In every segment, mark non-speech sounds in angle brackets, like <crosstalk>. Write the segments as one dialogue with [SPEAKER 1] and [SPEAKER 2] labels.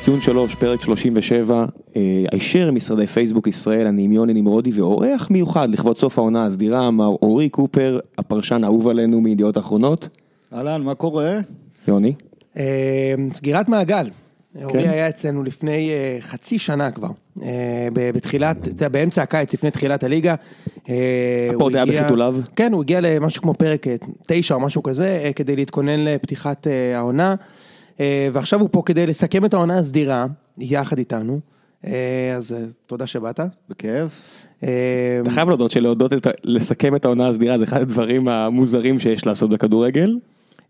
[SPEAKER 1] ציון שלוש, פרק 37, אה, הישר משרדי פייסבוק ישראל, אני עם יוני נמרודי ואורח מיוחד לכבוד סוף העונה הסדירה, מר אורי קופר, הפרשן האהוב עלינו מידיעות אחרונות.
[SPEAKER 2] אהלן, מה קורה?
[SPEAKER 1] יוני,
[SPEAKER 3] אה, סגירת מעגל.
[SPEAKER 2] כן.
[SPEAKER 3] אורי היה אצלנו לפני אה, חצי שנה כבר, אה, ב- בתחילת, אתה יודע, באמצע הקיץ, לפני תחילת הליגה. אה,
[SPEAKER 1] הפוד
[SPEAKER 3] הוא
[SPEAKER 1] היה
[SPEAKER 3] הגיע-
[SPEAKER 1] בחיתוליו.
[SPEAKER 3] כן, הוא הגיע למשהו כמו פרק אה, תשע או משהו כזה, אה, כדי להתכונן לפתיחת אה, העונה. אה, ועכשיו הוא פה כדי לסכם את העונה הסדירה, יחד איתנו. אה, אז אה, תודה שבאת.
[SPEAKER 2] בכיף.
[SPEAKER 3] אה,
[SPEAKER 1] אתה חייב להודות שלהודות, את ה- לסכם את העונה הסדירה זה אחד הדברים המוזרים שיש לעשות בכדורגל,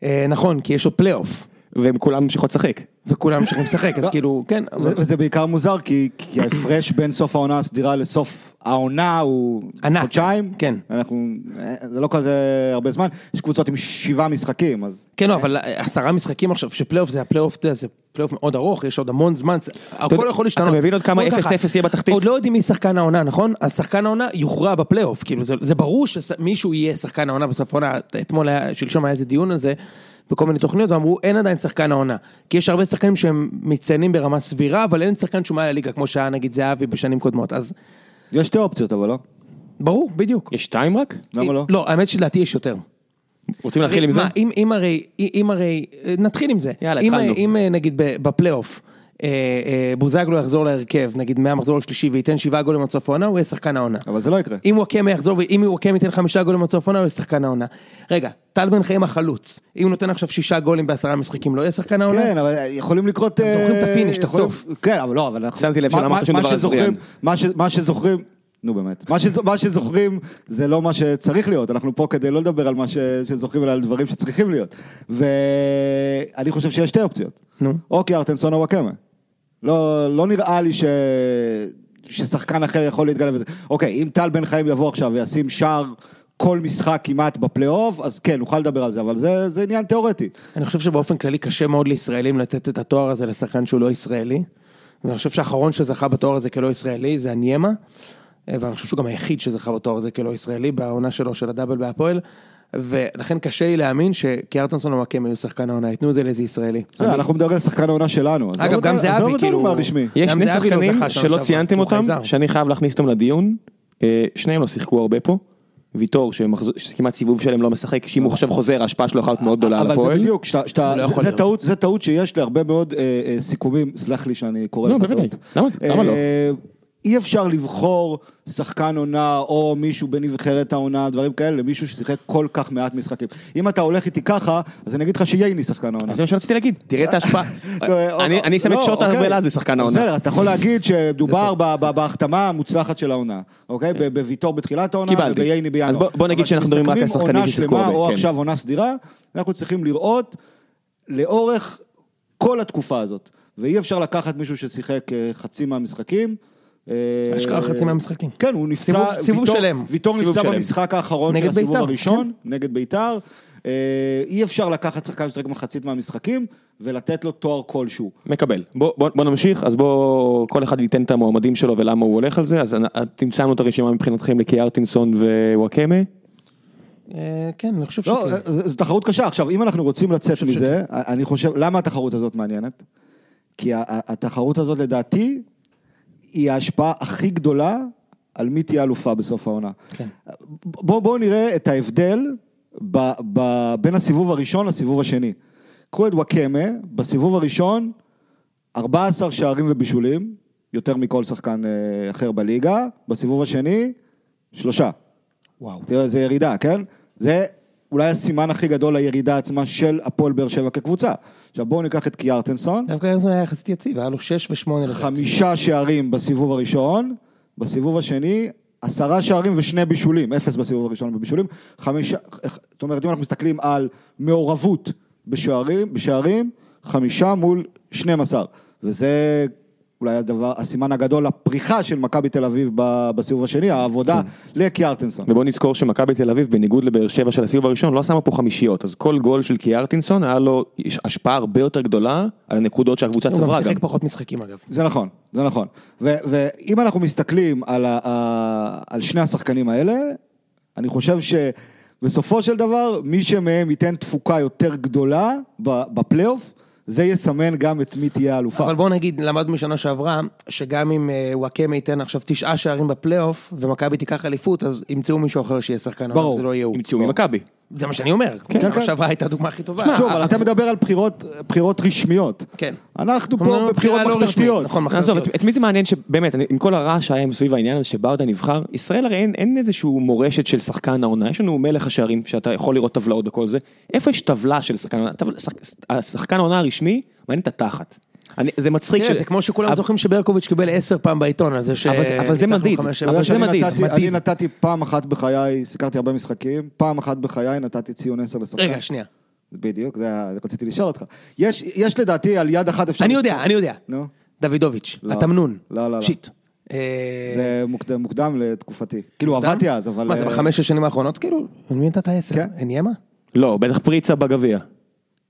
[SPEAKER 3] אה, נכון, כי יש עוד פלייאוף,
[SPEAKER 1] והם כולם המשיכו לשחק.
[SPEAKER 3] וכולם ממשיכים לשחק, אז
[SPEAKER 2] לא.
[SPEAKER 3] כאילו, כן. אבל-
[SPEAKER 2] ו- וזה בעיקר מוזר, כי כי ההפרש בין סוף העונה הסדירה לסוף העונה הוא
[SPEAKER 3] ענק.
[SPEAKER 2] חודשיים.
[SPEAKER 3] כן.
[SPEAKER 2] אנחנו, אה, זה לא כזה הרבה זמן, יש קבוצות עם שבעה משחקים, אז...
[SPEAKER 3] כן, לא, אבל עשרה משחקים עכשיו, שפלייאוף זה הפלייאוף, אתה יודע, זה פלייאוף מאוד ארוך, יש עוד המון זמן, זה- הכל
[SPEAKER 1] יודע,
[SPEAKER 3] יכול להשתנות.
[SPEAKER 1] אתה מבין עוד כמה
[SPEAKER 3] בוא ככה,
[SPEAKER 1] 0-0 יהיה בתחתית?
[SPEAKER 3] עוד לא יודעים מי שחקן העונה, נכון? אז שחקן העונה יוכרע בפלייאוף, כאילו, זה- זה ברור שמישהו יהיה שחקן העונה בסוף העונה, אתמול היה, שלשום היה איזה דיון על זה, בכל מיני תוכניות, ואמרו, אין עדיין שחקן העונה. כי יש הרבה שחקנים שהם מצטיינים ברמה סבירה, אבל אין שחקן שהוא מעל הליגה, כמו שהיה נגיד זהבי בשנים קודמות, אז
[SPEAKER 2] יש שתי אופציות, אבל לא.
[SPEAKER 3] ברור, בדיוק.
[SPEAKER 1] יש שתיים רק?
[SPEAKER 2] למה לא?
[SPEAKER 3] לא, האמת שלדעתי יש יותר.
[SPEAKER 1] רוצים להתחיל עם זה?
[SPEAKER 3] מה, אם, אם הרי, אם הרי, נתחיל עם זה.
[SPEAKER 1] יאללה,
[SPEAKER 3] אם,
[SPEAKER 1] התחלנו.
[SPEAKER 3] אם אה, נגיד ב- בפלייאוף, אה, אה, בוזגלו יחזור להרכב, נגיד מהמחזור השלישי וייתן שבעה גולים עד סוף העונה, הוא יהיה שחקן העונה.
[SPEAKER 2] אבל זה לא יקרה.
[SPEAKER 3] אם וואקמה יחזור, ואם וואקמה ייתן חמישה גולים עד סוף העונה, הוא יהיה שחקן העונה. רגע, טל בן חיים החלוץ, אם הוא נותן עכשיו שישה גולים בעשרה משחקים, לא יהיה שחקן העונה?
[SPEAKER 2] כן, אבל יכולים לקרות...
[SPEAKER 3] אתם זוכרים את
[SPEAKER 2] אה,
[SPEAKER 3] הפיניש, את
[SPEAKER 2] יכולים-
[SPEAKER 3] הסוף.
[SPEAKER 2] כן, אבל לא, אבל... אנחנו-
[SPEAKER 1] שמתי לב
[SPEAKER 2] מה-
[SPEAKER 1] שלא אמרת
[SPEAKER 2] מה-
[SPEAKER 1] שום
[SPEAKER 2] מה
[SPEAKER 1] דבר על
[SPEAKER 2] שזוכרים-
[SPEAKER 1] זריאן.
[SPEAKER 2] מה ש- מה שזוכרים... נו באמת, מה שז- מה שזוכרים זה לא מה שצריך להיות, אנחנו פה כדי לא לדבר על מה ש- שזוכרים אלא על דברים שצריכים להיות. ואני חושב שיש שתי אופציות.
[SPEAKER 3] נו.
[SPEAKER 2] או קיארטנסון או וואקמה. לא, לא נראה לי ש... ששחקן אחר יכול להתגלם בזה. אוקיי, אם טל בן חיים יבוא עכשיו וישים שער כל משחק כמעט בפלייאוף, אז כן, נוכל לדבר על זה, אבל זה, זה עניין תיאורטי.
[SPEAKER 3] אני חושב שבאופן כללי קשה מאוד לישראלים לתת את התואר הזה לשחקן שהוא לא ישראלי. ואני חושב שהאחרון שזכה בתואר הזה כלא ישראלי זה הניימה. אה, ואני חושב שהוא גם היחיד שזכה בתואר הזה כלא ישראלי בעונה שלו של הדאבל בהפועל. ולכן קשה לי להאמין שקיארטנסון או מקם היו שחקן העונה, ייתנו את זה לאיזה ישראלי.
[SPEAKER 2] בסדר, לא, אנחנו מדברים על שחקן העונה שלנו. לא עזוב
[SPEAKER 3] אגב,
[SPEAKER 2] אותנו-
[SPEAKER 3] גם זהבי,
[SPEAKER 2] עזוב אותנו
[SPEAKER 3] כאילו-
[SPEAKER 2] מהרשמי.
[SPEAKER 1] יש
[SPEAKER 3] גם
[SPEAKER 1] שני
[SPEAKER 3] זהבי לא
[SPEAKER 1] שחקנים
[SPEAKER 3] זכה שנה
[SPEAKER 1] שלא
[SPEAKER 3] שעברה,
[SPEAKER 1] ציינתם
[SPEAKER 3] כי הוא
[SPEAKER 1] אותם,
[SPEAKER 3] חייזר.
[SPEAKER 1] שאני חייב להכניס אותם לדיון. אה, שניהם לא שיחקו הרבה פה. ויטור, שמחז- שכמעט סיבוב שלהם לא משחק, שאם הוא עכשיו חוזר, ההשפעה שלו יכולה להיות מאוד גדולה על
[SPEAKER 2] אבל זה
[SPEAKER 1] הפועל.
[SPEAKER 2] בדיוק, שאתה- שאתה-
[SPEAKER 3] לא
[SPEAKER 2] זה-
[SPEAKER 3] יכול
[SPEAKER 2] זה
[SPEAKER 3] להיות.
[SPEAKER 2] טעות- זה טעות שיש להרבה מאוד אה, אה, סיכומים, סלח לי שאני קורא
[SPEAKER 1] לא,
[SPEAKER 2] לך
[SPEAKER 1] בוודאי.
[SPEAKER 2] טעות.
[SPEAKER 1] למה- למה לא?
[SPEAKER 2] אה, אי אפשר לבחור שחקן עונה או מישהו בנבחרת העונה, דברים כאלה, למישהו ששיחק כל כך מעט משחקים. אם אתה הולך איתי ככה, אז אני אגיד לך שייני שחקן העונה.
[SPEAKER 1] אז זה מה שרציתי להגיד, תראה את
[SPEAKER 2] <laughs>
[SPEAKER 1] ההשפעה.
[SPEAKER 2] אה,
[SPEAKER 1] אני-
[SPEAKER 2] אה,
[SPEAKER 1] אני שם את
[SPEAKER 2] לא,
[SPEAKER 1] שוטה
[SPEAKER 2] אוקיי.
[SPEAKER 1] ולאז זה שחקן העונה.
[SPEAKER 2] בסדר, אז אתה יכול להגיד שמדובר ב- ב- בהחתמה המוצלחת של העונה, אוקיי? ב- בוויטור בתחילת העונה,
[SPEAKER 1] כן. קיבלתי.
[SPEAKER 2] ובייני בינואר.
[SPEAKER 1] אז בוא- בוא נגיד
[SPEAKER 2] אבל
[SPEAKER 1] שאנחנו מדברים רק על
[SPEAKER 2] כשמסכמים
[SPEAKER 1] שחקנים
[SPEAKER 2] עונה
[SPEAKER 1] ששיחקו
[SPEAKER 2] שלמה,
[SPEAKER 1] הרבה,
[SPEAKER 2] או
[SPEAKER 1] כן.
[SPEAKER 2] עכשיו עונה סדירה, אנחנו צריכים לראות לאורך כל התקופה הזאת. ואי אפשר לקחת מישהו ששיחק אה, חצי מהמשחקים. אה,
[SPEAKER 3] אשכרה חצי מהמשחקים.
[SPEAKER 2] כן, הוא נפצע,
[SPEAKER 3] סיבוב- סיבוב
[SPEAKER 2] ויטור-
[SPEAKER 3] שלם.
[SPEAKER 2] ויטור
[SPEAKER 1] סיבוב
[SPEAKER 2] נפצע
[SPEAKER 1] שלם.
[SPEAKER 2] במשחק האחרון של
[SPEAKER 3] נגד
[SPEAKER 2] הסיבוב
[SPEAKER 3] בית"ר,
[SPEAKER 2] הראשון, נגד ביתר. אה, אי אפשר לקחת שחקן ששיחק מחצית מהמשחקים ולתת לו תואר כלשהו.
[SPEAKER 1] מקבל. בוא, בוא, בוא נמשיך, אז בוא כל אחד ייתן את המועמדים שלו ולמה הוא הולך על זה, אז אנ- תמצאנו את הרשימה מבחינתכם לקיארטינסון ווואקמה.
[SPEAKER 3] אה, כן, אני חושב שכן.
[SPEAKER 2] לא, ז- זו תחרות קשה. עכשיו, אם אנחנו רוצים לצאת מזה, אני חושב, למה התחרות הזאת מעניינת? כי ה- ה- התחרות הזאת לדעתי, היא ההשפעה הכי גדולה על מי תהיה אלופה בסוף העונה.
[SPEAKER 3] כן.
[SPEAKER 2] בואו בוא נראה את ההבדל ב, ב, בין הסיבוב הראשון לסיבוב השני. קחו את וואקמה, בסיבוב הראשון, 14 שערים ובישולים, יותר מכל שחקן אה, אחר בליגה, בסיבוב השני, שלושה.
[SPEAKER 3] וואו.
[SPEAKER 2] תראה, זה ירידה, כן? זה אולי הסימן הכי גדול לירידה עצמה של הפועל באר שבע כקבוצה. עכשיו בואו ניקח את קיארטנסון,
[SPEAKER 3] דווקא ארזמן היה יחסית יציב, היה לו שש ושמונה לדעתי.
[SPEAKER 2] חמישה שערים בסיבוב הראשון, בסיבוב השני, עשרה שערים ושני בישולים, אפס בסיבוב הראשון בבישולים, חמישה, זאת אומרת אם אנחנו מסתכלים על מעורבות בשערים, בשערים חמישה מול 12, וזה אולי הדבר, הסימן הגדול לפריחה של מכבי תל אביב ב- בסיבוב השני, העבודה לקיארטנסון.
[SPEAKER 1] ובוא נזכור שמכבי תל אביב, בניגוד לבאר שבע של הסיבוב הראשון, לא שמה פה חמישיות, אז כל גול של קיארטינסון היה לו יש- השפעה הרבה יותר גדולה על הנקודות שהקבוצה
[SPEAKER 3] הוא גם
[SPEAKER 1] צברה גם.
[SPEAKER 3] שיחק פחות משחקים אגב.
[SPEAKER 2] זה נכון, זה נכון. ו- ואם אנחנו מסתכלים על, ה- ה- על שני השחקנים האלה, אני חושב שבסופו של דבר, מי שמהם ייתן תפוקה יותר גדולה ב- בפלייאוף, זה יסמן גם את מי תהיה האלופה.
[SPEAKER 3] אבל בוא נגיד, למדנו משנה שעברה, שגם אם אה, וואקמה ייתן עכשיו תשעה שערים בפלייאוף, ומכבי תיקח אליפות, אז ימצאו מישהו אחר שיהיה שחקן, אבל
[SPEAKER 2] ברור.
[SPEAKER 3] זה לא יהיה הוא.
[SPEAKER 1] המציאו ממכבי.
[SPEAKER 3] זה מה שאני אומר. שנה
[SPEAKER 2] כן.
[SPEAKER 3] שעברה הייתה הדוגמה הכי טובה.
[SPEAKER 2] שוב, אבל אתה מדבר על בחירות, בחירות רשמיות.
[SPEAKER 3] כן.
[SPEAKER 2] אנחנו
[SPEAKER 3] אנחנו מדברים
[SPEAKER 2] פה
[SPEAKER 3] על
[SPEAKER 2] בבחירות
[SPEAKER 3] בחירה לא רשמית,
[SPEAKER 2] מחתרתיות.
[SPEAKER 3] נכון,
[SPEAKER 1] עזוב,
[SPEAKER 3] מחתרתיות.
[SPEAKER 1] את- את מי זה מעניין שבאמת, אני- עם כל הרעש שהיה סביב העניין הזה שבא אותה נבחר, ישראל הרי אין- אין איזשהו מורשת של שחקן העונה, יש לנו מלך השערים שאתה יכול לראות טבלאות וכל זה, איפה יש טבלה של שחקן העונה, טבל- שח- השחקן העונה הרשמי, מעניין את התחת. אני- זה מצחיק,
[SPEAKER 3] תראה,
[SPEAKER 1] ש-
[SPEAKER 3] כן, זה כמו שכולם
[SPEAKER 1] אבל-
[SPEAKER 3] זוכרים שברקוביץ' קיבל עשר פעם בעיתון על זה ש...
[SPEAKER 1] אבל זה- אבל זה
[SPEAKER 3] ניצחנו
[SPEAKER 1] מדיד.
[SPEAKER 3] 5-0.
[SPEAKER 1] אבל
[SPEAKER 2] אתה יודע
[SPEAKER 1] זה
[SPEAKER 2] שאני
[SPEAKER 1] מדיד,
[SPEAKER 2] נתתי- אני
[SPEAKER 1] מדיד.
[SPEAKER 2] נתתי פעם אחת בחיי, סיקרתי הרבה משחקים, פעם אחת בחיי נתתי ציון 10 לשחקן.
[SPEAKER 3] רגע, שנייה.
[SPEAKER 2] בדיוק, זה היה- רציתי לשאול אותך. יש- יש לדעתי על יד אחת אפשר...
[SPEAKER 3] אני יודע, אני יודע.
[SPEAKER 2] נו,
[SPEAKER 3] דוידוביץ',
[SPEAKER 2] לא.
[SPEAKER 3] התמנון.
[SPEAKER 2] לא, לא, לא.
[SPEAKER 3] שיט. אה,
[SPEAKER 2] זה מוקדם- מוקדם לתקופתי. כאילו
[SPEAKER 3] אדם?
[SPEAKER 2] עבדתי אז, אבל...
[SPEAKER 3] מה זה
[SPEAKER 2] אה,
[SPEAKER 3] בחמש שש שנים האחרונות כאילו? על מי נתת עשר?
[SPEAKER 2] כן.
[SPEAKER 3] אין ימה?
[SPEAKER 1] לא, בטח פריצה בגביע,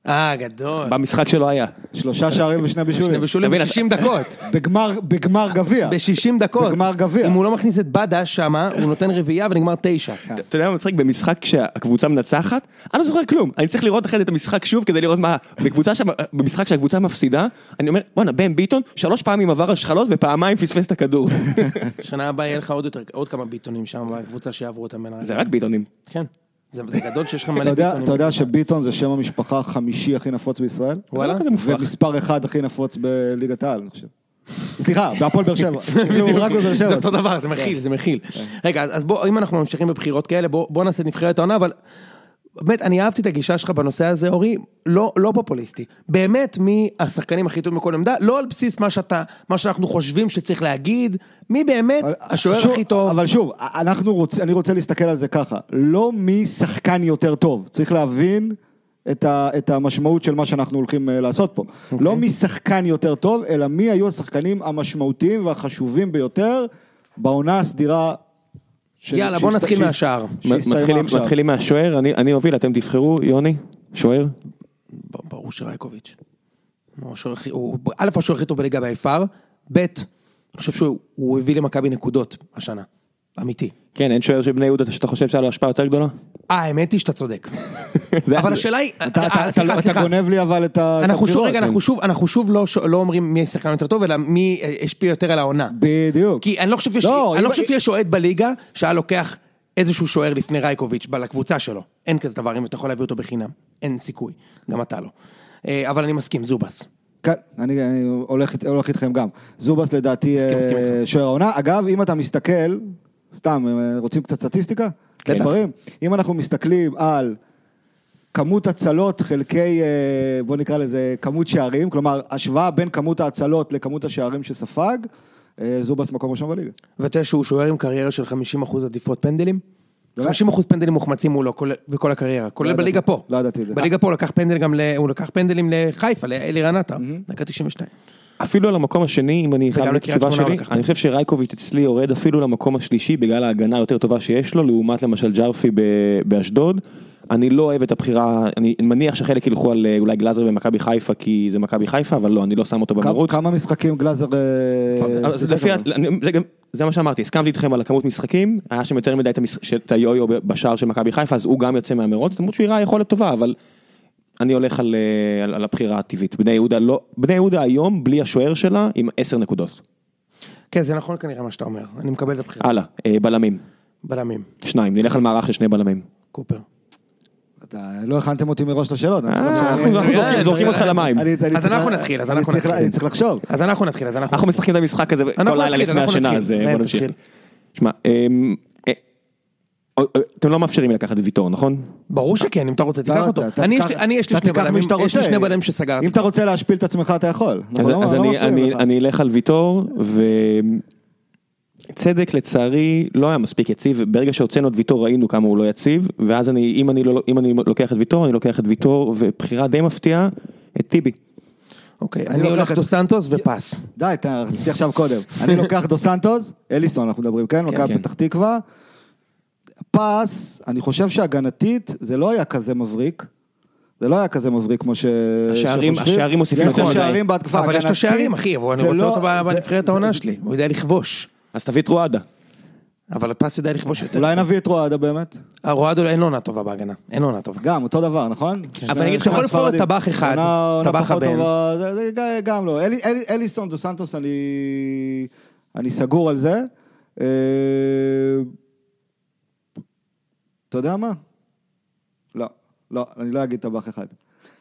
[SPEAKER 3] אה, גדול.
[SPEAKER 1] במשחק שלו היה.
[SPEAKER 2] שלושה שערים
[SPEAKER 3] <laughs>
[SPEAKER 2] ושני
[SPEAKER 3] שני
[SPEAKER 2] בישולים.
[SPEAKER 3] בישולים
[SPEAKER 1] אתה מבין,
[SPEAKER 3] ב-60 דקות.
[SPEAKER 2] בגמר- בגמר
[SPEAKER 3] <laughs>
[SPEAKER 2] גביע.
[SPEAKER 3] ב-60 דקות.
[SPEAKER 2] בגמר גביע.
[SPEAKER 3] אם הוא לא מכניס את בדה שמה, הוא נותן רביעייה ונגמר תשע.
[SPEAKER 2] כן.
[SPEAKER 1] אתה- אתה יודע מה מצחיק? במשחק כשהקבוצה מנצחת, אני לא זוכר כלום. אני צריך לראות אחרי זה את המשחק שוב כדי לראות מה... בקבוצה ש... במשחק שהקבוצה מפסידה, אני אומר, בואנה, בן ביטון, שלוש פעמים עבר השחלות ופעמיים פספס את הכדור. <laughs>
[SPEAKER 3] שנה הבאה יהיה לך עוד יותר, עוד כמה ביטונים שם בקבוצה שיעברו אותם בין
[SPEAKER 1] זה
[SPEAKER 3] הרגע.
[SPEAKER 1] רק ביטונים.
[SPEAKER 3] כן. זה זה גדול שיש לך
[SPEAKER 2] אתה
[SPEAKER 3] מלא
[SPEAKER 2] יודע-
[SPEAKER 3] ביטונים.
[SPEAKER 2] אתה יודע שביטון זה שם המשפחה החמישי הכי נפוץ בישראל?
[SPEAKER 1] זה
[SPEAKER 3] וואלה?
[SPEAKER 1] לא כזה מופרך.
[SPEAKER 2] ומספר אחד הכי נפוץ בליגת העל, אני חושב. סליחה, בהפועל באר
[SPEAKER 3] <laughs>
[SPEAKER 2] שבע. כאילו, רק בבאר
[SPEAKER 3] זה
[SPEAKER 2] שבע.
[SPEAKER 3] אותו דבר, זה
[SPEAKER 2] כן.
[SPEAKER 3] מכיל, זה מכיל. רגע, אז- אז בוא, אם אנחנו ממשיכים בבחירות כאלה, בוא בוא נעשה את נבחרת העונה, אבל באמת, אני אהבתי את הגישה שלך בנושא הזה, אורי, לא לא פופוליסטי. באמת, מי השחקנים הכי טובים בכל עמדה, לא על בסיס מה שאתה, מה שאנחנו חושבים שצריך להגיד, מי באמת
[SPEAKER 2] אבל-
[SPEAKER 3] השוער
[SPEAKER 2] שוב-
[SPEAKER 3] הכי טוב.
[SPEAKER 2] אבל שוב, אנחנו רוצ, אני רוצה להסתכל על זה ככה, לא מי שחקן יותר טוב, צריך להבין את, ה, את המשמעות של מה שאנחנו הולכים אה, לעשות פה. Okay.
[SPEAKER 3] אוקיי.
[SPEAKER 2] לא מי שחקן יותר טוב, אלא מי היו השחקנים המשמעותיים והחשובים ביותר בעונה הסדירה. של-
[SPEAKER 3] יאללה, בוא
[SPEAKER 2] שהסת-
[SPEAKER 3] נתחיל
[SPEAKER 2] שהס-
[SPEAKER 3] מהשער.
[SPEAKER 2] שהסתיימה
[SPEAKER 1] מתחילים-
[SPEAKER 2] עכשיו.
[SPEAKER 1] מתחילים מהשוער, אני- אני אוביל, אתם תבחרו, יוני, שוער.
[SPEAKER 3] ב- ברור שרייקוביץ'. הוא השוער הכי- הוא א', הוא השוער הכי טוב בליגה by far, ב', אני חושב שהוא הוא הביא למכבי נקודות השנה. אמיתי.
[SPEAKER 1] כן, אין שוער של בני יהודה שאתה חושב שהיה לו השפעה יותר גדולה?
[SPEAKER 3] אה, האמת היא שאתה
[SPEAKER 2] <laughs>
[SPEAKER 3] צודק.
[SPEAKER 1] זה-
[SPEAKER 3] אבל השאלה היא,
[SPEAKER 2] אתה, אתה,
[SPEAKER 3] אה,
[SPEAKER 2] אתה,
[SPEAKER 3] סליחה,
[SPEAKER 2] אתה,
[SPEAKER 3] סליחה.
[SPEAKER 2] גונב לי אבל את ה... את
[SPEAKER 3] אנחנו שוב,
[SPEAKER 2] הבחירות. כן.
[SPEAKER 3] רגע, אנחנו שוב, אנחנו שוב לא, ש- לא אומרים מי השחקן יותר טוב, אלא מי אה, השפיע יותר על העונה.
[SPEAKER 2] בדיוק.
[SPEAKER 3] כי אני לא חושב שיש,
[SPEAKER 2] לא,
[SPEAKER 3] אני
[SPEAKER 2] אם-
[SPEAKER 3] לא חושב שיש אוהד בליגה שהיה לוקח איזשהו שוער לפני רייקוביץ' ב- לקבוצה שלו. אין כזה דבר, אם אתה יכול להביא אותו בחינם. אין סיכוי. גם אתה לא. אה, אבל אני מסכים, זובס.
[SPEAKER 2] כן, אני אני הולך אית- הולך איתכם גם. זובס לדעתי
[SPEAKER 3] מסכים, מסכים
[SPEAKER 2] אה,
[SPEAKER 3] איתך.
[SPEAKER 2] שוער העונה. אגב, אם אתה מסתכל, סתם, אה, רוצים קצת סטטיסטיקה?
[SPEAKER 3] בטח.
[SPEAKER 2] לדברים? אם אנחנו מסתכלים על כמות הצלות חלקי, אה, בוא נקרא לזה, כמות שערים, כלומר, השוואה בין כמות ההצלות לכמות השערים שספג, אה, זובס מקום ראשון בליגה.
[SPEAKER 3] ואתה יודע שהוא שוער עם קריירה של 50% עדיפות פנדלים?
[SPEAKER 2] באמת?
[SPEAKER 3] 50% פנדלים מוחמצים מולו כולל- בכל הקריירה, כולל
[SPEAKER 2] ידעתי,
[SPEAKER 3] בליגה פה.
[SPEAKER 2] לא ידעתי את זה.
[SPEAKER 3] בליגה פה הוא לקח פנדל גם, ל- הוא לקח פנדלים לחיפה, לאלירן עטר, דקה 92.
[SPEAKER 1] אפילו על המקום השני, אם אני חייב
[SPEAKER 3] וגם
[SPEAKER 1] לתת
[SPEAKER 3] לקריית
[SPEAKER 1] תשובה
[SPEAKER 3] שמונה
[SPEAKER 1] שלי,
[SPEAKER 3] הוא לקח.
[SPEAKER 1] אני חושב שרייקוביץ' אצלי יורד אפילו למקום השלישי בגלל ההגנה היותר טובה שיש לו, לעומת למשל ג'רפי ב- באשדוד. אני לא אוהב את הבחירה, אני מניח שחלק ילכו על אה, אולי גלאזר במכבי חיפה כי זה מכבי חיפה, אבל לא, אני לא שם אותו
[SPEAKER 2] כמה-
[SPEAKER 1] במרוץ.
[SPEAKER 2] כמה משחקים גלאזר... אה,
[SPEAKER 1] אז
[SPEAKER 2] שיחק
[SPEAKER 1] לפי, ה-
[SPEAKER 2] אבל?
[SPEAKER 1] אני- זה גם- זה מה שאמרתי, הסכמתי איתכם על הכמות משחקים, היה שם יותר מדי את המש- את היו-יו ב- בשער של מכבי חיפה, אז הוא גם יוצא מהמרוץ, למרות שהוא יראה יכולת טובה, אבל אני הולך על, אה, על, על הבחירה הטבעית. בני יהודה לא, בני יהודה היום, בלי השוער שלה, עם עשר נקודות.
[SPEAKER 3] כן, זה נכון כנראה מה שאתה אומר, אני מקבל את הבחירה.
[SPEAKER 1] הלאה, אה, בלמים,
[SPEAKER 3] בלמים,
[SPEAKER 1] שניים, נלך על מערך של שני בלמים.
[SPEAKER 3] קופר.
[SPEAKER 2] אתה- לא הכנתם אותי מראש לשאלות. אני צריך
[SPEAKER 1] אה,
[SPEAKER 2] לחשוב.
[SPEAKER 1] אנחנו-
[SPEAKER 2] אני-
[SPEAKER 1] אנחנו
[SPEAKER 3] מצוין,
[SPEAKER 1] זורקים- זורקים אותך למים.
[SPEAKER 2] אני- אני
[SPEAKER 3] אז
[SPEAKER 2] צריך-
[SPEAKER 3] אנחנו נתחיל, אז
[SPEAKER 2] אני
[SPEAKER 3] אנחנו
[SPEAKER 2] צריך-
[SPEAKER 3] נתחיל.
[SPEAKER 2] אני צריך לחשוב.
[SPEAKER 3] אז אנחנו נתחיל, אז אנחנו
[SPEAKER 1] אנחנו משחקים את המשחק הזה
[SPEAKER 3] אנחנו
[SPEAKER 1] כל לילה
[SPEAKER 3] נתחיל,
[SPEAKER 1] לפני
[SPEAKER 3] אנחנו
[SPEAKER 1] השינה,
[SPEAKER 3] נתחיל.
[SPEAKER 1] אז אה,
[SPEAKER 3] ראם,
[SPEAKER 1] בוא נמשיך.
[SPEAKER 3] תתחיל.
[SPEAKER 1] שמע, אמ, אה, אה, אה, אתם לא מאפשרים לי לקחת את ויטור, נכון?
[SPEAKER 3] ברור שכן, אם אתה רוצה, תיקח
[SPEAKER 2] לא, אתה-
[SPEAKER 3] אותו.
[SPEAKER 2] אתה
[SPEAKER 3] אני יש
[SPEAKER 2] תיקח-
[SPEAKER 3] לי- אני יש לי
[SPEAKER 2] אתה
[SPEAKER 3] שני
[SPEAKER 2] תיקח מי
[SPEAKER 3] בלמים,
[SPEAKER 2] שאתה
[SPEAKER 3] יש לי
[SPEAKER 2] רוצה.
[SPEAKER 3] שני בלמים שסגרתי.
[SPEAKER 2] אם אתה רוצה להשפיל את עצמך, אתה יכול.
[SPEAKER 1] אז,
[SPEAKER 2] אנחנו לא-
[SPEAKER 1] אז
[SPEAKER 2] לא
[SPEAKER 1] אני,
[SPEAKER 2] מפריעים
[SPEAKER 1] אני,
[SPEAKER 2] לך.
[SPEAKER 1] אני אלך על ויטור, וצדק לצערי לא היה מספיק יציב, ברגע שהוצאנו את ויטור ראינו כמה הוא לא יציב, ואז אני, אם אני, לא, אם אני לוקח את ויטור, אני לוקח את ויטור, ובחירה די מפתיעה, את טיבי.
[SPEAKER 3] אוקיי,
[SPEAKER 2] אני
[SPEAKER 3] אני
[SPEAKER 2] לוקח
[SPEAKER 3] הולך
[SPEAKER 2] את-
[SPEAKER 3] דו סנטוס ופס.
[SPEAKER 2] די, ת- רציתי עכשיו
[SPEAKER 1] <laughs>
[SPEAKER 2] קודם. אני לוקח דו סנטוס, אליסון אנחנו מדברים, כן? מכבי
[SPEAKER 1] כן.
[SPEAKER 2] פתח תקווה. פס, אני חושב שהגנתית, זה לא היה כזה מבריק. זה לא היה כזה מבריק כמו ש...
[SPEAKER 1] השערים-
[SPEAKER 2] שחושבים.
[SPEAKER 1] השערים מוסיפים
[SPEAKER 2] יש את
[SPEAKER 1] נכון,
[SPEAKER 2] השערים בהתקפה.
[SPEAKER 3] אבל יש את
[SPEAKER 2] הגנתית,
[SPEAKER 3] השערים, אחי, אבל אני
[SPEAKER 2] זה
[SPEAKER 3] רוצה
[SPEAKER 2] לא-
[SPEAKER 3] אותו
[SPEAKER 2] זה-
[SPEAKER 3] בנבחרת
[SPEAKER 2] זה-
[SPEAKER 3] העונה שלי, הוא יודע לכבוש.
[SPEAKER 1] אז תביא את רואדה.
[SPEAKER 3] אבל הפס יודע לכבוש יותר.
[SPEAKER 2] אולי נביא את רועדה באמת?
[SPEAKER 3] אה, רועדו אין לו עונה טובה בהגנה, אין לו עונה טובה.
[SPEAKER 2] גם, אותו דבר, נכון?
[SPEAKER 3] כן. אבל אני אגיד לך, יכול לבחור טבח אחד, טבח הבן.
[SPEAKER 2] הבן. גם לא. אלי- אלי- אליסון דו סנטוס, אני אני סגור על זה. אה, אתה יודע מה? לא, לא, אני לא אגיד טבח אחד.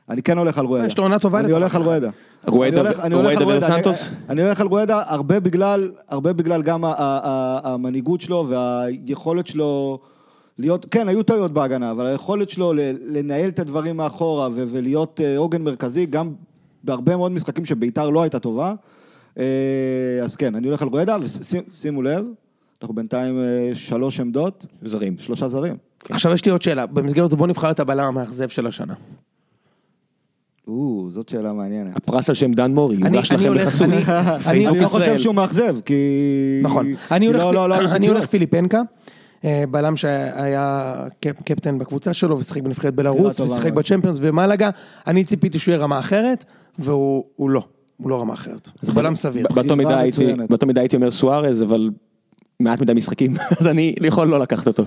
[SPEAKER 2] אני כן הולך על רועדה.
[SPEAKER 3] יש לו עונה טובה
[SPEAKER 2] אני
[SPEAKER 3] לטבח
[SPEAKER 2] הולך על
[SPEAKER 3] אחד.
[SPEAKER 2] רועדה.
[SPEAKER 1] רואדה
[SPEAKER 2] אני
[SPEAKER 1] ו-
[SPEAKER 2] הולך- אני הולך על
[SPEAKER 1] רואדה
[SPEAKER 2] רואדה. אני-
[SPEAKER 1] וסנטוס?
[SPEAKER 2] אני הולך על גואדה הרבה בגלל, הרבה בגלל גם ה- ה- ה- המנהיגות שלו והיכולת שלו להיות, כן, היו טעויות בהגנה, אבל היכולת שלו ל- לנהל את הדברים מאחורה ו- ולהיות אה, עוגן מרכזי, גם בהרבה מאוד משחקים שביתר לא הייתה טובה. אה, אז כן, אני הולך על גואדה, ושימו לב, אנחנו בינתיים אה, שלוש עמדות,
[SPEAKER 1] זרים.
[SPEAKER 2] שלושה זרים.
[SPEAKER 3] כן. עכשיו יש לי עוד שאלה, במסגרת זה בוא נבחר את הבלם המאכזב של השנה.
[SPEAKER 2] או, זאת שאלה מעניינת.
[SPEAKER 1] הפרס על שם דן מורי,
[SPEAKER 3] אני-
[SPEAKER 1] יוגש
[SPEAKER 3] אני
[SPEAKER 1] לכם
[SPEAKER 3] הולך-
[SPEAKER 1] בחסות. <laughs>
[SPEAKER 3] אני- אני-
[SPEAKER 1] פייסבוק
[SPEAKER 2] אני לא חושב
[SPEAKER 1] ישראל.
[SPEAKER 2] שהוא מאכזב, כי...
[SPEAKER 3] נכון.
[SPEAKER 2] כי
[SPEAKER 3] אני
[SPEAKER 2] לא-
[SPEAKER 3] הולך,
[SPEAKER 2] לא- לא,
[SPEAKER 3] <clears throat> <laughs> אני
[SPEAKER 2] הציפיות.
[SPEAKER 3] הולך פיליפנקה, אה, בלם שהיה קפ, קפטן בקבוצה שלו ושיחק בנבחרת בלרוס
[SPEAKER 2] טובה
[SPEAKER 3] ושיחק
[SPEAKER 2] מאוד.
[SPEAKER 3] בצ'מפיונס ומלאגה, אני ציפיתי שהוא יהיה רמה אחרת, והוא הוא לא, הוא לא רמה אחרת. זה בלם סביר.
[SPEAKER 1] ב- באותו מידה
[SPEAKER 2] בחירה
[SPEAKER 1] הייתי-
[SPEAKER 2] מצוינת.
[SPEAKER 1] באותו מידה הייתי אומר סוארז, אבל מעט מדי משחקים, <laughs> אז אני יכול לא לקחת אותו.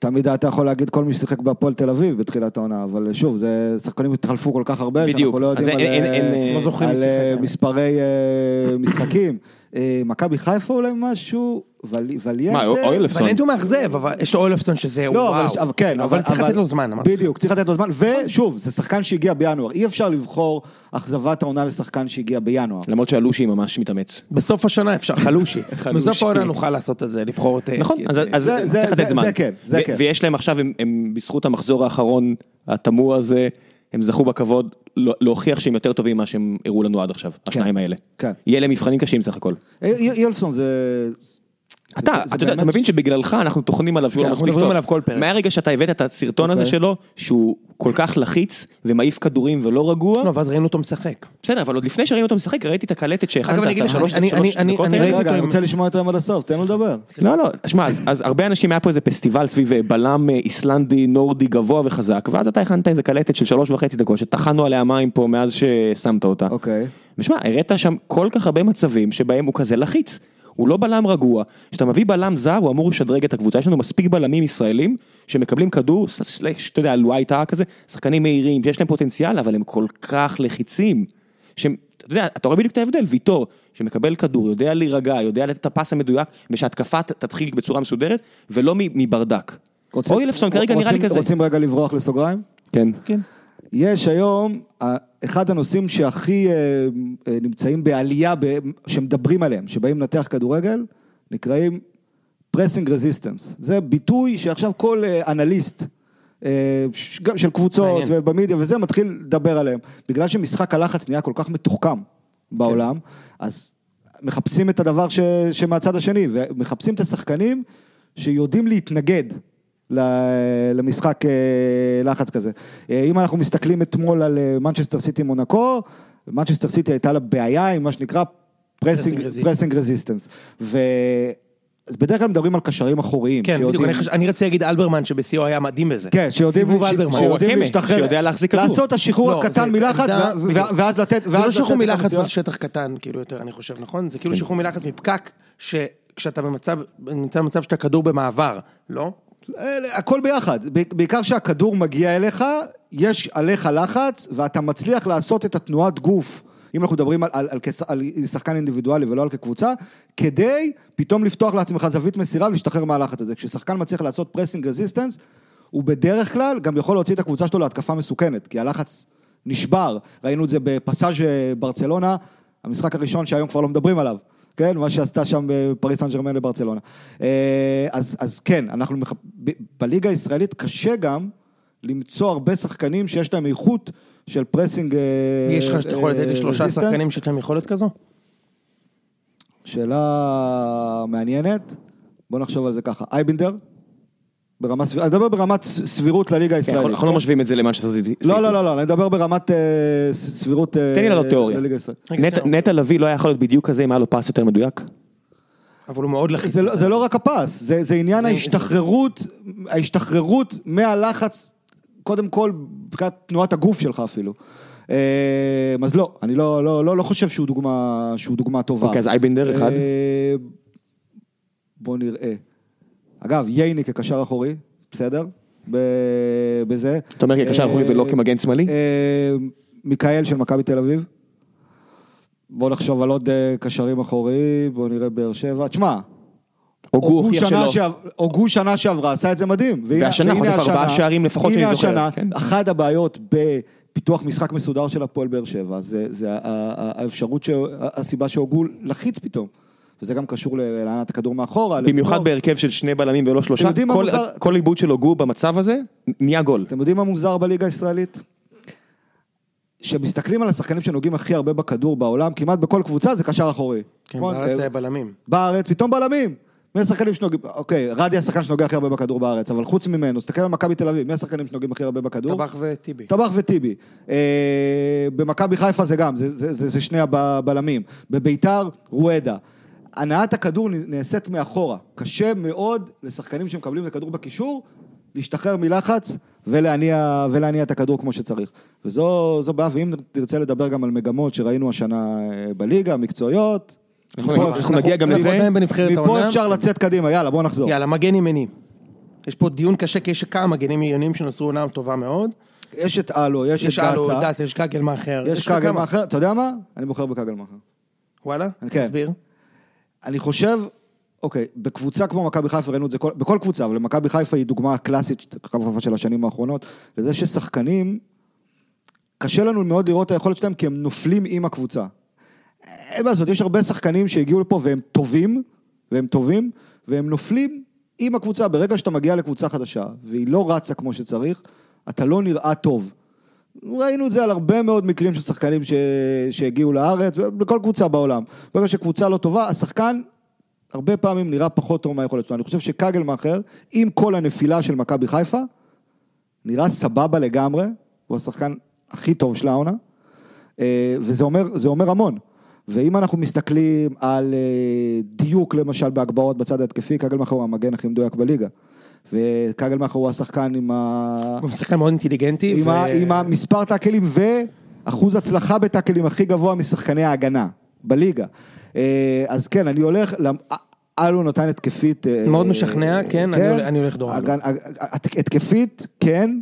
[SPEAKER 2] תמיד אתה יכול להגיד כל מי ששיחק בהפועל תל אביב בתחילת העונה, אבל שוב, זה שחקנים התחלפו כל כך הרבה,
[SPEAKER 1] בדיוק.
[SPEAKER 2] שאנחנו לא
[SPEAKER 1] אז
[SPEAKER 2] יודעים על,
[SPEAKER 1] אין- אין- אין-
[SPEAKER 2] אה,
[SPEAKER 1] לא
[SPEAKER 3] זוכרים מי
[SPEAKER 2] על
[SPEAKER 3] שיחק,
[SPEAKER 2] אה,
[SPEAKER 3] האמת.
[SPEAKER 2] מספרי אה, משחקים. אה, מכבי חיפה אולי משהו, ול- וליאנטה?
[SPEAKER 1] מה, אוילפסון?
[SPEAKER 3] ולנט הוא מאכזב, אה, אבל יש לו אולפסון שזה
[SPEAKER 2] לא, אבל,
[SPEAKER 3] וואו.
[SPEAKER 2] אבל כן,
[SPEAKER 3] אבל צריך לתת לו זמן, אמרתי.
[SPEAKER 2] בדיוק, צריך לתת לו זמן, ושוב, זה שחקן שהגיע בינואר, אי אפשר לבחור אכזבת העונה לשחקן שהגיע בינואר.
[SPEAKER 1] למרות שהלושי ממש מתאמץ.
[SPEAKER 3] בסוף השנה אפשר, חלושי.
[SPEAKER 1] חלושי.
[SPEAKER 3] בסוף העונה נוכל לעשות את זה, לבחור את... אה,
[SPEAKER 1] נכון,
[SPEAKER 3] את-
[SPEAKER 1] אז- אז
[SPEAKER 2] זה-
[SPEAKER 1] צריך
[SPEAKER 2] זה-
[SPEAKER 1] לתת
[SPEAKER 2] זה-
[SPEAKER 1] זמן.
[SPEAKER 2] זה כן, זה
[SPEAKER 1] ו-
[SPEAKER 2] כן.
[SPEAKER 1] ויש להם עכשיו, הם- הם בזכות המחזור האחרון התמוה הזה, הם זכו בכבוד לא- להוכיח שהם יותר טובים ממה שהם הראו לנו עד עכשיו, השניים האלה.
[SPEAKER 2] כן.
[SPEAKER 1] יהיה להם מבחנים קשים סך הכל.
[SPEAKER 2] אה, אי- אילפסון זה...
[SPEAKER 1] אתה,
[SPEAKER 2] זה- זה
[SPEAKER 1] אתה יודע, אתה
[SPEAKER 2] באמת-
[SPEAKER 1] מבין שבגללך אנחנו טוחנים עליו שהוא
[SPEAKER 3] כן,
[SPEAKER 1] לא
[SPEAKER 3] אנחנו
[SPEAKER 1] מספיק
[SPEAKER 3] מדברים
[SPEAKER 1] טוב.
[SPEAKER 3] עליו כל פרק.
[SPEAKER 1] מהרגע שאתה הבאת את הסרטון הזה
[SPEAKER 2] אוקיי.
[SPEAKER 1] שלו, שהוא כל כך לחיץ ומעיף כדורים ולא רגוע,
[SPEAKER 3] לא, ואז ראינו אותו משחק.
[SPEAKER 1] בסדר, אבל עוד לפני שראינו אותו משחק, ראיתי את הקלטת שהכנת,
[SPEAKER 3] אגב, אני אגיד
[SPEAKER 1] את
[SPEAKER 3] לך,
[SPEAKER 1] השלוש
[SPEAKER 3] אני-
[SPEAKER 1] שלוש
[SPEAKER 3] אני-
[SPEAKER 1] דקות
[SPEAKER 3] אני
[SPEAKER 1] האלה.
[SPEAKER 3] ראיתי-
[SPEAKER 2] רגע, לא,
[SPEAKER 3] אותו
[SPEAKER 2] אני
[SPEAKER 3] עם-
[SPEAKER 2] רוצה לשמוע אתכם עד הסוף, תן לו לדבר.
[SPEAKER 1] לא, לא, שמע, אז, אז הרבה אנשים היה פה איזה פסטיבל סביב אה, בלם אה, איסלנדי נורדי גבוה וחזק, ואז אתה הכנת איזה קלטת של שלוש וחצי דקות שטחנו עליה מים פה מאז ששמת אותה.
[SPEAKER 2] אוקיי.
[SPEAKER 1] ושמע, הראת שם כל כך הרבה מצבים שבהם הוא כזה לחיץ. הוא לא בלם רגוע, כשאתה מביא בלם זר הוא אמור לשדרג את הקבוצה, יש לנו מספיק בלמים ישראלים שמקבלים כדור, ס- סלש, אתה יודע, לואי טאה כזה, שחקנים מהירים שיש להם פוטנציאל אבל הם כל כך לחיצים. שהם, אתה יודע, אתה רואה בדיוק את ההבדל, ויטור שמקבל כדור, יודע להירגע, יודע לתת את הפס המדויק, ושההתקפה ת- תתחיל בצורה מסודרת ולא מ- מברדק.
[SPEAKER 2] רוצים-
[SPEAKER 1] אוילפסון כרגע נראה לי
[SPEAKER 2] רוצים-
[SPEAKER 1] כזה.
[SPEAKER 2] רוצים רגע לברוח לסוגריים?
[SPEAKER 1] כן. כן.
[SPEAKER 2] יש היום, אה, אחד הנושאים שהכי אה, אה, נמצאים בעלייה, ב- שמדברים עליהם, שבאים לנתח כדורגל, נקראים pressing resistance. זה ביטוי שעכשיו כל אה, אנליסט אה, ש- גם של קבוצות
[SPEAKER 3] מעניין.
[SPEAKER 2] ובמדיה וזה מתחיל לדבר עליהם. בגלל שמשחק הלחץ נהיה כל כך מתוחכם
[SPEAKER 3] כן.
[SPEAKER 2] בעולם, אז מחפשים את הדבר ש, שמהצד השני, ומחפשים את השחקנים שיודעים להתנגד ל- למשחק אה, לחץ כזה. אה, אם אנחנו מסתכלים אתמול על אה, מנצ'סטר סיטי מונקו, מנצ'סטר סיטי הייתה לה בעיה עם מה שנקרא
[SPEAKER 3] Pressing resistance.
[SPEAKER 2] פרסינג רזיסטנס. ו... אז בדרך כלל מדברים על קשרים אחוריים.
[SPEAKER 3] כן, בדיוק,
[SPEAKER 2] שיודעים-
[SPEAKER 3] אני חש- אני רציתי להגיד אלברמן שבשיאו היה מדהים בזה.
[SPEAKER 2] כן, שיודעים,
[SPEAKER 3] סיבוב
[SPEAKER 2] ש-
[SPEAKER 3] אלברמן.
[SPEAKER 1] או
[SPEAKER 2] שיודעים
[SPEAKER 1] וואקמה,
[SPEAKER 2] להשתחרר,
[SPEAKER 1] שיודע להחזיק כדור.
[SPEAKER 2] לעשות את השחרור
[SPEAKER 3] לא,
[SPEAKER 2] הקטן
[SPEAKER 3] זה-
[SPEAKER 2] מלחץ,
[SPEAKER 3] זה-
[SPEAKER 2] ו- ו-
[SPEAKER 3] בדיוק.
[SPEAKER 2] ואז לתת,
[SPEAKER 3] זה
[SPEAKER 2] ואז כן.
[SPEAKER 3] לא
[SPEAKER 2] לתת
[SPEAKER 3] שחרור
[SPEAKER 2] את
[SPEAKER 3] מלחץ
[SPEAKER 2] המסירה.
[SPEAKER 3] על שטח קטן, כאילו יותר, אני חושב, נכון? זה כאילו שחרור מלחץ מפקק, שכשאתה במצב, נמצא במצב שאתה כדור במעבר, לא?
[SPEAKER 2] אלה, הכל ביחד, ב- בעיקר שהכדור מגיע אליך, יש עליך לחץ ואתה מצליח לעשות את התנועת גוף, אם אנחנו מדברים על, על, על, כס- על שחקן אינדיבידואלי ולא על כקבוצה, כדי פתאום לפתוח לעצמך זווית מסירה ולהשתחרר מהלחץ הזה. כששחקן מצליח לעשות פרסינג רזיסטנס, הוא בדרך כלל גם יכול להוציא את הקבוצה שלו להתקפה מסוכנת, כי הלחץ נשבר, ראינו את זה בפסאז' אה, ברצלונה, המשחק הראשון שהיום כבר לא מדברים עליו. כן, מה שעשתה שם אה, פריס סן ג'רמן לברצלונה. אה, אז, אז כן, אנחנו מחפ... ב- בליגה הישראלית קשה גם למצוא הרבה שחקנים שיש להם איכות של פרסינג... אה,
[SPEAKER 3] יש לך, שאתה יכול לתת לי
[SPEAKER 2] אה,
[SPEAKER 3] שלושה
[SPEAKER 2] resistance.
[SPEAKER 3] שחקנים שיש להם יכולת כזו?
[SPEAKER 2] שאלה מעניינת, בוא נחשוב על זה ככה. אייבינדר, ברמה סביר... אני מדבר ברמת ס- סבירות לליגה
[SPEAKER 1] כן, אנחנו
[SPEAKER 2] הישראלית.
[SPEAKER 1] אנחנו לא משווים את זה למנצ'סטר סיטי.
[SPEAKER 2] לא, לא, לא, לא, אני מדבר ברמת אה, ס- סבירות... אה,
[SPEAKER 1] תן לי לעלות תיאוריה.
[SPEAKER 2] לליגה הישראלית.
[SPEAKER 3] רגע,
[SPEAKER 1] נטע-
[SPEAKER 3] שנייה.
[SPEAKER 1] נטע לביא לא היה יכול להיות בדיוק כזה אם היה לו פס יותר מדויק?
[SPEAKER 3] אבל הוא מאוד לחיץ.
[SPEAKER 2] זה לא, זה לא רק הפס, זה, זה עניין
[SPEAKER 3] זה-
[SPEAKER 2] ההשתחררות, ההשתחררות מהלחץ, קודם כל, מבחינת תנועת הגוף שלך אפילו. אה, אז לא, אני לא, לא, לא, לא חושב שהוא דוגמה, שהוא דוגמה טובה.
[SPEAKER 1] אוקיי, אז אייבנדר אחד?
[SPEAKER 2] אה, בוא נראה. אגב, ייני כקשר אחורי, בסדר? ב- בזה.
[SPEAKER 1] אתה אומר כקשר אחורי
[SPEAKER 2] אה,
[SPEAKER 1] ולא כמגן שמאלי?
[SPEAKER 2] אה, מיקאל של מכבי תל אביב. בוא נחשוב על עוד אה, קשרים אחורי, בוא נראה באר שבע. תשמע,
[SPEAKER 1] הוגו
[SPEAKER 2] הוגו
[SPEAKER 1] הוכיח
[SPEAKER 2] שנה
[SPEAKER 1] שלא.
[SPEAKER 2] שעב- הוגו שנה שעברה עשה את זה מדהים. והנה-
[SPEAKER 1] והשנה
[SPEAKER 2] והנה
[SPEAKER 1] חוטף ארבעה
[SPEAKER 2] השנה-
[SPEAKER 1] שערים לפחות שאני זוכר,
[SPEAKER 2] הנה
[SPEAKER 1] כן.
[SPEAKER 2] השנה, אחת הבעיות בפיתוח משחק מסודר של הפועל באר שבע, זה, זה ה- ה- האפשרות, ש- הסיבה שהוגו לחיץ פתאום. וזה גם קשור ל- להנעת הכדור מאחורה.
[SPEAKER 1] במיוחד
[SPEAKER 2] לבלום.
[SPEAKER 1] בהרכב של שני בלמים ולא שלושה,
[SPEAKER 2] לא. יודעים מה
[SPEAKER 1] כל-
[SPEAKER 2] מוזר?
[SPEAKER 1] כל עיבוד של הוגו במצב הזה נהיה גול.
[SPEAKER 2] אתם יודעים מה מוזר בליגה הישראלית? כשמסתכלים על השחקנים שנוגעים הכי הרבה בכדור בעולם, כמעט בכל קבוצה זה קשר אחורי.
[SPEAKER 3] כן,
[SPEAKER 2] נכון?
[SPEAKER 3] בארץ
[SPEAKER 2] אה,
[SPEAKER 3] זה היה בלמים.
[SPEAKER 2] בארץ, פתאום בלמים. מי השחקנים שנוגעים, אוקיי, רדי השחקן שנוגע הכי הרבה בכדור בארץ, אבל חוץ ממנו, תסתכל על מכבי תל אביב, מי השחקנים שנוגעים הכי הרבה בכדור?
[SPEAKER 3] טבח וטיבי.
[SPEAKER 2] טבח וטיבי. אה, במכבי חיפה זה גם, זה, זה, זה, זה שני הבלמים. בביתר, רואדה. הנעת הכדור נעשית מאחורה. קשה מאוד לשחקנים שמקבלים את הכדור בקישור, להשתחרר מלחץ ולהניע, ולהניע את הכדור כמו שצריך. וזו זו בעיה, ואם תרצה לדבר גם על מגמות שראינו השנה אה, בליגה, מקצועיות.
[SPEAKER 1] אנחנו
[SPEAKER 2] מפה
[SPEAKER 1] נגיע-
[SPEAKER 2] אפשר-
[SPEAKER 1] אנחנו נגיע גם
[SPEAKER 3] אנחנו
[SPEAKER 1] לזה.
[SPEAKER 3] עדיין בנבחרת
[SPEAKER 2] מפה
[SPEAKER 3] העונה.
[SPEAKER 2] אפשר לצאת קדימה, יאללה, בואו נחזור.
[SPEAKER 3] יאללה, מגן ימיני. יש פה דיון קשה, כי יש כמה מגנים עליונים שנוצרו עונה טובה מאוד.
[SPEAKER 2] יש את אלו, יש,
[SPEAKER 3] יש
[SPEAKER 2] את
[SPEAKER 3] אלו,
[SPEAKER 2] גסה,
[SPEAKER 3] דס, יש קגלמאכר.
[SPEAKER 2] יש
[SPEAKER 3] פה
[SPEAKER 2] קגל
[SPEAKER 3] כמה.
[SPEAKER 2] מאחר, אתה יודע מה? אני בוחר בקגל מאחר.
[SPEAKER 3] וואלה?
[SPEAKER 2] כן.
[SPEAKER 3] תסביר.
[SPEAKER 2] אני חושב, אוקיי, בקבוצה כמו מכבי חיפה ראינו את זה, כל, בכל קבוצה, אבל מכבי חיפה היא דוגמה הקלאסית, מכבי חיפה של השנים האחרונות, לזה ששחקנים, קשה לנו מאוד לראות את היכולת שלהם כי הם נופלים עם הקבוצה. אין מה לעשות, יש הרבה שחקנים שהגיעו לפה והם טובים, והם טובים, והם נופלים עם הקבוצה. ברגע שאתה מגיע לקבוצה חדשה, והיא לא רצה כמו שצריך, אתה לא נראה טוב. ראינו את זה על הרבה מאוד מקרים של שחקנים ש... שהגיעו לארץ, בכל קבוצה בעולם. ברגע שקבוצה לא טובה, השחקן הרבה פעמים נראה פחות טוב מהיכולת שלו. אני חושב שקגלמאכר, עם כל הנפילה של מכבי חיפה, נראה סבבה לגמרי, הוא השחקן הכי טוב של העונה, אה, וזה אומר, זה אומר המון. ואם אנחנו מסתכלים על אה, דיוק למשל בהגבהות בצד ההתקפי, קגלמאכר הוא המגן הכי מדויק בליגה. וקגלמאכר הוא השחקן עם ה...
[SPEAKER 3] הוא שחקן מאוד אינטליגנטי.
[SPEAKER 2] עם,
[SPEAKER 3] ו-
[SPEAKER 2] ה, עם המספר טאקלים ואחוז הצלחה בטאקלים הכי גבוה משחקני ההגנה בליגה. אה, אז כן, אני הולך, למ- אה, אלו נתן התקפית. אה,
[SPEAKER 3] מאוד משכנע,
[SPEAKER 2] אה,
[SPEAKER 3] כן, אני הולך- אני הולך דור אלו.
[SPEAKER 2] הגן- הג- הת- התקפית, כן,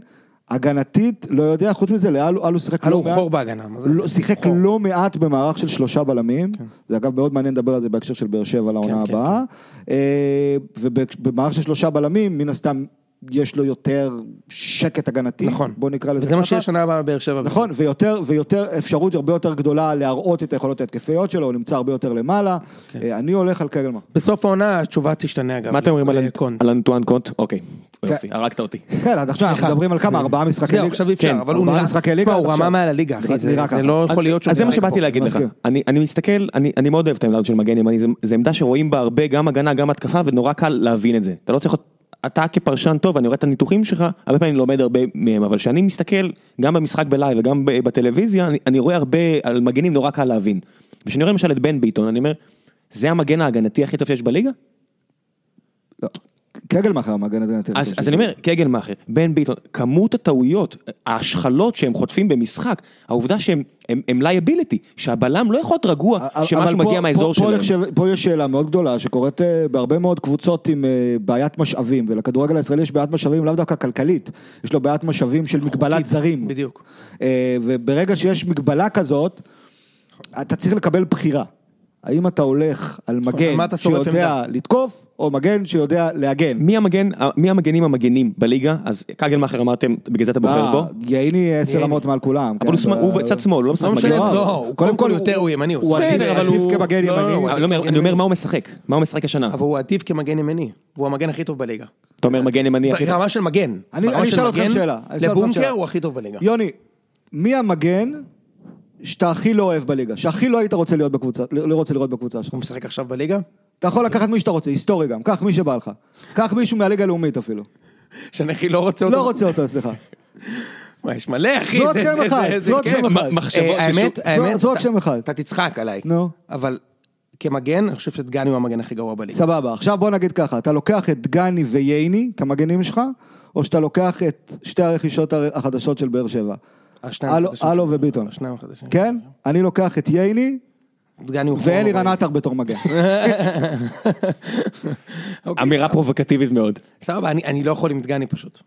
[SPEAKER 2] הגנתית, לא יודע, חוץ מזה, לאלו אלו שיחק
[SPEAKER 3] הלו,
[SPEAKER 2] לא
[SPEAKER 3] הוא
[SPEAKER 2] מעט.
[SPEAKER 3] חור בהגנה. מה זה?
[SPEAKER 2] לא, שיחק
[SPEAKER 3] חור.
[SPEAKER 2] לא מעט במערך של שלושה בלמים, זה אגב מאוד מעניין לדבר על זה בהקשר של באר שבע לעונה
[SPEAKER 3] כן,
[SPEAKER 2] הבאה, אה, ובמערך של שלושה בלמים, מן הסתם יש לו יותר שקט הגנתי,
[SPEAKER 3] נכון.
[SPEAKER 2] בוא נקרא לזה
[SPEAKER 3] וזה מה
[SPEAKER 2] ככה.
[SPEAKER 3] שיש שנה הבאה בבאר שבע.
[SPEAKER 2] נכון, ויותר, ויותר אפשרות הרבה יותר גדולה להראות את היכולות ההתקפיות שלו, הוא נמצא הרבה יותר למעלה.
[SPEAKER 3] כן.
[SPEAKER 2] אה, אני הולך על קגלמן.
[SPEAKER 3] בסוף העונה התשובה תשתנה אגב.
[SPEAKER 1] מה אתם אומרים על
[SPEAKER 3] אה, קונט?
[SPEAKER 1] על אנטואן קונט? אוקיי, יופי, הרגת אותי.
[SPEAKER 2] כן, עד עכשיו אנחנו
[SPEAKER 3] סליחה.
[SPEAKER 2] מדברים על כמה, ארבעה משחקי
[SPEAKER 3] זהו,
[SPEAKER 2] ליגה.
[SPEAKER 3] עכשיו אי אפשר,
[SPEAKER 1] כן,
[SPEAKER 3] אבל הוא
[SPEAKER 2] ארבעה
[SPEAKER 3] נראה...
[SPEAKER 2] משחקי ליגה
[SPEAKER 3] תשמע,
[SPEAKER 2] עד
[SPEAKER 3] הוא
[SPEAKER 2] עכשיו.
[SPEAKER 3] רמה מעל הליגה, אחי.
[SPEAKER 2] נראה
[SPEAKER 3] זה
[SPEAKER 2] ככה.
[SPEAKER 3] זה לא
[SPEAKER 1] אז-
[SPEAKER 3] יכול להיות שהוא...
[SPEAKER 1] אז זה מה
[SPEAKER 3] נראה
[SPEAKER 1] שבאתי
[SPEAKER 3] ככה.
[SPEAKER 1] להגיד לך.
[SPEAKER 2] מסכים.
[SPEAKER 1] אני אני מסתכל, אני אני מאוד אוהב את העמדה הזאת של מגן ימני, זה- זה עמדה שרואים בה הרבה גם הגנה, גם התקפה, ונורא קל להבין את זה. אתה לא צריך... להיות- אתה כפרשן טוב, אני רואה את הניתוחים שלך, הרבה פעמים לומד הרבה מהם, אבל כשאני מסתכל גם במשחק בלייב וגם ב- בטלוויזיה, אני, אני רואה הרבה על מגנים נורא קל להבין. וכשאני רואה למשל את בן ביטון, אני אומר, זה המגן ההגנתי הכי טוב שיש בליגה?
[SPEAKER 2] לא, קגלמאכר המגן הגנתי.
[SPEAKER 1] אז, אז אני אומר, קגלמאכר, בן ביטון, כמות הטעויות, ההשחלות שהם חוטפים במשחק, העובדה שהם הם, הם liability, שהבלם לא יכול להיות רגוע
[SPEAKER 2] אבל-
[SPEAKER 1] שמשהו
[SPEAKER 2] אבל פה-
[SPEAKER 1] מגיע מהאזור
[SPEAKER 2] פה- פה
[SPEAKER 1] שלהם.
[SPEAKER 2] נחשב- פה יש שאלה מאוד גדולה שקורית אה, בהרבה מאוד קבוצות עם אה, בעיית משאבים, ולכדורגל הישראלי יש בעיית משאבים לאו דווקא כלכלית, יש לו בעיית משאבים של מגבלת
[SPEAKER 3] חוקית,
[SPEAKER 2] זרים.
[SPEAKER 3] בדיוק.
[SPEAKER 2] אה, וברגע שיש מגבלה כזאת, אתה צריך לקבל בחירה. האם אתה הולך על
[SPEAKER 3] על נכון, מה אתה
[SPEAKER 2] מגן
[SPEAKER 3] שורף
[SPEAKER 2] שיודע
[SPEAKER 3] עמדה?
[SPEAKER 2] לתקוף, או מגן שיודע להגן?
[SPEAKER 1] מי, המגן, מי המגנים המגנים בליגה? אז קגלמאכר אמרתם, בגלל זה אתה בוחר
[SPEAKER 2] אה,
[SPEAKER 1] בו?
[SPEAKER 2] יעיני עשר
[SPEAKER 3] יעיני.
[SPEAKER 2] רמות מעל כולם.
[SPEAKER 1] אבל
[SPEAKER 2] כן,
[SPEAKER 1] הוא, שמאל,
[SPEAKER 2] ב-
[SPEAKER 1] הוא בצד שמאל, הוא לא משחק
[SPEAKER 3] לא
[SPEAKER 1] מגן.
[SPEAKER 3] משנה,
[SPEAKER 2] לא,
[SPEAKER 3] לא, הוא קודם כל יותר הוא ימני.
[SPEAKER 2] הוא
[SPEAKER 3] שמאל.
[SPEAKER 2] עדיף
[SPEAKER 1] בסדר, אבל הוא-
[SPEAKER 2] עדיף כמגן
[SPEAKER 3] לא, לא,
[SPEAKER 2] ימני.
[SPEAKER 3] הוא-
[SPEAKER 1] אני אומר- אני אומר מה הוא משחק, מה הוא משחק השנה.
[SPEAKER 3] אבל הוא עדיף כמגן ימני. הוא המגן הכי טוב בליגה.
[SPEAKER 1] אתה אומר מגן ימני הכי...
[SPEAKER 3] ברמה של מגן.
[SPEAKER 2] אני-
[SPEAKER 3] ברמה
[SPEAKER 2] אני
[SPEAKER 3] של
[SPEAKER 2] אשאל אתכם
[SPEAKER 3] מגן,
[SPEAKER 2] שאלה, אני אשאל אתכם
[SPEAKER 3] לבונקר
[SPEAKER 2] שאלה.
[SPEAKER 3] הוא הכי טוב בליגה.
[SPEAKER 2] יוני, מי המגן שאתה הכי לא אוהב בליגה? שהכי לא היית רוצה להיות בקבוצה, לא רוצה לראות בקבוצה שלך?
[SPEAKER 3] הוא משחק עכשיו בליגה?
[SPEAKER 2] אתה יכול לקחת מי שאתה רוצה, היסטורי גם, קח מי שבא לך. קח מישהו מהליגה הלאומית אפילו.
[SPEAKER 3] שאני הכי לא רוצה אותו.
[SPEAKER 2] לא רוצה אותו, סליחה.
[SPEAKER 3] וואי, יש מלא, אחי.
[SPEAKER 2] זרוק
[SPEAKER 3] זה-
[SPEAKER 2] שם
[SPEAKER 3] זה-
[SPEAKER 2] אחד,
[SPEAKER 3] זה- זה
[SPEAKER 2] זרוק
[SPEAKER 3] כיף.
[SPEAKER 2] שם אחד.
[SPEAKER 3] מ- מחשבות
[SPEAKER 1] אה,
[SPEAKER 3] ששוב-
[SPEAKER 1] האמת-
[SPEAKER 3] האמת,
[SPEAKER 2] זרוק
[SPEAKER 3] אתה-
[SPEAKER 2] שם אחד.
[SPEAKER 3] אתה תצחק עליי.
[SPEAKER 2] נו.
[SPEAKER 3] אבל כמגן, אני חושב שדגני הוא המגן הכי גרוע בליגה.
[SPEAKER 2] סבבה, עכשיו בוא נגיד ככה, אתה לוקח את דגני וייני, את המגנים שלך, או שאתה לוקח את שתי הרכישות הר- החדשות של באר שבע.
[SPEAKER 3] השניים
[SPEAKER 2] אלו- כן.
[SPEAKER 3] החדשים.
[SPEAKER 2] אלו וביטון.
[SPEAKER 3] השניים החדשים.
[SPEAKER 2] כן? אני לוקח את ייני
[SPEAKER 3] דגני הוא חור.
[SPEAKER 2] ואלירן עטר בתור מגן.
[SPEAKER 3] אוקיי,
[SPEAKER 1] אמירה
[SPEAKER 3] סבבה.
[SPEAKER 1] פרובוקטיבית מאוד.
[SPEAKER 3] סבבה, אני- אני לא יכול עם דגני פשוט.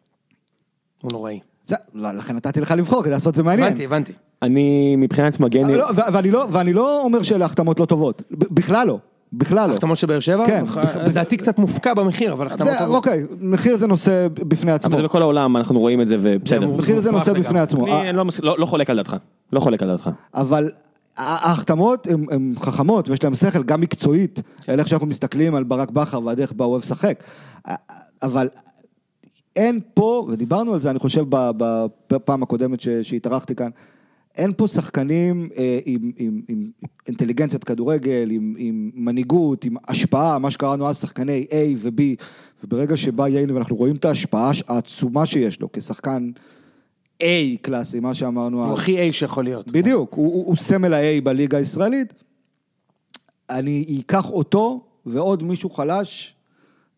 [SPEAKER 3] הוא נוראי.
[SPEAKER 2] זה- לא, לכן נתתי לך לבחור, כדי לעשות את זה מעניין.
[SPEAKER 3] הבנתי, הבנתי.
[SPEAKER 1] אני מבחינת מגן...
[SPEAKER 2] לא, ו- ואני לא- ואני לא אומר שאלה החתמות לא טובות, ב- בכלל לא, בכלל לא.
[SPEAKER 3] החתמות לא של באר שבע?
[SPEAKER 2] כן.
[SPEAKER 3] בח- לדעתי קצת מופקע במחיר, אבל החתמות...
[SPEAKER 2] זה- אוקיי, מחיר זה נושא בפני עצמו.
[SPEAKER 1] אבל זה בכל העולם, אנחנו רואים את זה, ובסדר.
[SPEAKER 3] זה
[SPEAKER 2] מחיר זה
[SPEAKER 3] לא מופרך
[SPEAKER 2] נושא
[SPEAKER 3] לגמרי.
[SPEAKER 2] בפני עצמו. אה,
[SPEAKER 1] אני אני לא מס- לא לא חולק על דעתך. לא חולק על דעתך.
[SPEAKER 2] אבל ההחתמות הן- הן חכמות ויש להן שכל, גם מקצועית, על איך שאנחנו מסתכלים על ברק בכר והדרך בה הוא אוהב לשחק. אבל אין פה, ודיברנו על זה, אני חושב, ב- בפעם הקודמת ש- שהתארחתי כאן, אין פה שחקנים אה, עם, עם, עם אינטליגנציית כדורגל, עם, עם מנהיגות, עם השפעה, מה שקראנו אז שחקני A ו-B, וברגע שבא ייני ואנחנו רואים את ההשפעה העצומה שיש לו כשחקן A קלאסי, מה שאמרנו
[SPEAKER 3] הוא
[SPEAKER 2] אז.
[SPEAKER 3] הכי איי שיכול להיות.
[SPEAKER 2] בדיוק, הוא, הוא, הוא סמל ה-A בליגה הישראלית. אני אקח אותו ועוד מישהו חלש.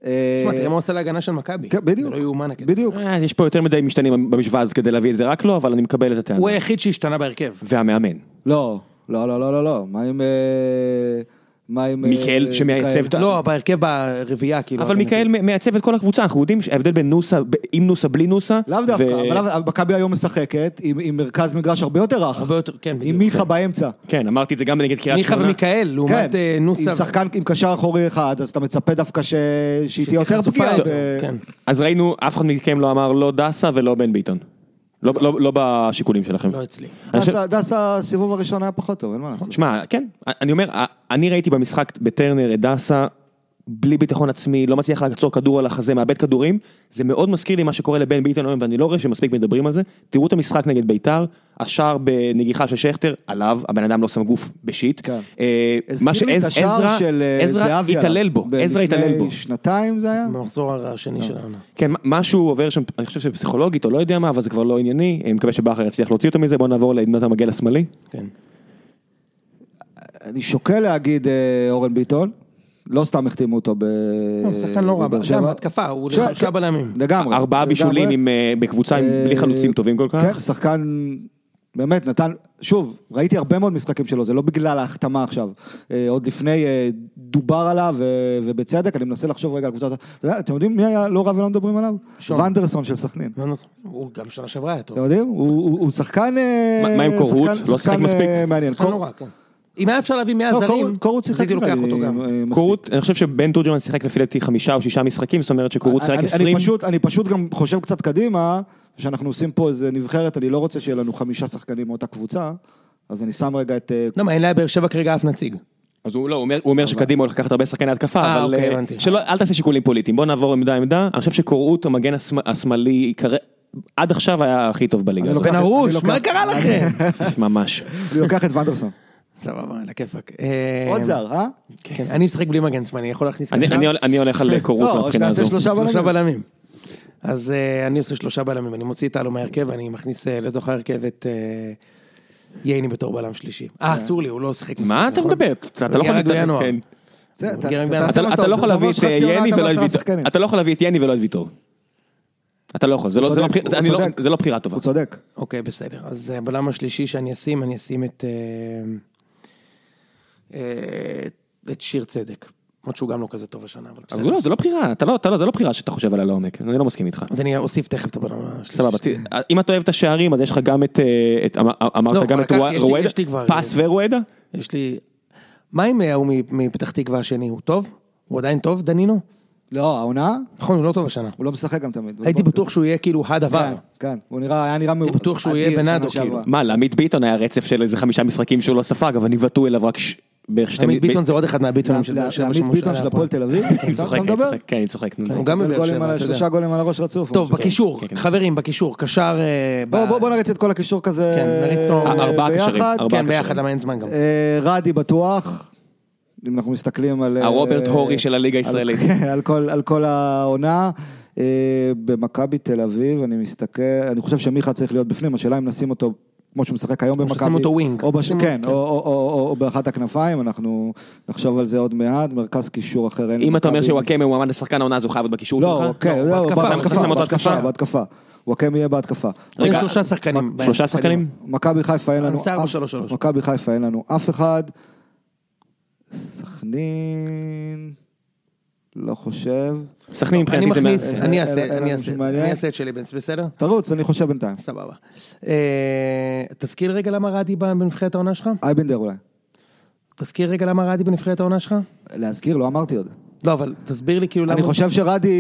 [SPEAKER 2] אה,
[SPEAKER 3] תשמע, תראה מה הוא עושה להגנה של מכבי.
[SPEAKER 2] כן, בדיוק.
[SPEAKER 3] זה לא יאומן הקטע.
[SPEAKER 2] בדיוק.
[SPEAKER 1] אה, יש פה יותר מדי משתנים במשוואה הזאת כדי להביא את זה רק לו, אבל אני מקבל את הטענה.
[SPEAKER 3] הוא היחיד שהשתנה בהרכב.
[SPEAKER 1] והמאמן.
[SPEAKER 2] לא, לא, לא, לא, לא, לא. מה עם... אה, מה עם... אה,
[SPEAKER 1] מיכאל, שמייצב את ה...
[SPEAKER 3] לא, בהרכב ברביעייה, כאילו.
[SPEAKER 1] אבל מיכאל
[SPEAKER 3] הגנתית.
[SPEAKER 1] מ- מייצב את כל הקבוצה, אנחנו יודעים שההבדל בין נוסה, ב- עם נוסה, בלי נוסה.
[SPEAKER 2] לאו דווקא,
[SPEAKER 1] ו-
[SPEAKER 2] אבל לאו- מכבי היום משחקת עם, עם מרכז מגרש הרבה יותר רך.
[SPEAKER 3] הרבה יותר, כן,
[SPEAKER 2] עם
[SPEAKER 3] בדיוק.
[SPEAKER 2] מיכה באמצע. כן,
[SPEAKER 1] כן, אמרתי את זה גם נגד קריית
[SPEAKER 3] מיכה
[SPEAKER 1] שמונה.
[SPEAKER 3] ומיכאל, לעומת אה, נוסה.
[SPEAKER 2] עם שחקן עם קשר אחורי אחד, אז אתה מצפה דווקא ש... שהיא תהיה יותר
[SPEAKER 3] חשופה
[SPEAKER 2] פגיעה.
[SPEAKER 3] יותר,
[SPEAKER 2] ב-
[SPEAKER 3] כן.
[SPEAKER 1] אז ראינו, אף אחד מכם לא אמר לא דסה ולא בן ביטון. לא- לא לא בשיקולים שלכם.
[SPEAKER 3] לא אצלי.
[SPEAKER 1] אני חושב-
[SPEAKER 2] דסה- דסה, הסיבוב הראשון היה פחות טוב, אין מה לעשות.
[SPEAKER 1] שמע, כן, אני אומר, אני ראיתי במשחק בטרנר את דסה, בלי ביטחון עצמי, לא מצליח לעצור כדור על החזה, מאבד כדורים, זה מאוד מזכיר לי מה שקורה לבן ביטון היום, ואני לא רואה שמספיק מדברים על זה, תראו את המשחק נגד ביתר, השער בנגיחה של שכטר, עליו, הבן אדם לא שם גוף בשיט,
[SPEAKER 2] כן.
[SPEAKER 1] אה, מה
[SPEAKER 2] הזכיר לי את השער
[SPEAKER 1] שעזרא,
[SPEAKER 2] של, אה,
[SPEAKER 1] עזרא
[SPEAKER 2] זהבי
[SPEAKER 1] התעלל
[SPEAKER 2] עליו,
[SPEAKER 1] בו,
[SPEAKER 2] ב-
[SPEAKER 1] עזרא התעלל בו.
[SPEAKER 2] לפני שנתיים זה היה?
[SPEAKER 3] במחזור
[SPEAKER 2] אה.
[SPEAKER 3] השני של העונה.
[SPEAKER 1] כן, משהו עובר שם, אני חושב שפסיכולוגית או לא יודע מה, אבל זה כבר לא ענייני, אני מקווה שבכר יצליח להוציא אותו מזה, בואו נעבור לעמדת המגן השמאלי.
[SPEAKER 3] כן.
[SPEAKER 2] אני שוקל להגיד אה, אורן ביטון. לא סתם החתימו אותו ב...
[SPEAKER 3] הוא שחקן לא רע,
[SPEAKER 2] בבאר
[SPEAKER 3] גם
[SPEAKER 2] שבע.
[SPEAKER 3] בהתקפה, הוא
[SPEAKER 2] ש-
[SPEAKER 3] לחלושה
[SPEAKER 2] כן,
[SPEAKER 3] בלמים.
[SPEAKER 2] לגמרי.
[SPEAKER 1] ארבעה
[SPEAKER 2] לגמרי.
[SPEAKER 1] בישולים עם, אה, בקבוצה עם בלי
[SPEAKER 2] אה,
[SPEAKER 1] חלוצים טובים כל כך.
[SPEAKER 2] כן, שחקן באמת נתן, שוב, ראיתי הרבה מאוד משחקים שלו, זה לא בגלל ההחתמה עכשיו. אה, עוד לפני אה, דובר עליו, ו- ובצדק, אני מנסה לחשוב רגע על קבוצת... אתה יודע, אתם יודעים מי היה לא רע ולא מדברים עליו?
[SPEAKER 3] שון.
[SPEAKER 2] ונדרסון של סכנין.
[SPEAKER 3] לא, הוא גם שנה שעברה היה טוב.
[SPEAKER 2] אתם יודעים? הוא- הוא הוא שחקן... אה,
[SPEAKER 1] מה- מה עם קורות?
[SPEAKER 2] שחקן-
[SPEAKER 1] לא שיחק
[SPEAKER 2] שחקן,
[SPEAKER 1] מספיק?
[SPEAKER 2] אה, מעניין.
[SPEAKER 3] שחקן לא רע, כן. אם היה אפשר להביא 100
[SPEAKER 2] לא,
[SPEAKER 3] זרים,
[SPEAKER 2] קורות- קורות שיחק.
[SPEAKER 3] הייתי לוקח
[SPEAKER 2] נראה לי,
[SPEAKER 3] אותו גם.
[SPEAKER 2] אה, מספיק.
[SPEAKER 1] קורות, אני חושב שבן תורג'מן שיחק לפי דעתי חמישה או שישה משחקים, זאת אומרת שקורות שיחק
[SPEAKER 2] אני-
[SPEAKER 1] עשרים.
[SPEAKER 2] אני פשוט, אני פשוט גם חושב קצת קדימה, שאנחנו עושים פה איזה נבחרת, אני לא רוצה שיהיה לנו חמישה שחקנים מאותה קבוצה, אז אני שם רגע
[SPEAKER 3] <laughs>
[SPEAKER 2] את... אה,
[SPEAKER 3] למה, לא, אין לבאר שבע כרגע אף נציג.
[SPEAKER 1] אז הוא לא, הוא אומר- הוא אומר שקדימה הולך לקחת הרבה שחקני התקפה,
[SPEAKER 3] אה,
[SPEAKER 1] אבל
[SPEAKER 3] אוקיי,
[SPEAKER 1] אה,
[SPEAKER 3] הבנתי.
[SPEAKER 1] שלא, אל תעשה שיקולים פוליטיים, בוא נעבור עמדה עמדה. אני חושב שקורות המגן השמ- השמאלי, כר- עד עכשיו היה הכי טוב בליגה
[SPEAKER 2] אני
[SPEAKER 1] הזאת,
[SPEAKER 2] לוקח-
[SPEAKER 3] בן ארוש,
[SPEAKER 2] לא אני
[SPEAKER 3] מה
[SPEAKER 2] לוקח-
[SPEAKER 3] קרה
[SPEAKER 2] <laughs>
[SPEAKER 3] לכם?
[SPEAKER 1] ממש.
[SPEAKER 2] אני לוקח את ונדרסון.
[SPEAKER 3] סבבה, על הכיפאק.
[SPEAKER 2] עוד זר, אה?
[SPEAKER 3] כן, אני משחק בלי מגן שמאלי, אני יכול להכניס
[SPEAKER 1] אני-
[SPEAKER 3] קשר?
[SPEAKER 1] אני הול- אני הולך על קורות
[SPEAKER 2] לא,
[SPEAKER 1] מהבחינה
[SPEAKER 2] שנעשה
[SPEAKER 1] הזו.
[SPEAKER 2] שלושה
[SPEAKER 3] שלושה
[SPEAKER 2] בלמים.
[SPEAKER 3] בלמים. אז אה, אני עושה שלושה בלמים, אני מוציא את הלו מההרכב ואני מכניס אה, לתוך ההרכב את אה, ייני בתור בלם שלישי. אה, אסור לי, הוא לא שיחק.
[SPEAKER 1] מה
[SPEAKER 3] מספיק,
[SPEAKER 1] אתה
[SPEAKER 3] נכון?
[SPEAKER 1] מדבר? אתה אתה לא
[SPEAKER 3] הגיע
[SPEAKER 1] יכול
[SPEAKER 3] רק
[SPEAKER 1] לתת-
[SPEAKER 3] בינואר.
[SPEAKER 1] כן.
[SPEAKER 2] זה, אתה-
[SPEAKER 3] גרינג
[SPEAKER 2] אתה
[SPEAKER 3] בן-
[SPEAKER 2] תעשה
[SPEAKER 1] אתה-
[SPEAKER 2] מה שאתה
[SPEAKER 1] אתה לא יכול
[SPEAKER 2] רוצה,
[SPEAKER 1] להביא
[SPEAKER 2] זה
[SPEAKER 1] את
[SPEAKER 2] ממש חצי עונה,
[SPEAKER 1] יני
[SPEAKER 2] אתה
[SPEAKER 1] ולא את
[SPEAKER 2] בעשרה
[SPEAKER 1] ויטור.
[SPEAKER 2] שחקנים.
[SPEAKER 1] אתה לא יכול להביא את יני ולא את ויטור. אתה לא יכול, זה לא-
[SPEAKER 2] הוא
[SPEAKER 1] זה לא
[SPEAKER 2] צודק,
[SPEAKER 1] בחירה- זה-
[SPEAKER 2] הוא
[SPEAKER 1] אני לא-
[SPEAKER 2] צודק.
[SPEAKER 1] זה לא בחירה טובה.
[SPEAKER 2] הוא צודק.
[SPEAKER 3] אוקיי, בסדר. אז הבלם השלישי שאני אשים, אני אשים את... אה, אה, את שיר צדק. למרות שהוא גם לא כזה טוב השנה, אבל
[SPEAKER 1] אבל
[SPEAKER 3] בסדר.
[SPEAKER 1] לא, זה לא בחירה, אתה לא- אתה לא- זה לא בחירה שאתה חושב עליה לעומק, אני לא מסכים איתך.
[SPEAKER 3] אז אני אוסיף תכף את הבלם השלישי.
[SPEAKER 1] סבבה, ת- אה, אם אתה אוהב את השערים אז יש לך גם את, אה, את- אמר-
[SPEAKER 3] לא,
[SPEAKER 1] אמרת גם
[SPEAKER 3] כבר
[SPEAKER 1] את
[SPEAKER 3] לקחתי,
[SPEAKER 1] רואד-
[SPEAKER 3] יש לי-
[SPEAKER 1] רואדה,
[SPEAKER 3] יש לי כבר- אה,
[SPEAKER 1] פס ורואדה,
[SPEAKER 3] יש לי... מה עם ההוא מ- מפתח תקווה השני? הוא טוב? הוא עדיין טוב, דנינו?
[SPEAKER 2] לא, העונה,
[SPEAKER 3] נכון, הוא לא טוב השנה.
[SPEAKER 2] הוא לא משחק גם תמיד.
[SPEAKER 3] הייתי
[SPEAKER 2] בוא-
[SPEAKER 3] בטוח שהוא יהיה כאילו הדבר.
[SPEAKER 2] כן, כן, הוא נראה, היה נראה...
[SPEAKER 3] הייתי
[SPEAKER 2] מעו-
[SPEAKER 3] בטוח שהוא יהיה
[SPEAKER 2] אדיר
[SPEAKER 3] בנאדו,
[SPEAKER 2] שנה שעברה.
[SPEAKER 1] מה לעמית ביטון היה רצף של איזה חמישה משחקים שהוא לא ספג אבל ניווטו אליו רק ש- בערך שתי,
[SPEAKER 3] עמית
[SPEAKER 1] מ-
[SPEAKER 3] ביטון זה עוד אחד מהביטונים של
[SPEAKER 2] כן, לה-
[SPEAKER 3] באר שבע
[SPEAKER 2] להעמיד ביטון של
[SPEAKER 3] שמושל
[SPEAKER 2] הפועל תל
[SPEAKER 1] <laughs>
[SPEAKER 2] אביב?
[SPEAKER 1] אני צוחק, אני צוחק, כן אני צוחק, נו,
[SPEAKER 3] כן,
[SPEAKER 1] די.
[SPEAKER 3] הוא גם
[SPEAKER 2] קיבל
[SPEAKER 3] בבאר
[SPEAKER 2] גולים על
[SPEAKER 3] שבע,
[SPEAKER 2] ה-
[SPEAKER 3] אתה יודע.
[SPEAKER 2] שלושה גולים על הראש רצוף.
[SPEAKER 3] טוב, בקישור,
[SPEAKER 1] כן, כן.
[SPEAKER 3] חברים, בקישור, קשר... אה, ב-
[SPEAKER 2] אוקיי. בוא, בוא, בוא נריץ את כל הקישור כזה
[SPEAKER 3] כן, נריץ אותו.
[SPEAKER 2] אה,
[SPEAKER 1] ארבעה
[SPEAKER 2] ביחד.
[SPEAKER 1] קשרים, ארבעה.
[SPEAKER 3] כן, ביחד,
[SPEAKER 1] קשרים.
[SPEAKER 3] למה אין זמן גם.
[SPEAKER 2] אה, רדי בטוח, אם אנחנו מסתכלים על... אה,
[SPEAKER 1] הרוברט הורי של הליגה
[SPEAKER 2] על-
[SPEAKER 1] הישראלית.
[SPEAKER 2] כן, <laughs> על כל- על כל העונה. אה, במכבי תל אביב, אני מסתכל, אני חושב שמיכה צריך להיות בפנים, השאלה אם נשים אותו כמו שהוא משחק היום במכבי.
[SPEAKER 3] ששמים אותו wing.
[SPEAKER 2] או בש-
[SPEAKER 3] שמים-
[SPEAKER 2] כן,
[SPEAKER 3] כן.
[SPEAKER 2] או- או- או- או- או באחת הכנפיים, אנחנו נחשוב על זה עוד מעט, מרכז קישור אחר אין
[SPEAKER 1] אם אתה אומר
[SPEAKER 2] למכבי.
[SPEAKER 1] שוואקמה הוא מועמד לשחקן העונה אז הוא חייב להיות בקישור
[SPEAKER 2] לא,
[SPEAKER 1] שלך,
[SPEAKER 2] אוקיי,
[SPEAKER 3] לא,
[SPEAKER 2] לא,
[SPEAKER 3] בהתקפה,
[SPEAKER 2] בהתקפה,
[SPEAKER 1] אתה שם אותו
[SPEAKER 2] בהתקפה,
[SPEAKER 1] התקפה?
[SPEAKER 2] בהתקפה. וואקמה יהיה בהתקפה.
[SPEAKER 3] יש
[SPEAKER 1] רגע,
[SPEAKER 3] שלושה שחקנים.
[SPEAKER 1] לא. שלושה שחקנים,
[SPEAKER 3] אה,
[SPEAKER 2] מכבי חיפה אין לנו...
[SPEAKER 3] אנסאר
[SPEAKER 2] אף-
[SPEAKER 3] בשלוש שלוש.
[SPEAKER 2] מכבי חיפה אין לנו אף אחד. סכנין, לא חושב.
[SPEAKER 1] סכנין
[SPEAKER 3] אני
[SPEAKER 1] מבחינתי זה...
[SPEAKER 3] מכניס,
[SPEAKER 1] מה-
[SPEAKER 2] מה-
[SPEAKER 3] אני
[SPEAKER 2] אה,
[SPEAKER 3] אעשה,
[SPEAKER 2] אה,
[SPEAKER 3] אני
[SPEAKER 2] אה,
[SPEAKER 3] אעשה את זה,
[SPEAKER 2] מעניין.
[SPEAKER 3] אני אעשה את שלי, בנס, בסדר?
[SPEAKER 2] תרוץ, אני חושב בינתיים.
[SPEAKER 3] סבבה. אה, תזכיר רגע למה רדי בא בנבחרת העונה שלך?
[SPEAKER 2] אייבנדר אולי.
[SPEAKER 3] תזכיר רגע למה רדי בנבחרת העונה שלך?
[SPEAKER 2] להזכיר, לא אמרתי עוד.
[SPEAKER 3] לא, אבל תסביר לי כאילו למה...
[SPEAKER 2] אני חושב שרדי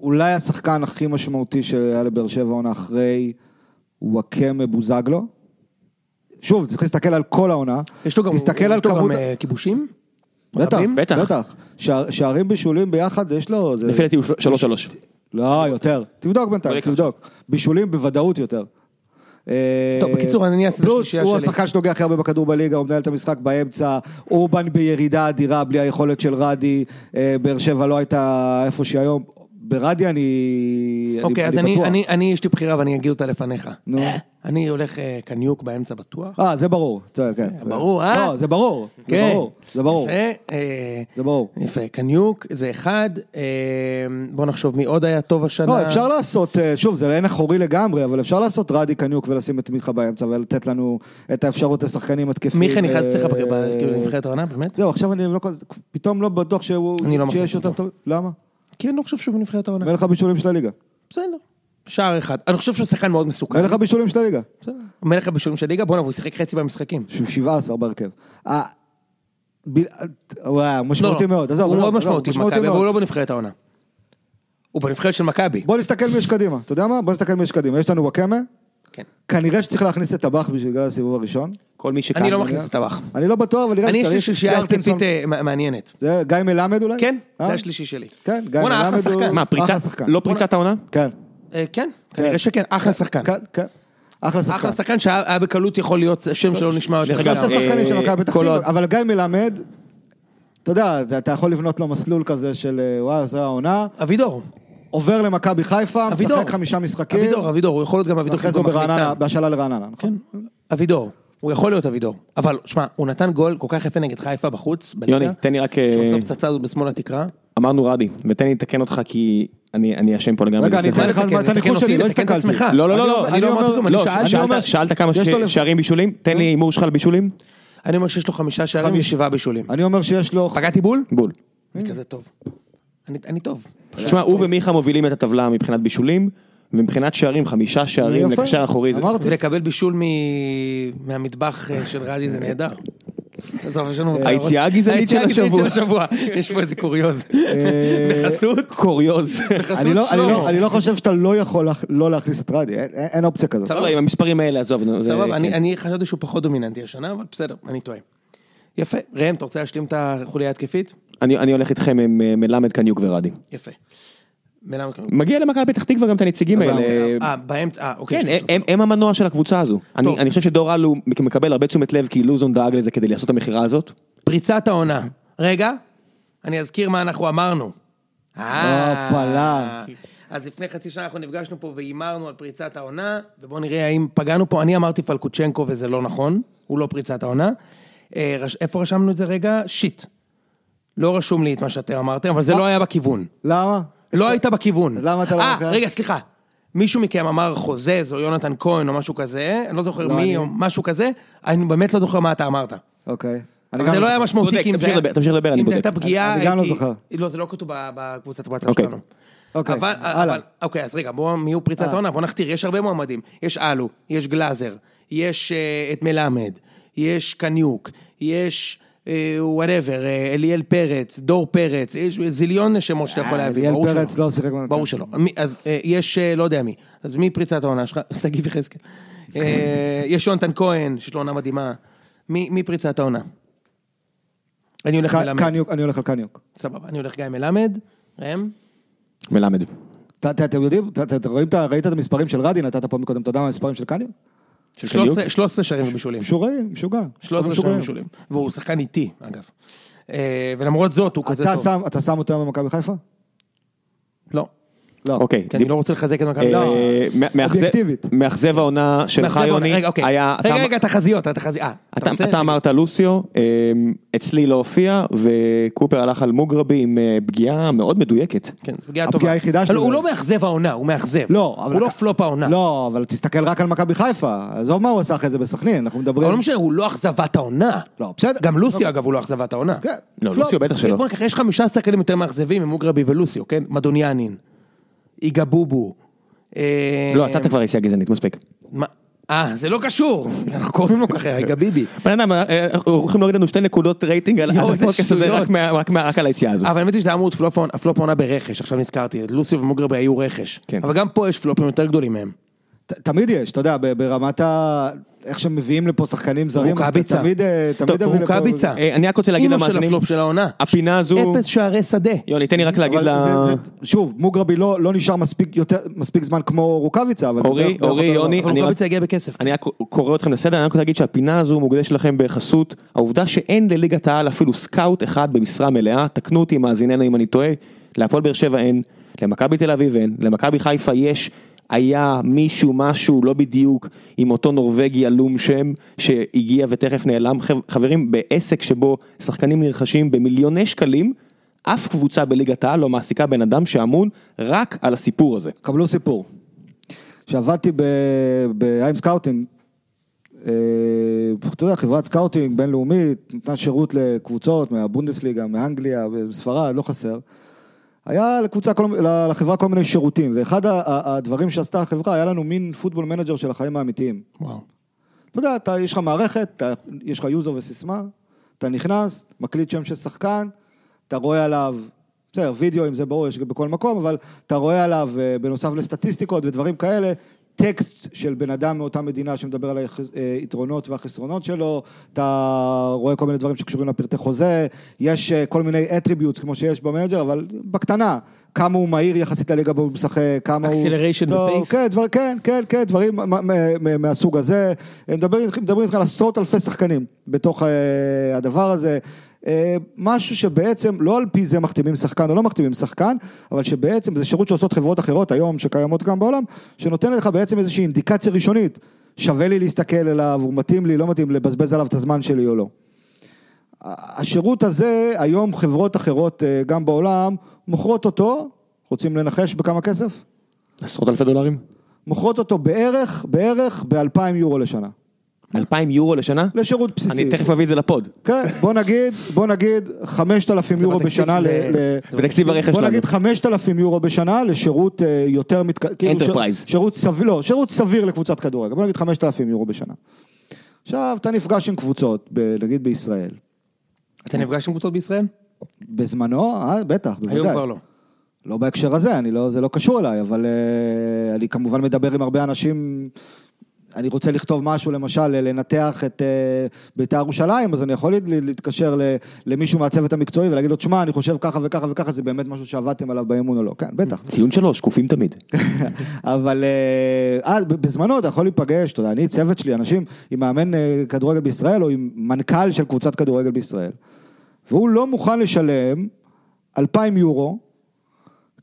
[SPEAKER 2] אולי השחקן הכי משמעותי שהיה לבאר שבע עונה אחרי וואקמה בוזגלו. שוב, צריך להסתכל על כל העונה.
[SPEAKER 3] יש לו גם,
[SPEAKER 2] תסתכל
[SPEAKER 3] יש
[SPEAKER 2] על
[SPEAKER 3] לו גם,
[SPEAKER 2] כמות...
[SPEAKER 3] אה, כיבושים?
[SPEAKER 2] בטח,
[SPEAKER 3] מכבים?
[SPEAKER 1] בטח.
[SPEAKER 2] בטח. שער- שערים בישולים ביחד, יש לו... זה-
[SPEAKER 1] לפי דעתי הוא שלוש שלוש.
[SPEAKER 2] לא, יותר. תבדוק בינתיים,
[SPEAKER 1] בוא ניקח.
[SPEAKER 2] תבדוק. בישולים בוודאות יותר. אה,
[SPEAKER 3] טוב, בקיצור, אני אעשה את
[SPEAKER 2] פלוס,
[SPEAKER 3] השלישייה
[SPEAKER 2] הוא
[SPEAKER 3] שלי.
[SPEAKER 2] השחקן שנוגע הכי הרבה בכדור בליגה, הוא מנהל את המשחק באמצע, אורבן בירידה אדירה בלי היכולת של רדי, אה, באר שבע לא הייתה איפה שהיא היום. ברדי אני...
[SPEAKER 3] אוקיי, אז אני,
[SPEAKER 2] בטוח.
[SPEAKER 3] אני, אני, יש לי בחירה ואני אגיד אותה לפניך.
[SPEAKER 2] נו.
[SPEAKER 3] אני הולך אה, קניוק באמצע בטוח.
[SPEAKER 2] אה, זה ברור. זה כן.
[SPEAKER 3] ברור, אה?
[SPEAKER 2] לא, זה ברור. זה
[SPEAKER 3] כן.
[SPEAKER 2] ברור. זה ברור.
[SPEAKER 3] יפה, אה,
[SPEAKER 2] זה ברור.
[SPEAKER 3] יפה, קניוק זה אחד, אה, בוא נחשוב מי עוד היה טוב השנה.
[SPEAKER 2] לא, אפשר לעשות, אה, שוב, זה אין אחורי לגמרי, אבל אפשר לעשות רדי קניוק ולשים את מיכה באמצע ולתת לנו את האפשרות לשחקנים התקפים.
[SPEAKER 3] מיכה נכנס
[SPEAKER 2] אה,
[SPEAKER 3] אצלך בק- ב-
[SPEAKER 2] אה,
[SPEAKER 3] כאילו לנבחרת העונה, באמת?
[SPEAKER 2] זהו, עכשיו אני לא כל- פתאום לא בטוח שהוא...
[SPEAKER 3] אני לא
[SPEAKER 2] שיש
[SPEAKER 3] מכניס
[SPEAKER 2] יותר
[SPEAKER 3] אותו.
[SPEAKER 2] טוב. למה?
[SPEAKER 3] כי אני לא כן. חושב שהוא בנבחרת העונה.
[SPEAKER 2] מלך הבישולים של הליגה.
[SPEAKER 3] בסדר. שער אחד. אני חושב שהוא שחקן מאוד מסוכן.
[SPEAKER 2] מלך הבישולים של הליגה.
[SPEAKER 3] בסדר. מלך הבישולים של ליגה, בואנה, והוא שיחק חצי במשחקים.
[SPEAKER 2] שהוא 17 בהרכב. אה, ב- הוא היה משמעותי
[SPEAKER 3] לא, לא.
[SPEAKER 2] מאוד. עזוב,
[SPEAKER 3] הוא
[SPEAKER 2] עזוב,
[SPEAKER 3] מאוד
[SPEAKER 2] עזוב,
[SPEAKER 3] משמעותי במכבי, אבל
[SPEAKER 2] מאוד.
[SPEAKER 3] הוא לא בנבחרת העונה. הוא בנבחרת של מכבי.
[SPEAKER 2] בוא נסתכל מי יש קדימה. אתה יודע מה? בוא נסתכל מי יש קדימה. יש לנו וואקמה.
[SPEAKER 3] כן.
[SPEAKER 2] כנראה שצריך להכניס את טבח בגלל הסיבוב הראשון.
[SPEAKER 1] כל מי שכעס...
[SPEAKER 3] אני לא
[SPEAKER 1] עליה-
[SPEAKER 3] מכניס את הטבח.
[SPEAKER 2] אני לא בטוח, אבל נראה
[SPEAKER 3] אני יש לי
[SPEAKER 2] שצריך-
[SPEAKER 3] שלישייה
[SPEAKER 2] גרטנסון-
[SPEAKER 3] התקפית אה, מע- מעניינת.
[SPEAKER 2] זה גיא מלמד אולי?
[SPEAKER 3] כן,
[SPEAKER 2] אה?
[SPEAKER 3] זה השלישי שלי.
[SPEAKER 2] כן, גיא
[SPEAKER 3] בואנה, אחלה
[SPEAKER 2] מלמד הוא-
[SPEAKER 3] אה, שחקן.
[SPEAKER 1] מה, פריצת...
[SPEAKER 2] אחלה שחקן.
[SPEAKER 1] לא פריצת העונה?
[SPEAKER 2] כן,
[SPEAKER 3] אה, כן, כנראה שכן, אחלה שחקן.
[SPEAKER 2] כן, כן. אחלה שחקן. אה,
[SPEAKER 3] אחלה שחקן שהיה היה בקלות יכול להיות שם שלא נשמע יותר.
[SPEAKER 1] אגב,
[SPEAKER 2] שלושת השחקנים של
[SPEAKER 1] אה,
[SPEAKER 2] מכבי פתח
[SPEAKER 1] כל
[SPEAKER 2] תקווה,
[SPEAKER 1] עוד-
[SPEAKER 2] אבל גיא מלמד, אתה יודע, זה- אתה יכול לבנות לו מסלול כזה של אה, וואו, זו העונה,
[SPEAKER 3] אבידור,
[SPEAKER 2] עובר למכבי חיפה,
[SPEAKER 3] אבידור.
[SPEAKER 2] משחק חמישה משחקים,
[SPEAKER 3] אבידור, אבידור, הוא יכול להיות גם אבידור.
[SPEAKER 2] כן. אחרי זה
[SPEAKER 3] במחמיצן.
[SPEAKER 2] הוא ברעננה, בהשאלה לרעננה,
[SPEAKER 3] כן,
[SPEAKER 2] נכון?
[SPEAKER 3] אבידור, הוא יכול להיות אבידור. אבל, שמע, הוא נתן גול כל כך יפה נגד חיפה בחוץ, בליגה.
[SPEAKER 1] יוני, תן לי רק... אה,
[SPEAKER 3] שהוא נתן פצצה הזאת בשמאל התקרה.
[SPEAKER 1] אמרנו רדי, ותן לי לתקן אותך כי אני אני אשם פה לגמרי.
[SPEAKER 2] רגע, אני
[SPEAKER 1] בסדר.
[SPEAKER 2] אתן לך
[SPEAKER 3] תתקן,
[SPEAKER 2] את
[SPEAKER 3] תתקן
[SPEAKER 2] הניחוש
[SPEAKER 3] אותי,
[SPEAKER 2] שלי, לא
[SPEAKER 3] תתקן את
[SPEAKER 2] הסתכלתי.
[SPEAKER 3] עצמך.
[SPEAKER 1] לא, לא, לא, לא,
[SPEAKER 2] אומר-
[SPEAKER 3] אני לא אמרתי כלום, אני
[SPEAKER 1] לא,
[SPEAKER 3] שאלתי.
[SPEAKER 1] שאלת-
[SPEAKER 2] אומר-
[SPEAKER 1] שאלת כמה
[SPEAKER 2] יש לו
[SPEAKER 1] ש-
[SPEAKER 2] לפ-
[SPEAKER 1] שערים בישולים? תן לי
[SPEAKER 3] אה?
[SPEAKER 1] הימור שלך על בישולים?
[SPEAKER 3] אני אומר שיש לו חמישה שערים
[SPEAKER 2] חמיש.
[SPEAKER 3] ושבעה בישולים.
[SPEAKER 2] אני אומר שיש לו...
[SPEAKER 3] פגעתי בול?
[SPEAKER 1] בול.
[SPEAKER 2] אה.
[SPEAKER 3] אני כזה טוב. אני אני טוב.
[SPEAKER 1] תשמע, הוא ומיכה מובילים את הטבלה מבחינת בישולים, ומבחינת שערים, חמישה שערים
[SPEAKER 2] יפה.
[SPEAKER 1] לקשר אחורי זה.
[SPEAKER 3] <laughs>
[SPEAKER 2] אמרתי.
[SPEAKER 3] ולקבל בישול מ- מהמטבח אה, של רדי זה נהדר.
[SPEAKER 2] אה.
[SPEAKER 3] עזוב, יש לנו...
[SPEAKER 1] היציאה הגזענית של
[SPEAKER 3] היציאה הגזענית של
[SPEAKER 1] השבוע.
[SPEAKER 3] השבוע. יש פה איזה קוריוז.
[SPEAKER 2] אה,
[SPEAKER 3] בחסות.
[SPEAKER 1] קוריוז.
[SPEAKER 2] אני לא- אני לא-
[SPEAKER 3] שלמה.
[SPEAKER 2] אני לא חושב שאתה לא יכול להכ- לא להכניס את רדי, אין- אין אין אופציה כזאת.
[SPEAKER 1] לא, עם המספרים האלה, עזוב. נו, זה-
[SPEAKER 3] סבבה, אני
[SPEAKER 1] כן.
[SPEAKER 3] אני חשבתי שהוא פחות דומיננטי השנה, אבל בסדר, אני טועה. יפה. ראם, אתה רוצה להשלים את החוליה התקפית?
[SPEAKER 1] אני אני הולך איתכם עם אה, מלמד, קניוק ורדי.
[SPEAKER 3] יפה. מלמד קנוג.
[SPEAKER 1] מגיע למכבי פתח תקווה גם את הנציגים האלה.
[SPEAKER 3] אה, באמצע, אה, אוקיי.
[SPEAKER 1] כן,
[SPEAKER 3] יש לי
[SPEAKER 1] הם- הם המנוע של הקבוצה הזו. אני אני חושב שדור אלו מקבל הרבה תשומת לב כי לוזון דאג לזה כדי לעשות את המכירה הזאת.
[SPEAKER 3] פריצת העונה. רגע, אני אזכיר מה אנחנו אמרנו. אה.
[SPEAKER 2] הופלה.
[SPEAKER 3] אז לפני חצי שנה אנחנו נפגשנו פה והימרנו על פריצת העונה, ובואו נראה האם פגענו פה. אני אמרתי פלקוצ'נקו וזה לא נכון, הוא לא פריצת העונה. אה, רש- איפה רשמנו את זה רגע? שיט. לא רשום לי את מה שאתם אמרתם, אבל זה לא היה בכיוון.
[SPEAKER 2] למה?
[SPEAKER 3] לא היית בכיוון.
[SPEAKER 2] אז למה אתה לא
[SPEAKER 3] אה,
[SPEAKER 2] לוקח?
[SPEAKER 3] רגע, סליחה. מישהו מכם אמר חוזז או יונתן כהן או משהו כזה, אני לא זוכר
[SPEAKER 2] לא,
[SPEAKER 3] מי
[SPEAKER 2] אני-
[SPEAKER 3] או משהו כזה, אני באמת לא זוכר מה אתה אמרת.
[SPEAKER 2] אוקיי. אני
[SPEAKER 3] אבל
[SPEAKER 2] גם-
[SPEAKER 3] זה לא היה משמעותי,
[SPEAKER 1] בודק,
[SPEAKER 3] כי אם זה
[SPEAKER 1] תמשיך
[SPEAKER 3] היה-
[SPEAKER 1] לדבר, תמשיך לדבר, אני
[SPEAKER 3] אם זה
[SPEAKER 1] בודק.
[SPEAKER 3] הייתה פגיעה,
[SPEAKER 2] אני- אני גם לא
[SPEAKER 3] הייתי-
[SPEAKER 2] זוכר.
[SPEAKER 3] לא, זה לא כתוב ב- בקבוצת וואטסאפ
[SPEAKER 1] אוקיי.
[SPEAKER 3] שלנו.
[SPEAKER 2] אוקיי,
[SPEAKER 3] אבל,
[SPEAKER 2] הלאה. אה.
[SPEAKER 3] אבל, אוקיי, אז רגע, בואו, מי הוא פריצת עונה? בואו נכתיר, יש הרבה מועמדים. יש אלו, יש גלאזר, יש אה, את מלמד, יש קניוק, יש וואטאבר, אליאל פרץ, דור פרץ, יש זיליון שמות שאתה יכול
[SPEAKER 2] אה,
[SPEAKER 3] להביא,
[SPEAKER 2] אליאל
[SPEAKER 3] ברור שלא.
[SPEAKER 2] פרץ לא שיחק במכבי.
[SPEAKER 3] ברור שלא. מי- אז אה, יש, אה, לא יודע מי. אז מי פריצת העונה שלך? <laughs> שגיב יחזקאל. אה, יש יונתן כהן, שיש לו עונה מדהימה. מי מי פריצת העונה? אני
[SPEAKER 2] ק-
[SPEAKER 3] הולך מלמד.
[SPEAKER 2] קניוק, אני הולך על קניוק.
[SPEAKER 3] סבבה, אני הולך גיא מלמד. ראם?
[SPEAKER 1] מלמד.
[SPEAKER 2] ת- ת- אתם יודעים, ת- ת- אתם רואים, את ה- ראית את המספרים של רדי, נתת פה מקודם, אתה יודע מה המספרים של קניוק?
[SPEAKER 1] של
[SPEAKER 3] 13 13 שערים ובישולים.
[SPEAKER 2] משוגעים, משוגע.
[SPEAKER 3] 13
[SPEAKER 2] משוגעים.
[SPEAKER 3] שערים ובישולים. והוא שחקן איטי, אגב. אה, ולמרות זאת, הוא כזה
[SPEAKER 2] אתה
[SPEAKER 3] טוב.
[SPEAKER 2] שם- אתה שם אותו היום במכבי חיפה?
[SPEAKER 3] לא.
[SPEAKER 2] לא.
[SPEAKER 1] אוקיי.
[SPEAKER 3] כי אני לא רוצה לחזק את מכבי.
[SPEAKER 2] לא.
[SPEAKER 3] חיפה.
[SPEAKER 1] אה, מא- מאכזב-
[SPEAKER 2] אובייקטיבית.
[SPEAKER 1] מאכזב העונה שלך,
[SPEAKER 3] מאכזב,
[SPEAKER 1] יוני,
[SPEAKER 3] רגע, אוקיי.
[SPEAKER 1] היה...
[SPEAKER 3] רגע,
[SPEAKER 1] אתה-
[SPEAKER 3] רגע, תחזיות, התחזיות. אה,
[SPEAKER 1] אתה,
[SPEAKER 3] רוצה-
[SPEAKER 1] אתה אמרת לוסיו, אמ, אצלי לא הופיע, וקופר הלך על מוגרבי עם אה, פגיעה מאוד מדויקת.
[SPEAKER 3] כן, פגיעה
[SPEAKER 2] הפגיעה
[SPEAKER 3] טובה.
[SPEAKER 2] היחידה
[SPEAKER 3] אבל
[SPEAKER 2] שלו.
[SPEAKER 3] הוא לא מאכזב העונה, הוא מאכזב.
[SPEAKER 2] לא, אבל...
[SPEAKER 3] הוא לא פלופ העונה.
[SPEAKER 2] לא, אבל תסתכל רק על מכבי חיפה. עזוב מה הוא עשה אחרי זה בסכנין, אנחנו מדברים...
[SPEAKER 3] אבל לא משנה, הוא לא אכזבת העונה.
[SPEAKER 2] לא, בסדר.
[SPEAKER 3] גם לוסיו, אגב, הוא לא אכזבת העונה.
[SPEAKER 2] כן.
[SPEAKER 1] לא,
[SPEAKER 2] פלופ.
[SPEAKER 1] לוסיו בטח שלא.
[SPEAKER 3] בוא ניקח, יש 15 כלים יותר מאכזבים ממוגרבי ולוסיו, כן? מדוניאנין, איגה בובו. אה,
[SPEAKER 1] לא, נתת כבר יציאה גזענית, מספיק.
[SPEAKER 3] מה- אה, זה לא קשור. אנחנו קוראים לו ככה, איגה ביבי.
[SPEAKER 1] בן אדם, אה, אנחנו הולכים להוריד לנו שתי נקודות רייטינג על על
[SPEAKER 3] יואו, איזה
[SPEAKER 1] הפודקאסט הזה,
[SPEAKER 3] שטויות.
[SPEAKER 1] רק מה- רק מה- רק על היציאה הזו.
[SPEAKER 3] אבל האמת היא שזה היה אמור להיות פלופ העונה- הפלופ העונה ברכש, עכשיו נזכרתי, לוסיו ומוגרבי היו רכש.
[SPEAKER 1] כן.
[SPEAKER 3] אבל גם פה יש פלופים יותר גדולים מהם.
[SPEAKER 2] ת- תמיד יש, אתה יודע, ב- ברמת ה... איך שמביאים לפה שחקנים זרים, אז אתה
[SPEAKER 3] רוקאביצה.
[SPEAKER 2] תמיד... אה, תמיד
[SPEAKER 1] טוב,
[SPEAKER 2] יביא לפה-
[SPEAKER 3] רוקאביצה.
[SPEAKER 1] אה, אני רק רוצה להגיד
[SPEAKER 3] אימא של
[SPEAKER 1] למאזינים,
[SPEAKER 3] הפלופ של העונה.
[SPEAKER 1] הפינה הזו,
[SPEAKER 3] אפס שערי שדה.
[SPEAKER 1] יוני, תן לי רק להגיד
[SPEAKER 2] אבל
[SPEAKER 1] ל...
[SPEAKER 2] זה- זה- שוב, מוגרבי לא לא נשאר מספיק יותר- מספיק זמן כמו רוקאביצה, אבל... זה
[SPEAKER 1] אורי,
[SPEAKER 2] בערך- בערך
[SPEAKER 1] אורי,
[SPEAKER 2] אותו דבר.
[SPEAKER 1] יוני,
[SPEAKER 3] אבל
[SPEAKER 1] אני
[SPEAKER 3] רוקאביצה הגיע בכסף.
[SPEAKER 1] אני רק קורא אתכם לסדר, אני רק רוצה להגיד שהפינה הזו מוקדשת לכם בחסות העובדה שאין לליגת העל אפילו סקאוט אחד במשרה מלאה, תקנו אותי מאזיננו אם אני טועה, להפועל באר שבע אין, למכבי תל אביב אין, למכבי חיפה יש, היה מישהו משהו לא בדיוק עם אותו נורבגי עלום שם שהגיע ותכף נעלם, חב- חברים בעסק שבו שחקנים נרכשים במיליוני שקלים, אף קבוצה בליגת העל לא מעסיקה בן אדם שאמון רק על הסיפור הזה.
[SPEAKER 2] קבלו סיפור. כשעבדתי ב-I'm סקאוטינג, אה, אתה יודע, חברת סקאוטינג בינלאומית, נתנה שירות לקבוצות מהבונדסליגה, מאנגליה, בספרד, לא חסר. היה לקבוצה, כל- ל- לחברה כל מיני שירותים, ואחד ה- ה- הדברים שעשתה החברה, היה לנו מין פוטבול מנג'ר של החיים האמיתיים.
[SPEAKER 3] וואו.
[SPEAKER 2] אתה יודע, אתה, יש לך מערכת, אתה, יש לך יוזר וסיסמה, אתה נכנס, מקליט שם של שחקן, אתה רואה עליו, בסדר, וידאו, אם זה ברור, יש בכל מקום, אבל אתה רואה עליו, אה, בנוסף לסטטיסטיקות ודברים כאלה, טקסט של בן אדם מאותה מדינה שמדבר על היתרונות והחסרונות שלו, אתה רואה כל מיני דברים שקשורים לפרטי חוזה, יש אה, כל מיני attributes כמו שיש במנג'ר, אבל בקטנה, כמה הוא מהיר יחסית לליגה בו הוא משחק, כמה הוא...
[SPEAKER 3] Acceleration
[SPEAKER 2] לא,
[SPEAKER 3] ו-pace.
[SPEAKER 2] כן, דבר, כן, כן, כן, דברים מה- מה- מה- מהסוג הזה. הם מדברים איתך- מדברים איתך על עשרות אלפי שחקנים בתוך אה, הדבר הזה. אה, משהו שבעצם, לא על פי זה מחתימים שחקן או לא מחתימים שחקן, אבל שבעצם זה שירות שעושות חברות אחרות היום, שקיימות גם בעולם, שנותנת לך בעצם איזושהי אינדיקציה ראשונית. שווה לי להסתכל אליו, הוא מתאים לי, לא מתאים, לבזבז עליו את הזמן שלי או לא. השירות הזה, היום חברות אחרות אה, גם בעולם, מוכרות אותו, רוצים לנחש בכמה כסף?
[SPEAKER 1] עשרות אלפי דולרים?
[SPEAKER 2] מוכרות אותו בערך, בערך ב-2,000 יורו לשנה.
[SPEAKER 1] אלפיים יורו לשנה?
[SPEAKER 2] לשירות בסיסי.
[SPEAKER 1] אני תכף אביא את זה לפוד.
[SPEAKER 2] כן, בוא נגיד, בוא נגיד 5,000 יורו
[SPEAKER 3] בתקציב
[SPEAKER 2] בשנה ל...
[SPEAKER 3] ל-
[SPEAKER 2] ל-
[SPEAKER 1] בתקציב הרכש
[SPEAKER 2] בוא
[SPEAKER 1] שלנו.
[SPEAKER 2] נגיד 5,000 יורו בשנה לשירות אה, יותר מתק... כאילו שיר-
[SPEAKER 1] Enterprise.
[SPEAKER 2] שירות סביר, לא, שירות סביר לקבוצת כדורגל. בוא נגיד 5,000 יורו בשנה. עכשיו, אתה נפגש עם קבוצות, ב- נגיד בישראל.
[SPEAKER 3] אתה נפגש עם קבוצות בישראל?
[SPEAKER 2] בזמנו, אה, בטח, בוודאי.
[SPEAKER 3] היום כבר לא.
[SPEAKER 2] לא בהקשר הזה, אני לא, זה לא קשור אליי, אבל uh, אני כמובן מדבר עם הרבה אנשים, אני רוצה לכתוב משהו, למשל, לנתח את uh, בית"ר ירושלים, אז אני יכול לה- להתקשר ל- למישהו מהצוות המקצועי ולהגיד לו, תשמע, אני חושב ככה וככה וככה, זה באמת משהו שעבדתם עליו באימון או לא, כן, בטח.
[SPEAKER 1] ציון שלוש, שקופים תמיד.
[SPEAKER 2] אבל אה, אה, בזמנו אתה יכול להיפגש, אתה יודע, אני, צוות שלי, אנשים עם מאמן אה, כדורגל בישראל או עם מנכ"ל של קבוצת כדורגל בישראל, והוא לא מוכן לשלם 2,000 יורו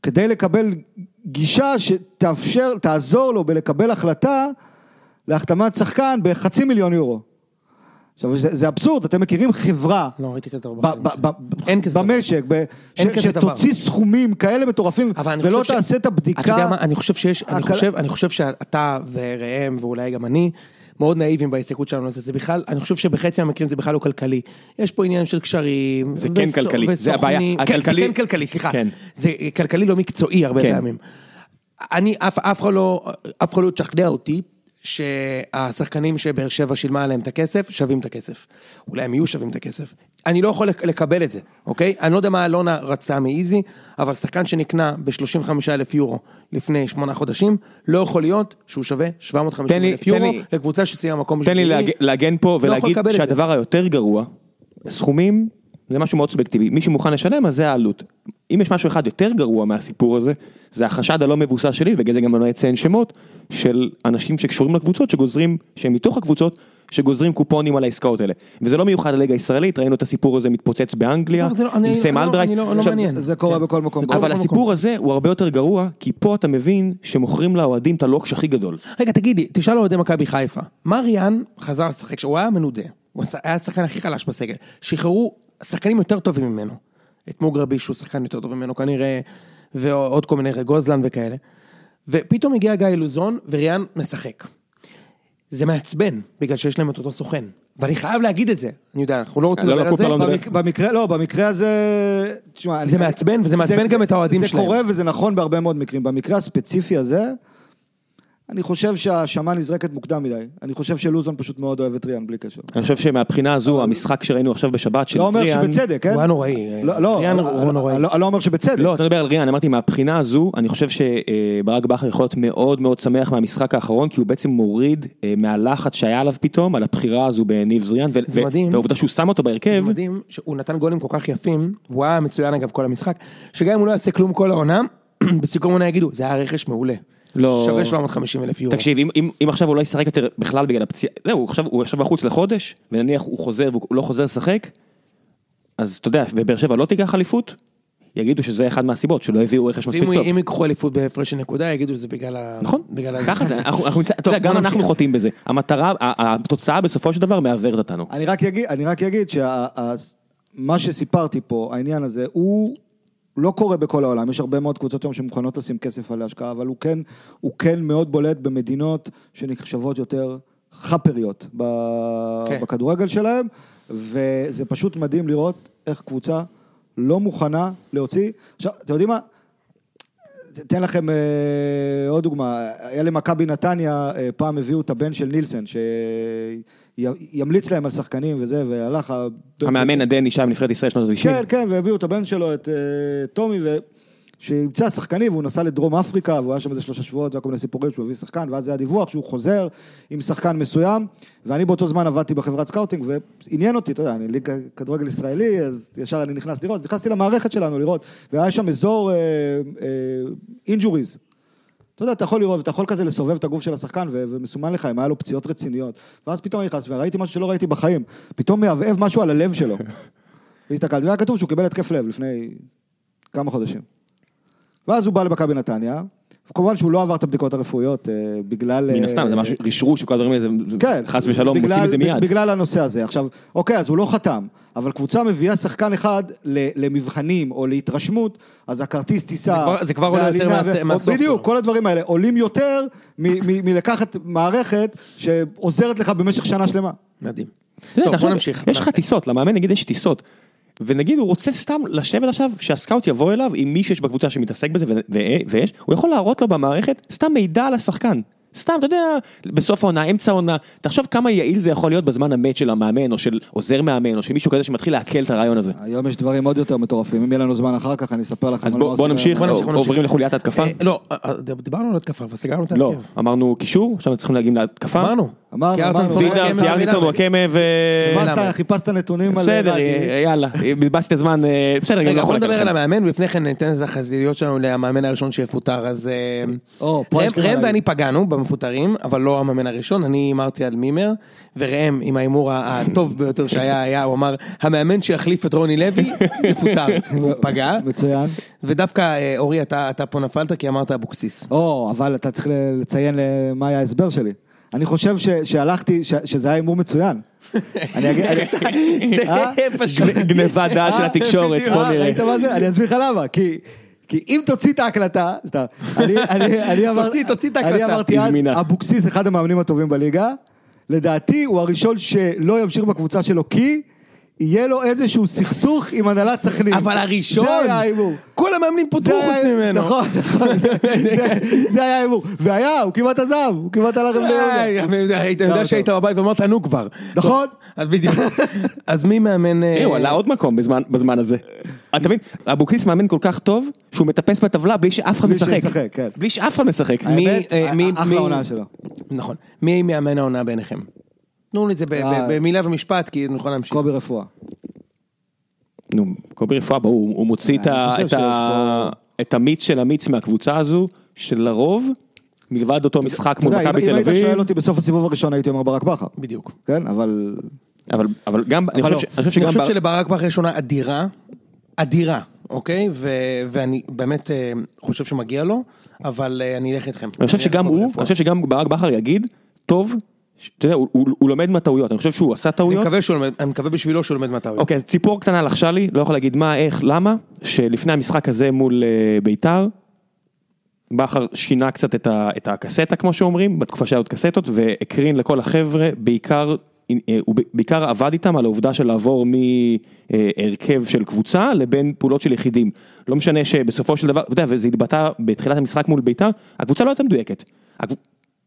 [SPEAKER 2] כדי לקבל גישה שתאפשר, תעזור לו בלקבל החלטה להחתמת שחקן בחצי מיליון יורו. עכשיו, זה, זה אבסורד, אתם מכירים חברה
[SPEAKER 3] לא, ראיתי כזה דבר.
[SPEAKER 2] ב-
[SPEAKER 3] בחיים.
[SPEAKER 2] ב- ב-
[SPEAKER 3] אין כזה דבר.
[SPEAKER 2] במשק, ב-
[SPEAKER 3] אין
[SPEAKER 2] ש-
[SPEAKER 3] כזה דבר.
[SPEAKER 2] שתוציא סכומים כאלה מטורפים,
[SPEAKER 3] אבל אני
[SPEAKER 2] ולא
[SPEAKER 3] חושב ש-
[SPEAKER 2] תעשה את הבדיקה.
[SPEAKER 3] אתה יודע מה, אני חושב שיש, אני
[SPEAKER 2] הקלה-
[SPEAKER 3] חושב, אני חושב שאתה וראם ואולי גם אני, מאוד נאיבים בהסתכלות שלנו לזה, זה בכלל, אני חושב שבחצי מהמקרים זה בכלל לא כלכלי. יש פה עניין של קשרים.
[SPEAKER 1] זה כן
[SPEAKER 3] וס-
[SPEAKER 1] כלכלי, זה
[SPEAKER 3] וסוכנים-
[SPEAKER 1] הבעיה.
[SPEAKER 3] כן, זה
[SPEAKER 1] הכלכלי-
[SPEAKER 3] כן כלכלי, סליחה.
[SPEAKER 1] כן.
[SPEAKER 3] זה כלכלי לא מקצועי הרבה
[SPEAKER 1] כן.
[SPEAKER 3] פעמים. אני, אף אף אחד לא, אף אחד לא תשכנע אותי. שהשחקנים שבאר שבע שילמה עליהם את הכסף, שווים את הכסף. אולי הם יהיו שווים את הכסף. אני לא יכול לק- לקבל את זה, אוקיי? אני לא יודע מה אלונה רצתה מאיזי, אבל שחקן שנקנה ב-35 אלף יורו לפני שמונה חודשים, לא יכול להיות שהוא שווה 750
[SPEAKER 1] תן לי-
[SPEAKER 3] אלף
[SPEAKER 1] תן
[SPEAKER 3] יורו
[SPEAKER 1] לי-
[SPEAKER 3] לקבוצה שסיימה מקום
[SPEAKER 1] תן לי
[SPEAKER 3] שביעי.
[SPEAKER 1] להג- להגן פה
[SPEAKER 3] לא יכול
[SPEAKER 1] ולהגיד
[SPEAKER 3] לקבל את זה.
[SPEAKER 1] שהדבר היותר גרוע, סכומים זה משהו מאוד סובייקטיבי, מי שמוכן לשלם אז זה העלות. אם יש משהו אחד יותר גרוע מהסיפור הזה, זה החשד הלא מבוסס שלי, בגלל זה גם אני לא אציין שמות, של אנשים שקשורים לקבוצות, שגוזרים, שהם מתוך הקבוצות, שגוזרים קופונים על העסקאות האלה. וזה לא מיוחד לליגה הישראלית, ראינו את הסיפור הזה מתפוצץ באנגליה,
[SPEAKER 3] לא, זה לא- אני-
[SPEAKER 1] עם סם
[SPEAKER 3] אני לא-
[SPEAKER 1] אלדרייס.
[SPEAKER 3] אני לא- לא
[SPEAKER 1] עכשיו,
[SPEAKER 3] מעניין.
[SPEAKER 2] זה- זה קורה בכל מקום.
[SPEAKER 3] בכל
[SPEAKER 1] אבל
[SPEAKER 3] מקום.
[SPEAKER 1] הסיפור הזה הוא הרבה יותר גרוע, כי פה אתה מבין שמוכרים לאוהדים את הלוקש הכי גדול.
[SPEAKER 3] רגע, תגיד לי, תשאל אוהדי מכבי חיפה. מריאן חזר לשחק, שהוא היה מנודה, הוא עשה- היה השחקן הכי חלש בסגל. שחררו שחקנים יותר טובים ממנו. את מוגרבי, שהוא שחקן יותר טוב ממנו כנראה, ועוד כל מיני, גוזלן וכאלה. ופתאום הגיע גיא לוזון, וריאן משחק. זה מעצבן, בגלל שיש להם את אותו סוכן. ואני חייב להגיד את זה. אני יודע, אנחנו לא רוצים
[SPEAKER 1] לא, לא,
[SPEAKER 3] לדבר על זה.
[SPEAKER 1] קופלה לא מדבר.
[SPEAKER 2] במק- במקרה, לא, במקרה הזה... תשמע,
[SPEAKER 3] זה
[SPEAKER 2] אני-
[SPEAKER 3] מעצבן, וזה מעצבן גם את האוהדים שלהם.
[SPEAKER 2] זה קורה וזה נכון בהרבה מאוד מקרים. במקרה הספציפי הזה, אני חושב שההאשמה נזרקת מוקדם מדי. אני חושב שלוזון פשוט מאוד אוהב את ריאן, בלי קשר.
[SPEAKER 1] אני חושב שמהבחינה הזו, המשחק שראינו עכשיו בשבת של
[SPEAKER 2] לא אומר
[SPEAKER 1] זריאן...
[SPEAKER 2] שבצדק, כן?
[SPEAKER 3] הוא היה נוראי.
[SPEAKER 2] לא, לא,
[SPEAKER 3] ריאן
[SPEAKER 2] אני-
[SPEAKER 3] הוא נוראי.
[SPEAKER 2] אני לא אני לא אומר שבצדק.
[SPEAKER 1] לא, אתה מדבר על ריאן, אמרתי מהבחינה הזו, אני חושב שברק בכר יכול להיות מאוד מאוד שמח מהמשחק האחרון, כי הוא בעצם מוריד אה, מהלחץ שהיה עליו פתאום, על הבחירה הזו בניב זריאן, ו-
[SPEAKER 3] זה
[SPEAKER 1] ו-
[SPEAKER 3] מדהים.
[SPEAKER 1] והעובדה שהוא שם אותו בהרכב,
[SPEAKER 3] זה מדהים שהוא נתן גולים כל כך יפים, הוא היה מצוין אגב כל המשחק, שגם אם הוא לא יעשה כלום כל העונה, <clears throat> בסיכום העונה יגידו, זה היה רכש מעולה.
[SPEAKER 1] לא.
[SPEAKER 3] שווה 750 אלף יורו.
[SPEAKER 1] תקשיב, אם, אם, אם עכשיו הוא לא ישחק יותר בכלל בגלל הפציעה, זהו, הוא עכשיו, הוא עכשיו בחוץ לחודש, ונניח הוא חוזר והוא לא חוזר לשחק, אז אתה יודע, ובאר שבע לא תיקח אליפות, יגידו שזה אחד מהסיבות, שלא הביאו רכש מספיק
[SPEAKER 3] אם,
[SPEAKER 1] טוב.
[SPEAKER 3] אם ייקחו אליפות בהפרש של נקודה, יגידו שזה בגלל ה...
[SPEAKER 1] נכון,
[SPEAKER 3] בגלל ה-
[SPEAKER 1] ככה זה, אנחנו, אנחנו, נמצא- אתה יודע,
[SPEAKER 3] <laughs> טוב, בוא
[SPEAKER 1] גם אנחנו
[SPEAKER 3] נמשיך.
[SPEAKER 1] חוטאים בזה. המטרה, ה- התוצאה בסופו של דבר מעוורת אותנו.
[SPEAKER 2] אני רק אגיד, אני רק אגיד שמה שסיפרתי פה, העניין הזה, הוא לא קורה בכל העולם. יש הרבה מאוד קבוצות היום שמוכנות לשים כסף על ההשקעה, אבל הוא כן, הוא כן מאוד בולט במדינות שנחשבות יותר חאפריות ב...
[SPEAKER 3] כן.
[SPEAKER 2] כן. בכדורגל שלהם, וזה פשוט מדהים לראות איך קבוצה לא מוכנה להוציא. עכשיו, אתם יודעים מה? אתן לכם אה, עוד דוגמה, היה למכבי נתניה, אה, פעם הביאו את הבן של נילסן, שימליץ להם על שחקנים וזה, והלך... ה-
[SPEAKER 1] המאמן הדני שם, נבחרת ישראל שנות ה-90.
[SPEAKER 2] כן, כן, והביאו את הבן שלו, את אה, טומי, ו... שימצא שחקנים, והוא נסע לדרום אפריקה, והוא היה שם איזה שלושה שבועות, והיה כל מיני סיפורים שהוא הביא שחקן, ואז היה דיווח שהוא חוזר עם שחקן מסוים, ואני באותו זמן עבדתי בחברת סקאוטינג, ועניין אותי, אתה יודע, אני ליגה כדורגל ישראלי, אז ישר אני נכנס לראות, נכנסתי למערכת שלנו לראות, והיה שם אזור אינג'וריז, אתה יודע, אתה יכול לראות, אתה יכול כזה לסובב את הגוף של השחקן ו- ומסומן לך אם היה לו פציעות רציניות. ואז פתאום אני נכנס וראיתי משהו שלא ראיתי בחיים. פתאום מעבעב משהו על הלב שלו. והסתכלתי, והיה כתוב שהוא קיבל התקף לב לפני כמה חודשים. ואז הוא בא למכבי נתניה, וכמובן שהוא לא עבר את הבדיקות הרפואיות אה, בגלל...
[SPEAKER 1] מן
[SPEAKER 2] אה,
[SPEAKER 1] הסתם, זה משהו, רשרוש וכל הדברים האלה, זה-
[SPEAKER 2] כן.
[SPEAKER 1] חס ושלום,
[SPEAKER 2] בגלל-
[SPEAKER 1] מוצאים את זה מיד.
[SPEAKER 2] בגלל הנושא הזה. עכשיו, אוקיי, אז הוא לא חתם, אבל קבוצה מביאה שחקן אחד ל- למבחנים או להתרשמות, אז הכרטיס טיסה...
[SPEAKER 3] זה כבר- זה כבר עולה יותר
[SPEAKER 2] והלינה
[SPEAKER 3] מהס-
[SPEAKER 2] ו-
[SPEAKER 3] מהסוף
[SPEAKER 2] בדיוק,
[SPEAKER 3] כבר.
[SPEAKER 2] כל הדברים האלה עולים יותר מ- מ- מלקחת מערכת שעוזרת לך במשך שנה שלמה.
[SPEAKER 3] מדהים.
[SPEAKER 1] אתה יודע,
[SPEAKER 3] טוב,
[SPEAKER 1] תחשוב,
[SPEAKER 3] בוא נמשיך.
[SPEAKER 1] יש לך טיסות, למאמן נגיד יש טיסות. ונגיד הוא רוצה סתם לשבת עכשיו, שהסקאוט יבוא אליו עם מי שיש בקבוצה שמתעסק בזה, ו- ו- ויש, הוא יכול להראות לו במערכת סתם מידע על השחקן. סתם, אתה יודע, בסוף העונה, אמצע העונה, תחשוב כמה יעיל זה יכול להיות בזמן המת של המאמן, או של עוזר מאמן, או של מישהו כזה שמתחיל לעכל את הרעיון הזה.
[SPEAKER 2] היום יש דברים עוד יותר מטורפים, אם יהיה לנו זמן אחר כך אני אספר לכם.
[SPEAKER 1] אז
[SPEAKER 2] על
[SPEAKER 1] בוא
[SPEAKER 2] מה
[SPEAKER 1] בוא
[SPEAKER 2] לא עושים
[SPEAKER 1] נמשיך,
[SPEAKER 3] בוא נמשיך, בוא נמשיך.
[SPEAKER 1] עוברים לחוליית התקפה.
[SPEAKER 3] אה, לא, אה, דיברנו על התקפה, אבל סגרנו את
[SPEAKER 1] לא,
[SPEAKER 3] ההרכב.
[SPEAKER 1] אמרנו קישור, עכשיו צריכים להגיעים להתקפה.
[SPEAKER 3] אמרנו. אוקיי,
[SPEAKER 2] אמרנו,
[SPEAKER 3] קיארטנסון,
[SPEAKER 2] אמרנו.
[SPEAKER 3] וואקמה,
[SPEAKER 1] זידר, תיארניצון,
[SPEAKER 3] וואקמה.
[SPEAKER 1] וואקמה ו...
[SPEAKER 2] היום.
[SPEAKER 3] למה?
[SPEAKER 2] חיפשת- חיפשת נתונים על...
[SPEAKER 1] אה,
[SPEAKER 2] אה,
[SPEAKER 1] בסדר, אה,
[SPEAKER 2] רדי.
[SPEAKER 1] יאללה, בזבזתי את הזמן, אה, בסדר, אני לא
[SPEAKER 3] רגע,
[SPEAKER 1] יכול
[SPEAKER 3] בוא נדבר
[SPEAKER 1] לקחת.
[SPEAKER 3] על המאמן, ולפני כן ניתן את החזיריות שלנו למאמן הראשון שיפוטר, אז... אה,
[SPEAKER 2] או, פה
[SPEAKER 3] ראם-
[SPEAKER 2] יש לי מה
[SPEAKER 3] ראם
[SPEAKER 2] להגיד.
[SPEAKER 3] ואני פגענו במפוטרים, אבל לא המאמן הראשון, אני הימרתי על מימר, וראם, עם ההימור ה- הטוב ביותר שהיה, היה, הוא אמר, המאמן שיחליף את רוני לוי, יפוטר, הוא פגע,
[SPEAKER 2] אה, מצוין.
[SPEAKER 3] ודווקא אה, אורי, אתה אתה פה נפלת כי אמרת אבוקסיס.
[SPEAKER 2] או, אבל אתה צריך ל- לציין ל- מה היה ההסבר שלי. אני חושב ש- שהלכתי, ש- שזה היה הימור מצוין. אני אגיד... <laughs>
[SPEAKER 1] <laughs>
[SPEAKER 2] אני-
[SPEAKER 3] זה פשוט.
[SPEAKER 1] גניבת דעת של התקשורת,
[SPEAKER 2] אה,
[SPEAKER 1] בוא נראה.
[SPEAKER 2] ראית מה זה? אני אסביר לך למה, כי... כי אם תוציא את ההקלטה, סתם, אני, אני, אני, אמר,
[SPEAKER 3] תוציא, תוציא את
[SPEAKER 2] אני
[SPEAKER 3] ההקלטה.
[SPEAKER 2] אמרתי אז,
[SPEAKER 1] הזמינה.
[SPEAKER 2] אבוקסיס אחד המאמנים הטובים בליגה, לדעתי הוא הראשון שלא ימשיך בקבוצה שלו, כי יהיה לו איזשהו סכסוך עם הנהלת סכנין.
[SPEAKER 3] אבל הראשון,
[SPEAKER 2] זה היה ההימור.
[SPEAKER 3] כל המאמנים פוטרו
[SPEAKER 2] זה
[SPEAKER 3] חוץ
[SPEAKER 2] היה-
[SPEAKER 3] ממנו.
[SPEAKER 2] נכון,
[SPEAKER 3] <laughs>
[SPEAKER 2] נכון, זה- זה- זה היה ההימור. והיה, הוא כמעט עזב, הוא כמעט הלך עם בני יהודה.
[SPEAKER 3] איי, אני יודע, היית יודע
[SPEAKER 2] טוב,
[SPEAKER 3] שהיית בבית ואמרת נו כבר.
[SPEAKER 2] נכון.
[SPEAKER 3] טוב, אז בדיוק. אז מי מאמן... אה,
[SPEAKER 1] אה, הוא עלה עוד מקום בזמן- בזמן הזה. אתה מבין, אבוקסיס מאמן כל כך טוב, שהוא מטפס בטבלה בלי שאף אחד
[SPEAKER 2] בלי
[SPEAKER 1] משחק.
[SPEAKER 2] שישחק, כן.
[SPEAKER 1] בלי שאף אחד משחק.
[SPEAKER 3] מי-
[SPEAKER 2] האמת,
[SPEAKER 3] אה, מי- מי-
[SPEAKER 2] אחלה עונה שלו.
[SPEAKER 3] נכון. מי מאמן העונה בעיניכם? תנו לי את זה ב- ב-
[SPEAKER 2] אה.
[SPEAKER 3] במילה ומשפט, כי אני יכול להמשיך.
[SPEAKER 2] קובי רפואה.
[SPEAKER 1] נו, קובי רפואה, ברור, הוא מוציא את
[SPEAKER 2] אני
[SPEAKER 1] ה-
[SPEAKER 2] חושב
[SPEAKER 1] את ה-
[SPEAKER 2] שיש
[SPEAKER 1] את המיץ של המיץ מהקבוצה הזו, שלרוב מלבד אותו משחק
[SPEAKER 2] אתה
[SPEAKER 1] מול
[SPEAKER 2] יודע, אם-
[SPEAKER 1] מכבי
[SPEAKER 2] אם
[SPEAKER 1] תל
[SPEAKER 2] היית
[SPEAKER 1] אביב,
[SPEAKER 2] שואל אותי בסוף הסיבוב הראשון הייתי אומר ברק בכר,
[SPEAKER 3] בדיוק.
[SPEAKER 2] כן? אבל...
[SPEAKER 1] אבל- אבל גם, אני
[SPEAKER 2] אבל
[SPEAKER 1] חושב ש-
[SPEAKER 2] לא.
[SPEAKER 1] אני חושב שגם
[SPEAKER 3] אני חושב
[SPEAKER 1] בר-
[SPEAKER 3] שלברק בכר יש עונה אדירה, אדירה, אוקיי? ו- ואני באמת אה, חושב שמגיע לו, אבל אה, אני אלך איתכם.
[SPEAKER 1] אני חושב שגם הוא, אני חושב שגם ברק בכר יגיד, טוב, ש- אתה יודע, הוא- הוא הוא לומד מהטעויות, אני חושב שהוא עשה
[SPEAKER 3] אני
[SPEAKER 1] טעויות.
[SPEAKER 3] מקווה שהוא לומד, אני מקווה בשבילו שהוא לומד מהטעויות.
[SPEAKER 1] אוקיי, אז ציפור קטנה לחשה לי, לא יכול להגיד מה, איך, למה, שלפני המשחק הזה מול אה, ביתר, בכר שינה קצת את, ה, את הקסטה, כמו שאומרים, בתקופה שהיה עוד קסטות, והקרין לכל החבר'ה, בעיקר, אה, הוא ב- בעיקר עבד איתם על העובדה של לעבור מהרכב של קבוצה לבין פעולות של יחידים. לא משנה שבסופו של דבר, אתה יודע, וזה התבטא בתחילת המשחק מול ביתר, הקבוצה לא הייתה מדויקת. הקב-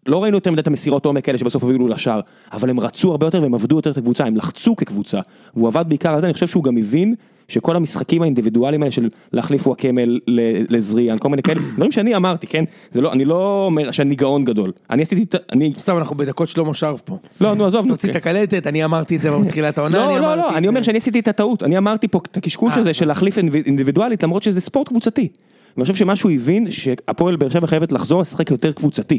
[SPEAKER 1] לא ראינו יותר מדי את המסירות עומק האלה שבסוף הובילו לשער, אבל הם רצו הרבה יותר והם עבדו יותר את הקבוצה, הם לחצו כקבוצה, והוא עבד בעיקר על זה, אני חושב שהוא גם הבין שכל המשחקים האינדיבידואליים האלה של להחליף וואקמל ל- לזריאן, כל מיני כאלה, דברים שאני אמרתי, כן? זה לא, אני לא אומר שאני גאון גדול, אני עשיתי, את- אני,
[SPEAKER 3] סתם, אנחנו בדקות שלמה שרף פה.
[SPEAKER 1] לא, נו עזוב, נו,
[SPEAKER 3] תוציא את הקלטת, אני
[SPEAKER 1] <laughs>
[SPEAKER 3] אמרתי את זה בתחילת העונה, אני
[SPEAKER 1] לא, לא,
[SPEAKER 3] אמרתי
[SPEAKER 1] לא,
[SPEAKER 3] את
[SPEAKER 1] אני
[SPEAKER 3] זה.
[SPEAKER 1] אומר שאני עשיתי את הטעות, אני אמרתי פה את הקשקוש
[SPEAKER 3] אה,
[SPEAKER 1] הזה של להחליף אינדיב- אינדיבידואלית למרות שזה ספורט קבוצתי. אני חושב שמשהו הבין שהפועל באר שבע חייבת לחזור לשחק יותר קבוצתי.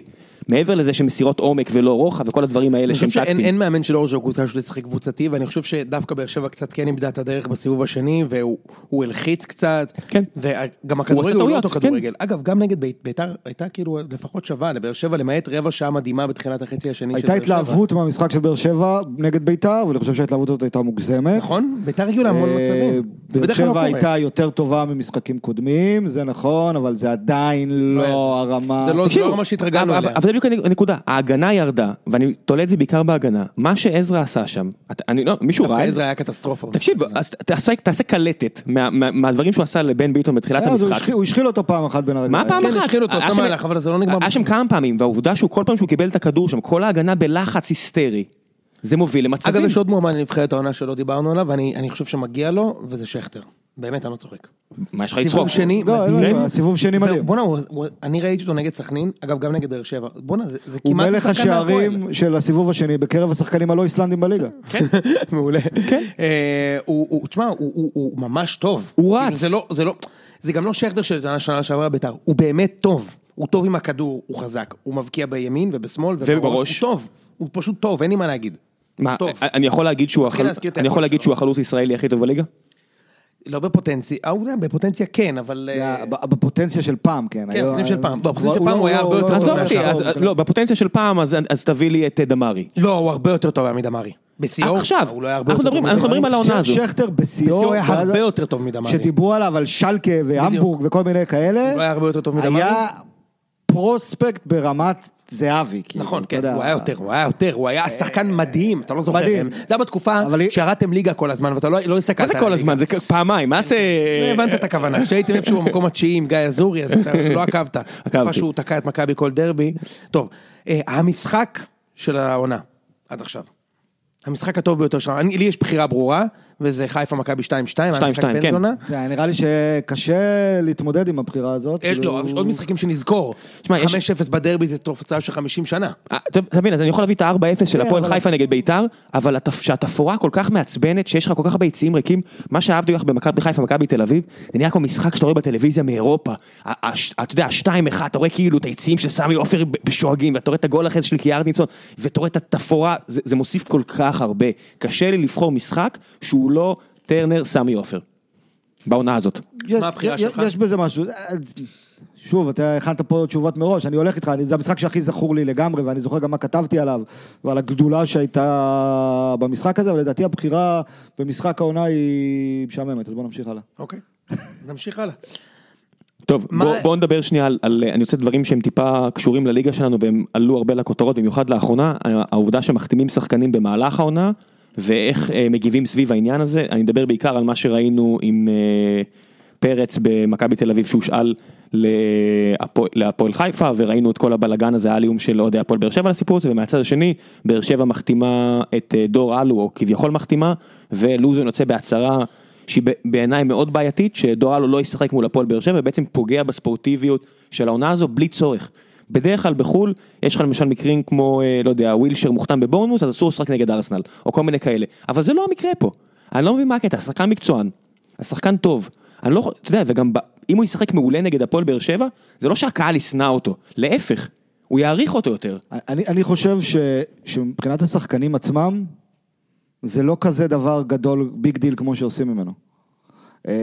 [SPEAKER 1] מעבר לזה שמסירות עומק ולא רוחב וכל הדברים האלה
[SPEAKER 3] אני חושב
[SPEAKER 1] שהם
[SPEAKER 3] שאין
[SPEAKER 1] טקטיים.
[SPEAKER 3] אין מאמן של אורג'ו קבוצה שהוא לשחק קבוצתי, ואני חושב שדווקא באר שבע קצת כן איבדה את הדרך בסיבוב השני, והוא הוא הלחיץ קצת,
[SPEAKER 1] כן.
[SPEAKER 3] וגם הכדורגל הוא לא
[SPEAKER 1] טעויות,
[SPEAKER 3] אותו
[SPEAKER 1] כן.
[SPEAKER 3] כדורגל. אגב, גם נגד בית- ביתר הייתה כאילו לפחות שווה לבאר שבע, למעט רבע שעה מדהימה בתחילת החצי השני של
[SPEAKER 2] הייתה
[SPEAKER 3] באר שבע.
[SPEAKER 2] התלהבות מהמשחק של באר שבע נגד ביתר, ואני חושב שההתלהבות הזאת הייתה מוגזמת.
[SPEAKER 3] נכון? ביתר הגיעו להמון
[SPEAKER 2] אה,
[SPEAKER 3] מצבים. זה
[SPEAKER 2] באר
[SPEAKER 3] בדרך כלל לא
[SPEAKER 2] שבע
[SPEAKER 3] קורה.
[SPEAKER 2] הייתה יותר טובה ממשחקים קודמים, זה נכון, אבל זה עדיין
[SPEAKER 3] יעזור.
[SPEAKER 2] לא הרמה...
[SPEAKER 3] זה לא-
[SPEAKER 1] תקשיבו,
[SPEAKER 3] הרמה שהתרגלנו
[SPEAKER 1] אבל-
[SPEAKER 3] אליה.
[SPEAKER 1] אבל זה בדיוק הנקודה, ההגנה ירדה, ואני תולה את זה בעיקר בהגנה. מה שעזרא עשה שם, אתה- אני לא, מישהו
[SPEAKER 3] דווקא
[SPEAKER 1] ראה את
[SPEAKER 3] עזרא
[SPEAKER 1] זה?
[SPEAKER 3] היה קטסטרופה.
[SPEAKER 1] תקשיב, אז ת- תעשה- תעשה קלטת מה- מה- מהדברים שהוא עשה לבן ביטון בתחילת
[SPEAKER 2] אה, אז הוא
[SPEAKER 1] המשחק.
[SPEAKER 2] השחיל- הוא השחיל אותו פעם אחת בין הרגליים.
[SPEAKER 1] מה פעם
[SPEAKER 3] כן,
[SPEAKER 1] אחת?
[SPEAKER 3] השחיל אותו,
[SPEAKER 1] היה
[SPEAKER 3] עשה
[SPEAKER 1] שם-
[SPEAKER 3] מהלך, אבל זה לא נגמר.
[SPEAKER 1] היה שם כמה פעמים, והעובדה שהוא כל פעם שהוא קיבל את הכדור שם, כל ההגנה בלחץ היסטרי, זה מוביל למצבים.
[SPEAKER 3] אגב, יש עוד מועמד לנבחרת העונה שלא דיברנו עליו, ואני אני חושב שמגיע לו, וזה שכטר. באמת, אני לא צוחק.
[SPEAKER 1] מה יש לך לצחוק?
[SPEAKER 3] סיבוב שני,
[SPEAKER 2] לא, אין לו-
[SPEAKER 3] מדהים.
[SPEAKER 2] הסיבוב שני מדהים.
[SPEAKER 3] כן? בואנה, הוא- הוא- אני ראיתי אותו נגד סכנין, אגב גם נגד באר שבע. בואנה, זה זה
[SPEAKER 2] הוא
[SPEAKER 3] כמעט
[SPEAKER 2] מלך
[SPEAKER 3] השחקן מהפועל.
[SPEAKER 2] <laughs>
[SPEAKER 3] כן?
[SPEAKER 2] השערים של הסיבוב השני בקרב השחקנים הלא איסלנדים בליגה.
[SPEAKER 3] מעולה. אה, הוא, הוא- תשמע, הוא- הוא הוא ממש טוב.
[SPEAKER 1] הוא
[SPEAKER 3] כאילו,
[SPEAKER 1] רץ.
[SPEAKER 3] זה לא, זה לא, זה גם לא שכטר של שנה- שנה שעברה בית"ר, הוא באמת טוב. הוא טוב עם הכדור, הוא חזק. הוא מבקיע בימין ובשמאל
[SPEAKER 1] ובראש.
[SPEAKER 3] הוא טוב. הוא פשוט טוב, אין לי מה להגיד.
[SPEAKER 1] מה, אה,
[SPEAKER 3] טוב.
[SPEAKER 1] אני יכול להגיד שהוא
[SPEAKER 3] מתחיל
[SPEAKER 1] החל-
[SPEAKER 3] להזכיר את
[SPEAKER 1] אני יכול
[SPEAKER 3] היכולת
[SPEAKER 1] להגיד
[SPEAKER 3] שלו.
[SPEAKER 1] שהוא החלוץ הישראלי הכי טוב בליגה?
[SPEAKER 3] לא בפוטנציה, אה, הוא יודע, בפוטנציה כן, אבל... אה,
[SPEAKER 2] ב- בפוטנציה של פעם, כן.
[SPEAKER 3] כן,
[SPEAKER 2] היה-
[SPEAKER 3] בפוטנציה של פעם. בפוטנציה של
[SPEAKER 2] הוא
[SPEAKER 3] פעם
[SPEAKER 2] לא-
[SPEAKER 3] הוא היה הרבה
[SPEAKER 2] לא-
[SPEAKER 3] יותר
[SPEAKER 2] לא-
[SPEAKER 3] טוב
[SPEAKER 1] עזוב
[SPEAKER 2] לא-
[SPEAKER 1] אותי,
[SPEAKER 3] מהשאר,
[SPEAKER 1] אז- לא, בפוטנציה של פעם, אז- אז תביא לי את אה, דמארי.
[SPEAKER 3] לא, הוא הרבה יותר טוב היה מדמרי. בשיאו,
[SPEAKER 1] עכשיו,
[SPEAKER 3] הוא לא היה הרבה
[SPEAKER 1] אנחנו
[SPEAKER 3] יותר טוב
[SPEAKER 1] מדברים- אנחנו
[SPEAKER 3] מדמרי.
[SPEAKER 1] מדברים על העונה הזו.
[SPEAKER 2] שכטר
[SPEAKER 3] בשיאו
[SPEAKER 2] בשיאו,
[SPEAKER 3] היה
[SPEAKER 2] ואז-
[SPEAKER 3] הרבה יותר טוב מדמרי.
[SPEAKER 2] שדיברו עליו על שלקה והמבורג וכל מיני כאלה,
[SPEAKER 3] הוא היה הרבה יותר טוב מדמרי.
[SPEAKER 2] היה פרוספקט ברמת זהבי. כאילו,
[SPEAKER 3] נכון,
[SPEAKER 2] אתה
[SPEAKER 3] כן,
[SPEAKER 2] יודע.
[SPEAKER 3] הוא היה יותר, הוא היה יותר, הוא היה שחקן מדהים, אתה לא זוכר.
[SPEAKER 2] מדהים.
[SPEAKER 3] זה היה בתקופה
[SPEAKER 2] אבל-
[SPEAKER 3] שירדתם ליגה כל הזמן, ואתה לא לא הסתכלת.
[SPEAKER 1] מה זה
[SPEAKER 3] על
[SPEAKER 1] כל
[SPEAKER 3] הליגה.
[SPEAKER 1] הזמן? זה כ- פעמיים, מה זה... אה,
[SPEAKER 3] לא הבנת את הכוונה, כשהייתם איפשהו במקום התשיעי עם גיא אזורי, אז אתה לא עקבת. עקבתי. שהוא תקע את מכבי כל דרבי. טוב, אה, המשחק של העונה, עד עכשיו. המשחק הטוב ביותר שלנו, אני- לי יש בחירה ברורה, וזה חיפה מכבי 2-2, היה משחק
[SPEAKER 1] 2-2, כן.
[SPEAKER 3] בנזונה.
[SPEAKER 2] זה היה נראה לי שקשה להתמודד עם הבחירה הזאת.
[SPEAKER 3] יש
[SPEAKER 2] כאילו-
[SPEAKER 3] לא, אבל יש עוד משחקים שנזכור.
[SPEAKER 1] תשמע, יש-
[SPEAKER 3] 5-0 בדרבי זה תוצאה של 50 שנה.
[SPEAKER 1] אה, אתה אתה מבין, אז אני יכול להביא את ה-4-0 של
[SPEAKER 2] כן,
[SPEAKER 1] הפועל
[SPEAKER 2] אבל-
[SPEAKER 1] חיפה נגד ביתר, אבל התפ- שהתפאורה כל כך מעצבנת, שיש לך כל כך הרבה יציאים ריקים, מה שאהבתי לך במכבי חיפה, מכבי תל אביב, זה נראה כמו משחק שאתה רואה בטלוויזיה מאירופה. ה- ה- ש- אתה יודע, ה-2-1, אתה רואה כאילו את היציאים של סמי עופר ב- בשואגים, ואתה רואה את הגול אחרי זה של קיארניצון, ואתה רואה את התפאורה, זה זה מוסיף כל כך הרבה. קשה לי לבחור משחק שהוא לא טרנר סמי עופר. בעונה הזאת.
[SPEAKER 2] יש-
[SPEAKER 3] מה הבחירה
[SPEAKER 2] יש-
[SPEAKER 3] שלך?
[SPEAKER 2] יש בזה משהו. אה, שוב, אתה הכנת פה תשובות מראש, אני הולך איתך, אני- זה המשחק שהכי זכור לי לגמרי, ואני זוכר גם מה כתבתי עליו, ועל הגדולה שהייתה במשחק הזה, אבל לדעתי הבחירה במשחק העונה היא משעממת, אז בוא נמשיך הלאה.
[SPEAKER 3] אוקיי, נמשיך הלאה.
[SPEAKER 1] טוב,
[SPEAKER 3] מה-
[SPEAKER 1] בואו בוא נדבר שנייה על, על, אני רוצה דברים שהם טיפה קשורים לליגה שלנו והם עלו הרבה לכותרות, במיוחד לאחרונה, העובדה שמחתימים שחקנים במהלך העונה ואיך אה, מגיבים סביב העניין הזה, אני מדבר בעיקר על מה שראינו עם אה, פרץ במכבי תל אביב שהושאל להפועל- להפועל חיפה וראינו את כל הבלגן הזה, העליום של אוהדי הפועל באר שבע לסיפור הזה ומהצד השני, באר שבע מחתימה את אה, דור אלו או כביכול מחתימה ולוזון יוצא בהצהרה שהיא ב- בעיניי מאוד בעייתית, שדואלו לא ישחק מול הפועל באר שבע, ובעצם פוגע בספורטיביות של העונה הזו בלי צורך. בדרך כלל בחו"ל, יש לך למשל מקרים כמו, אה, לא יודע, ווילשר מוכתם בבורנוס, אז אסור לשחק נגד ארסנל, או כל מיני כאלה. אבל זה לא המקרה פה. אני לא מבין מה הקטע, השחקן מקצוען, השחקן טוב. אני לא, יכול- אתה יודע, וגם ב, אם הוא ישחק מעולה נגד הפועל באר שבע, זה לא שהקהל ישנא אותו, להפך. הוא יעריך אותו יותר.
[SPEAKER 2] אני, אני חושב ש, שמבחינת השחקנים עצמם, זה לא כזה דבר גדול, ביג דיל, כמו שעושים ממנו. אה,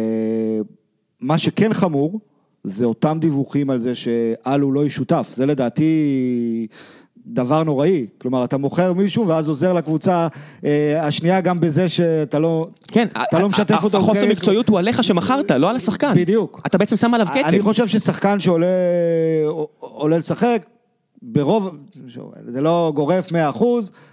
[SPEAKER 2] מה שכן חמור, זה אותם דיווחים על זה שאלו לא ישותף. זה לדעתי דבר נוראי. כלומר, אתה מוכר מישהו ואז עוזר לקבוצה אה, השנייה גם בזה שאתה לא...
[SPEAKER 1] כן,
[SPEAKER 2] אתה לא משתף
[SPEAKER 1] ה- ה-
[SPEAKER 2] אותו,
[SPEAKER 1] החוסר
[SPEAKER 2] אוקיי?
[SPEAKER 1] מקצועיות הוא עליך שמכרת, לא על השחקן.
[SPEAKER 2] בדיוק.
[SPEAKER 1] אתה בעצם שם עליו כתם.
[SPEAKER 2] אני חושב ששחקן שעולה עולה לשחק, ברוב, זה לא גורף 100%,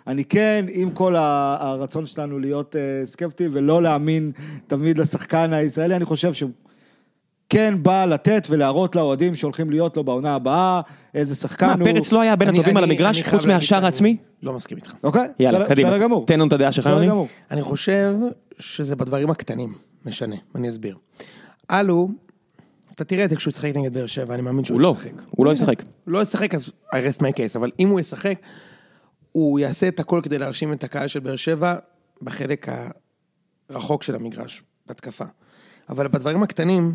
[SPEAKER 2] אני כן, עם כל ה- הרצון שלנו להיות אה, סקפטי ולא להאמין תמיד לשחקן הישראלי, אני חושב שכן בא לתת ולהראות לאוהדים שהולכים להיות לו בעונה הבאה, איזה שחקן
[SPEAKER 1] מה,
[SPEAKER 2] הוא.
[SPEAKER 1] פרץ לא היה בין
[SPEAKER 3] אני-
[SPEAKER 1] הטובים על
[SPEAKER 3] אני-
[SPEAKER 1] המגרש,
[SPEAKER 3] אני
[SPEAKER 1] חוץ
[SPEAKER 3] חייב להגיד
[SPEAKER 1] מהשער
[SPEAKER 3] שאני
[SPEAKER 1] העצמי?
[SPEAKER 3] לא מסכים איתך.
[SPEAKER 2] אוקיי,
[SPEAKER 1] יאללה,
[SPEAKER 2] בסדר-
[SPEAKER 1] קדימה.
[SPEAKER 2] בסדר גמור.
[SPEAKER 1] תן לנו את הדעה שלך,
[SPEAKER 2] בסדר
[SPEAKER 1] יוני.
[SPEAKER 2] גמור.
[SPEAKER 3] אני חושב שזה בדברים הקטנים משנה, אני אסביר. אלו, אתה תראה את זה כשהוא ישחק נגד באר שבע, אני מאמין שהוא
[SPEAKER 1] הוא לא,
[SPEAKER 3] ישחק.
[SPEAKER 1] הוא לא ישחק.
[SPEAKER 3] לא ישחק אז I rest my case, אבל אם הוא ישחק, הוא יעשה את הכל כדי להרשים את הקהל של באר שבע בחלק הרחוק של המגרש, בהתקפה. אבל בדברים הקטנים,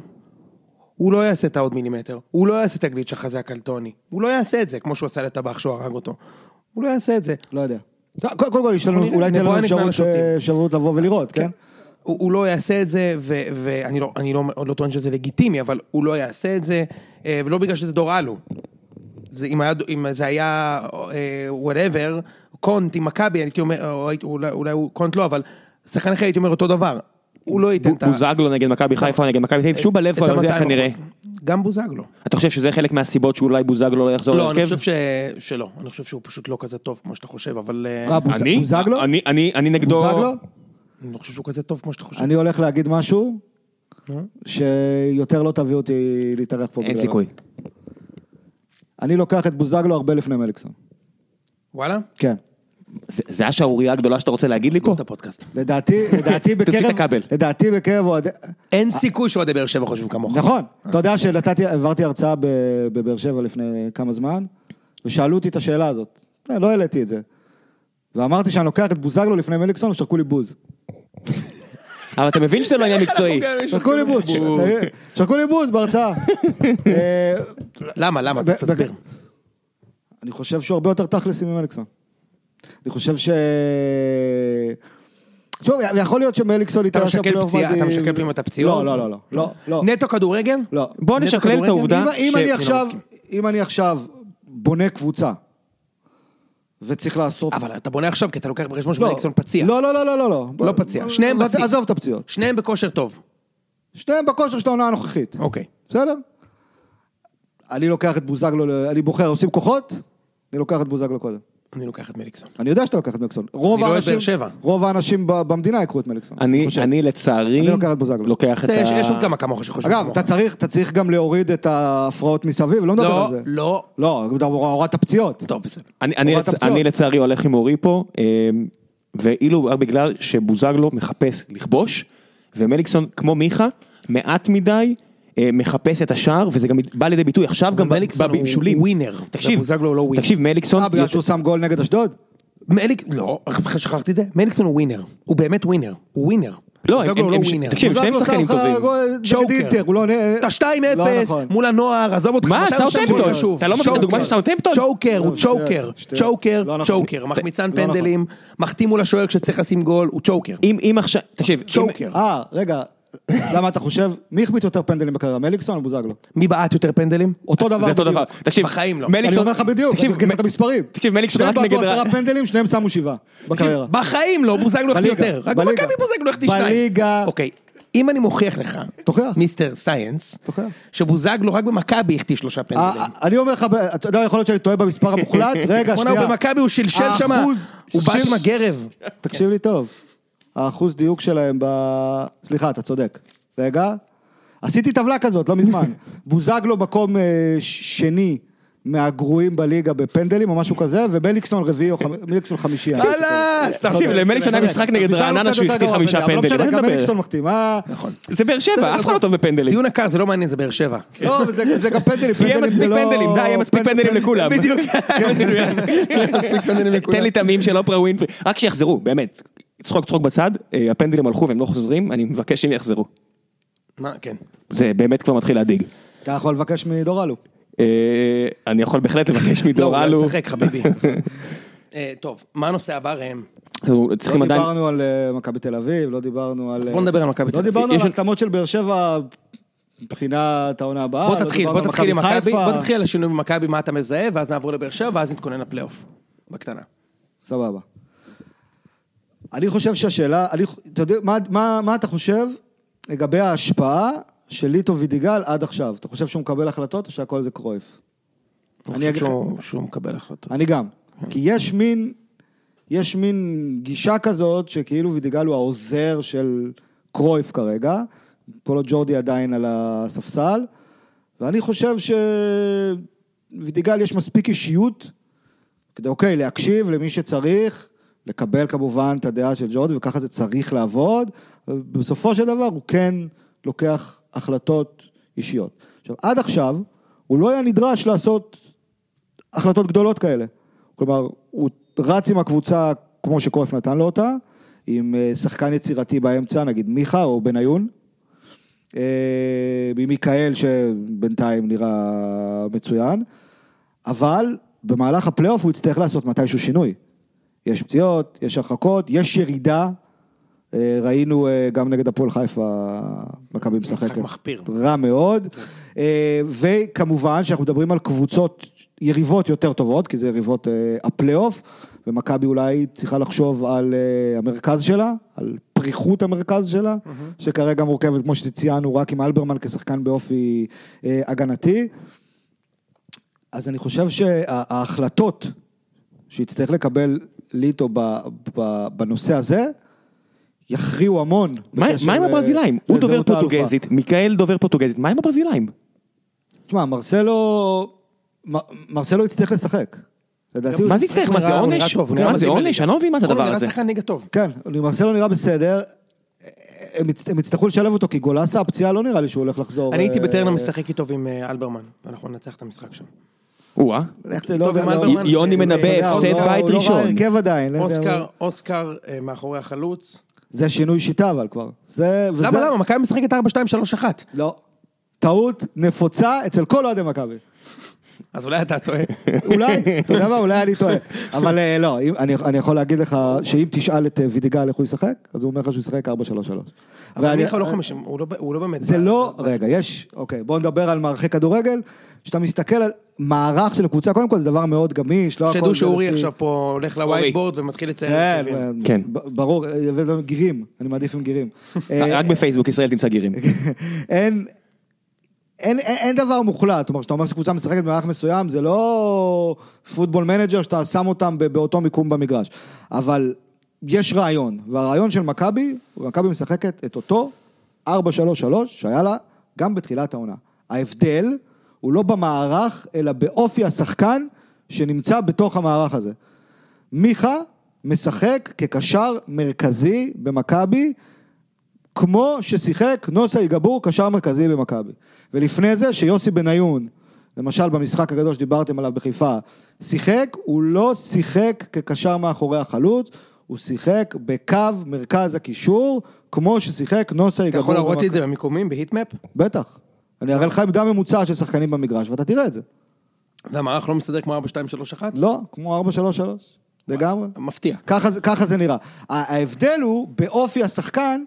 [SPEAKER 3] הוא לא יעשה את העוד מילימטר, הוא לא יעשה את הגליץ' החזק על טוני, הוא לא יעשה את זה, כמו שהוא עשה לטבח שהוא הרג אותו. הוא לא יעשה את זה.
[SPEAKER 2] לא יודע. טוב, קודם כל, יש לנו,
[SPEAKER 3] אנחנו נראה,
[SPEAKER 2] אולי תהיה לנו
[SPEAKER 3] נבואה ניתנה
[SPEAKER 2] אפשרות,
[SPEAKER 3] לשופטים.
[SPEAKER 2] אה, אפשרות לבוא ולראות, כן?
[SPEAKER 3] הוא, הוא לא יעשה את זה, ו, ואני לא, אני לא, עוד לא טוען שזה לגיטימי, אבל הוא לא יעשה את זה, אה, ולא בגלל שזה דור אלו. זה, אם, היה, אם זה היה אה, whatever, קונט עם מכבי, הייתי אומר, או, הייתי- אולי, אולי הוא קונט לא, אבל שחקן אחר הייתי אומר אותו דבר. הוא לא ייתן את ה...
[SPEAKER 1] בוזגלו נגד מכבי
[SPEAKER 3] נכון.
[SPEAKER 1] חיפה, נגד מכבי תל אביב, שהוא בלב
[SPEAKER 3] את
[SPEAKER 1] כבר יודע
[SPEAKER 3] ה- 200%.
[SPEAKER 1] כנראה.
[SPEAKER 3] גם בוזגלו.
[SPEAKER 1] אתה חושב שזה חלק מהסיבות שאולי בוזגלו לא יחזור
[SPEAKER 3] לא, אני
[SPEAKER 1] להרכב?
[SPEAKER 3] חושב ש... שלא. אני חושב שהוא פשוט לא כזה טוב כמו שאתה חושב, אבל... אה,
[SPEAKER 2] מה, בוז-
[SPEAKER 1] אני?
[SPEAKER 2] בוזגלו?
[SPEAKER 1] אני- אני אני נגדו...
[SPEAKER 2] בוזגלו?
[SPEAKER 3] אני לא חושב שהוא כזה טוב כמו שאתה חושב.
[SPEAKER 2] אני הולך להגיד משהו, אה? שיותר לא תביא אותי להתארח פה.
[SPEAKER 1] אין
[SPEAKER 2] בגללו.
[SPEAKER 1] סיכוי.
[SPEAKER 2] אני לוקח את בוזגלו הרבה לפני מליקסון.
[SPEAKER 3] וואלה?
[SPEAKER 2] כן.
[SPEAKER 1] זה- זה השערורייה הגדולה שאתה רוצה להגיד לי פה?
[SPEAKER 3] את הפודקאסט.
[SPEAKER 1] <laughs>
[SPEAKER 2] לדעתי, לדעתי
[SPEAKER 1] תוציא
[SPEAKER 2] בקרב...
[SPEAKER 1] את הכבל.
[SPEAKER 2] לדעתי בקרב אוהדי...
[SPEAKER 3] אין סיכוי שאוהדי באר שבע חושבים כמוך.
[SPEAKER 2] נכון. אתה יודע שנתתי, העברתי הרצאה ב- בבאר שבע לפני כמה זמן, ושאלו אותי את השאלה הזאת. לא לא העליתי את זה. ואמרתי שאני לוקח את בוזגלו לפני מליקסון, שרקו לי בוז.
[SPEAKER 1] אבל אתה מבין שזה לא עניין
[SPEAKER 3] <laughs>
[SPEAKER 1] מקצועי.
[SPEAKER 2] שרקו לי בוז. שרקו לי בוז <laughs> בהרצאה. אה,
[SPEAKER 3] למה, למה?
[SPEAKER 2] ב-
[SPEAKER 3] תסביר.
[SPEAKER 2] ב- אני חושב שהוא הרבה יותר תכלסי ממליקסון. אני חושב ש... שוב, יכול להיות שמליקסון
[SPEAKER 3] אתה
[SPEAKER 2] יתרש
[SPEAKER 3] משקל
[SPEAKER 2] לפלייאוף
[SPEAKER 3] פציעה,
[SPEAKER 2] מדהים.
[SPEAKER 3] אתה משקל פתאום את הפציעות?
[SPEAKER 2] לא, לא, לא, לא, לא. לא.
[SPEAKER 3] נטו כדורגל?
[SPEAKER 2] לא.
[SPEAKER 1] בוא
[SPEAKER 3] נטו
[SPEAKER 1] נשקלל את
[SPEAKER 3] כדורגל?
[SPEAKER 1] העובדה
[SPEAKER 2] אם- אם אני
[SPEAKER 1] ש...
[SPEAKER 2] עכשיו,
[SPEAKER 3] מסכים.
[SPEAKER 2] אם אני עכשיו בונה קבוצה, וצריך לעשות...
[SPEAKER 3] אבל אתה בונה עכשיו, כי אתה לוקח
[SPEAKER 2] לא.
[SPEAKER 3] בחשבון שמליקסון פציע.
[SPEAKER 2] לא, לא, לא, לא, לא, לא.
[SPEAKER 3] לא פציע. שניהם
[SPEAKER 2] אז
[SPEAKER 3] פציע.
[SPEAKER 2] עזוב את הפציעות.
[SPEAKER 3] שניהם בכושר טוב.
[SPEAKER 2] שניהם בכושר של העונה הנוכחית.
[SPEAKER 3] אוקיי.
[SPEAKER 2] בסדר? אני לוקח את בוזגלו, ל- אני בוחר, עושים כוחות? אני לוקח את בוזגלו קודם.
[SPEAKER 3] אני לוקח את מליקסון.
[SPEAKER 2] אני יודע שאתה לוקח את מליקסון. רוב
[SPEAKER 3] אני לא אוהד
[SPEAKER 2] האנשים,
[SPEAKER 3] באר שבע.
[SPEAKER 2] רוב האנשים ב- במדינה יקחו את מליקסון.
[SPEAKER 3] לא
[SPEAKER 1] אני,
[SPEAKER 2] חושב.
[SPEAKER 1] אני לצערי,
[SPEAKER 2] אני לוקח את בוזגלו.
[SPEAKER 1] לוקח את
[SPEAKER 3] זה, יש
[SPEAKER 1] ה...
[SPEAKER 3] יש עוד כמה כמוך שחושבים
[SPEAKER 2] אגב,
[SPEAKER 3] כמוך.
[SPEAKER 2] אתה צריך, אתה צריך גם להוריד את ההפרעות מסביב, לא מדבר
[SPEAKER 3] לא,
[SPEAKER 2] על זה.
[SPEAKER 3] לא.
[SPEAKER 2] לא, אתה הורדת פציעות.
[SPEAKER 3] טוב, בסדר.
[SPEAKER 1] אני, אני,
[SPEAKER 2] הורדת
[SPEAKER 1] לצ...
[SPEAKER 2] הפציעות.
[SPEAKER 1] אני לצערי הולך עם אורי פה, אמ, ואילו רק בגלל שבוזגלו מחפש לכבוש, ומליקסון, כמו מיכה, מעט מדי אה, מחפש את השער, וזה גם בא לידי ביטוי עכשיו גם ב-
[SPEAKER 3] מליקסון הוא
[SPEAKER 1] בבישולים.
[SPEAKER 3] ווינר,
[SPEAKER 1] תקשיב,
[SPEAKER 3] ובוזגלו הוא לא ווינר.
[SPEAKER 1] תקשיב, מליקסון,
[SPEAKER 2] אה, בגלל
[SPEAKER 1] יותר-
[SPEAKER 2] שהוא שם גול נגד אשדוד?
[SPEAKER 3] מליק... לא, בכלל שכחתי את זה. מליקסון הוא ווינר. הוא באמת ווינר. הוא ווינר.
[SPEAKER 1] לא, הם-
[SPEAKER 3] בוזגלו הוא
[SPEAKER 1] הם-
[SPEAKER 3] לא
[SPEAKER 1] הם ש-
[SPEAKER 3] ווינר.
[SPEAKER 1] תקשיב, הם שניהם
[SPEAKER 2] בוזגלו
[SPEAKER 1] שחקנים
[SPEAKER 2] שם לך
[SPEAKER 1] טובים.
[SPEAKER 2] גול נגד
[SPEAKER 3] ג'וקר.
[SPEAKER 2] אינטר, הוא לא...
[SPEAKER 3] אתה 2-0
[SPEAKER 2] לא נכון.
[SPEAKER 3] מול הנוער, עזוב אותך.
[SPEAKER 1] מה,
[SPEAKER 3] מתי אתה
[SPEAKER 1] סאוטהמפטון?
[SPEAKER 3] שם גול חשוב?
[SPEAKER 1] אתה לא מביא את הדוגמה של
[SPEAKER 3] צ'וקר.
[SPEAKER 1] סאוטהמפטון?
[SPEAKER 3] צ'וקר, הוא
[SPEAKER 2] לא, שטויות,
[SPEAKER 3] צ'וקר.
[SPEAKER 2] שטויות.
[SPEAKER 3] צ'וקר,
[SPEAKER 2] לא נכון.
[SPEAKER 3] צ'וקר.
[SPEAKER 2] ת-
[SPEAKER 3] מחמיצן
[SPEAKER 2] לא
[SPEAKER 3] פנדלים, מחטיא מול השוער כשצריך לשים גול, הוא צ'וקר.
[SPEAKER 1] אם, אם עכשיו, תקשיב, אם-
[SPEAKER 3] צ'וקר.
[SPEAKER 2] אה, רגע, למה אתה חושב? מי החמיץ יותר פנדלים בקריירה, מליקסון או בוזגלו?
[SPEAKER 3] מי בעט יותר פנדלים?
[SPEAKER 2] אותו דבר
[SPEAKER 1] זה אותו דבר.
[SPEAKER 2] בדיוק.
[SPEAKER 1] תקשיב,
[SPEAKER 3] בחיים לא.
[SPEAKER 2] אני
[SPEAKER 1] מליקסון,
[SPEAKER 2] אומר לך בדיוק,
[SPEAKER 1] תקשיב,
[SPEAKER 2] אתה תגיד את המספרים.
[SPEAKER 1] תקשיב, מליקסון רק נגד...
[SPEAKER 2] שניהם בעטו עשרה
[SPEAKER 1] רע-
[SPEAKER 2] פנדלים, שניהם שמו שבעה בקריירה.
[SPEAKER 3] בחיים לא, בוזגלו החטיא
[SPEAKER 2] בליגה,
[SPEAKER 3] יותר. רק
[SPEAKER 2] בליגה.
[SPEAKER 3] במכבי בוזגלו החטיא שניים.
[SPEAKER 2] בליגה.
[SPEAKER 3] אוקיי, אם אני מוכיח לך,
[SPEAKER 2] תוכיח.
[SPEAKER 3] מיסטר סייאנס,
[SPEAKER 2] תוכיח.
[SPEAKER 3] שבוזגלו רק במכבי החטיא שלושה פנדלים.
[SPEAKER 2] אה, אני אומר לך, ב- אתה יודע, יכול להיות שאני טועה
[SPEAKER 1] <laughs>
[SPEAKER 2] במספר המוחלט, רגע,
[SPEAKER 3] בואנה,
[SPEAKER 2] שנייה. אה,
[SPEAKER 3] הוא במכבי, הוא שלשל שם,
[SPEAKER 2] האחוז-
[SPEAKER 3] הוא בעט
[SPEAKER 2] שיל-
[SPEAKER 3] עם הגרב.
[SPEAKER 2] תקשיב לי טוב, האחוז דיוק שלהם ב... סליחה, אתה צודק. רגע, עשיתי טבלה כזאת, לא
[SPEAKER 1] <laughs>
[SPEAKER 2] מזמן. בוזגלו מקום אה, ש- שני מהגרועים בליגה בפנדלים או משהו כזה, ומליקסון רביעי או
[SPEAKER 1] <laughs>
[SPEAKER 2] חמ- מליקסון חמישי. אני חושב.
[SPEAKER 3] חלאס,
[SPEAKER 1] תקשיב, למליקסון היה משחק נגד
[SPEAKER 2] בוזגלו
[SPEAKER 1] רעננה
[SPEAKER 2] קצת
[SPEAKER 1] שהוא
[SPEAKER 2] יותר
[SPEAKER 1] החטיא
[SPEAKER 2] גרוע
[SPEAKER 1] חמישה
[SPEAKER 2] בפנדלים, אבל
[SPEAKER 1] פנדלים, נכון.
[SPEAKER 2] לא משנה,
[SPEAKER 1] אין
[SPEAKER 2] גם
[SPEAKER 1] לדבר.
[SPEAKER 2] מליקסון מחתים, אה?
[SPEAKER 1] זה באר שבע, אף אחד לא טוב בפנדלים.
[SPEAKER 3] דיון עקר זה לא מעניין, זה באר שבע.
[SPEAKER 2] לא, אבל זה זה גם פנדלים,
[SPEAKER 1] <laughs> יהיה
[SPEAKER 2] פנדלים זה
[SPEAKER 1] מספיק
[SPEAKER 2] לא...
[SPEAKER 1] פנדלים, די, יהיה מספיק פנדלים לכולם.
[SPEAKER 3] בדיוק.
[SPEAKER 2] כן,
[SPEAKER 3] <laughs>
[SPEAKER 1] תן לי את המים של אופרה ווינפרי, רק שיחזרו, באמת. צחוק צחוק בצד, אה, הפנדלים הלכו והם לא חוזרים, אני מבקש שהם יחזרו.
[SPEAKER 3] מה, כן.
[SPEAKER 1] זה באמת כבר מתחיל להדאיג.
[SPEAKER 2] אתה יכול לבקש מדורלו.
[SPEAKER 1] אה, אני יכול בהחלט לבקש מדור
[SPEAKER 3] לא, הוא
[SPEAKER 1] אלו.
[SPEAKER 3] לא
[SPEAKER 2] <laughs>
[SPEAKER 3] ישחק, חביבי. אה, טוב, מה הנושא הבא, ראם?
[SPEAKER 1] אנחנו צריכים
[SPEAKER 2] לא
[SPEAKER 1] עדיין,
[SPEAKER 2] דיברנו על אה, מכבי תל אביב, לא דיברנו על...
[SPEAKER 3] אז בוא נדבר על מכבי
[SPEAKER 2] לא
[SPEAKER 3] תל אביב.
[SPEAKER 2] דיברנו
[SPEAKER 1] יש
[SPEAKER 2] על
[SPEAKER 1] עוד-
[SPEAKER 2] הקדמות של באר שבע מבחינת העונה הבאה.
[SPEAKER 3] בוא
[SPEAKER 2] לא
[SPEAKER 3] תתחיל,
[SPEAKER 2] דיברנו
[SPEAKER 3] בוא
[SPEAKER 2] על
[SPEAKER 3] תתחיל עם מכבי,
[SPEAKER 2] חיפה.
[SPEAKER 3] בוא תתחיל על השינוי במכבי, מה אתה מזהה, ואז נעבור לבאר שבע, ואז נתכונן לפלייאוף. בקטנה.
[SPEAKER 2] סבבה. אני חושב שהשאלה, אני, ח- אתה יודע, מה, מה, מה אתה חושב לגבי ההשפעה של ליטו וידיגל עד עכשיו? אתה חושב שהוא מקבל החלטות או שהכל זה קרויף?
[SPEAKER 3] אני
[SPEAKER 2] אגיד
[SPEAKER 3] חושב שהוא- שהוא מקבל החלטות.
[SPEAKER 2] אני גם. כי יש מין, יש מין גישה כזאת שכאילו וידיגל הוא העוזר של קרויף כרגע, כל עוד ג'ורדי עדיין על הספסל, ואני חושב שוידיגל יש מספיק אישיות כדי, אוקיי, להקשיב למי שצריך, לקבל כמובן את הדעה של ג'ורדי, וככה זה צריך לעבוד, ובסופו של דבר הוא כן לוקח החלטות אישיות. עכשיו, עד עכשיו, הוא לא היה נדרש לעשות החלטות גדולות כאלה. כלומר, הוא רץ עם הקבוצה כמו שקרויף נתן לו אותה, עם אה, שחקן יצירתי באמצע, נגיד מיכה או בניון, אה, עם מיכאל שבינתיים נראה מצוין, אבל במהלך הפלייאוף הוא יצטרך לעשות מתישהו שינוי. יש פציעות, יש הרחקות, יש ירידה. אה, ראינו אה, גם נגד הפועל חיפה, מכבי משחקת.
[SPEAKER 3] מחפיר.
[SPEAKER 2] רע מאוד. אה, וכמובן שאנחנו מדברים על קבוצות יריבות יותר טובות, כי זה יריבות אה, הפלייאוף, ומכבי אולי צריכה לחשוב על אה, המרכז שלה, על פריחות המרכז שלה, שכרגע מורכבת, כמו שציינו, רק עם אלברמן כשחקן באופי אה, הגנתי. אז אני חושב שההחלטות שיצטרך לקבל ליטו ב- ב- בנושא הזה, יכריעו המון.
[SPEAKER 1] מה
[SPEAKER 2] בקשר
[SPEAKER 1] מה עם
[SPEAKER 2] ל-
[SPEAKER 1] הברזילאים? הוא דובר
[SPEAKER 2] לזהות האלופה.
[SPEAKER 1] פורטוגזית, מיכאל דובר פורטוגזית, מה עם הברזילאים?
[SPEAKER 2] תשמע, מרסלו... מ- מרסלו יצטרך לשחק. לדעתי הוא...
[SPEAKER 1] מה זה יצטרך? מה
[SPEAKER 3] הוא
[SPEAKER 1] זה
[SPEAKER 3] נראה- הוא נראה
[SPEAKER 1] עונש?
[SPEAKER 3] טוב, הוא נראה
[SPEAKER 1] מה זה
[SPEAKER 3] מדהים
[SPEAKER 1] עונש?
[SPEAKER 3] בליגה.
[SPEAKER 1] אני לא מבין מה זה
[SPEAKER 3] הוא
[SPEAKER 1] הדבר
[SPEAKER 3] נראה
[SPEAKER 1] הזה.
[SPEAKER 3] שחקן ליגה טוב.
[SPEAKER 2] כן, מרסלו נראה בסדר. הם יצ- הם יצטרכו לשלב אותו, כי גולסה, הפציעה לא נראה לי שהוא הולך לחזור.
[SPEAKER 3] אני הייתי
[SPEAKER 2] אה,
[SPEAKER 3] בטרנר משחק איתו עם אה, אלברמן, ואנחנו ננצח את המשחק שם.
[SPEAKER 1] או-אה.
[SPEAKER 2] לך תדע, לא
[SPEAKER 3] טוב,
[SPEAKER 2] יודע,
[SPEAKER 3] עם
[SPEAKER 2] לא-
[SPEAKER 3] אלברמן.
[SPEAKER 2] אתה
[SPEAKER 1] יוני
[SPEAKER 3] אה,
[SPEAKER 1] מנבא,
[SPEAKER 2] יודע, הוא
[SPEAKER 1] הפסד
[SPEAKER 2] לא-
[SPEAKER 1] בית
[SPEAKER 2] הוא לא
[SPEAKER 1] ראשון.
[SPEAKER 2] בהרכב עדיין. לא יודע,
[SPEAKER 3] אוסקר,
[SPEAKER 2] הוא-
[SPEAKER 3] אוסקר אה, מאחורי החלוץ.
[SPEAKER 2] זה שינוי שיטה אבל כבר. זה... וזה-
[SPEAKER 3] למה, למה? מכבי משחקת 4-2-3-1.
[SPEAKER 2] לא. טעות נפוצה אצל כל אוהדי מכבי.
[SPEAKER 3] אז אולי אתה <laughs> טועה.
[SPEAKER 2] אולי, אתה יודע מה, אולי אני טועה. אבל אה, לא, אם- אני- אני יכול להגיד לך שאם תשאל את אה, וידיגל איך הוא ישחק, אז הוא אומר לך שהוא ישחק 4-3-3.
[SPEAKER 3] אבל
[SPEAKER 2] ואני-
[SPEAKER 3] מיכה לא חמישים, הוא לא ב- הוא לא באמת...
[SPEAKER 2] זה לא, רגע, יש, אוקיי, בואו נדבר על מערכי כדורגל. כשאתה מסתכל על מערך של קבוצה, קודם כל זה דבר מאוד גמיש, לא הכל...
[SPEAKER 3] שתדעו
[SPEAKER 2] זה
[SPEAKER 3] שאורי
[SPEAKER 2] לפי-
[SPEAKER 3] עכשיו פה הולך לווייט בורד ומתחיל לצייר.
[SPEAKER 2] כן,
[SPEAKER 3] הרכבים.
[SPEAKER 1] כן.
[SPEAKER 2] ב- ברור, אה, וגם גירים, אני מעדיף עם גירים. אה,
[SPEAKER 1] רק בפייסבוק ישראל תמצא גירים.
[SPEAKER 2] אין, אין, אין, אין דבר מוחלט, כלומר, כשאתה אומר שקבוצה משחקת במערך מסוים, זה לא פוטבול מנג'ר שאתה שם אותם ב- באותו מיקום במגרש. אבל יש רעיון, והרעיון של מכבי, מכבי משחקת את אותו 4-3-3 שהיה לה גם בתחילת העונה. ההבדל הוא לא במערך, אלא באופי השחקן שנמצא בתוך המערך הזה. מיכה משחק כקשר מרכזי במכבי, כמו ששיחק נוסי גבור קשר מרכזי במכבי. ולפני זה שיוסי בניון, למשל במשחק הגדול שדיברתם עליו בחיפה, שיחק, הוא לא שיחק כקשר מאחורי החלוץ, הוא שיחק בקו מרכז הקישור, כמו ששיחק נוסי גבור.
[SPEAKER 3] אתה יכול להראות לי את
[SPEAKER 2] במכבי.
[SPEAKER 3] זה במיקומים, בהיטמפ?
[SPEAKER 2] בטח. אני אראה לך עמדה ממוצעת של שחקנים במגרש ואתה תראה את זה.
[SPEAKER 3] והמערך לא מסתדר כמו 4-2-3-1?
[SPEAKER 2] לא, כמו 4-3-3, לגמרי.
[SPEAKER 3] מפתיע.
[SPEAKER 2] ככה, זה- ככה זה נראה. ה- ההבדל הוא באופי השחקן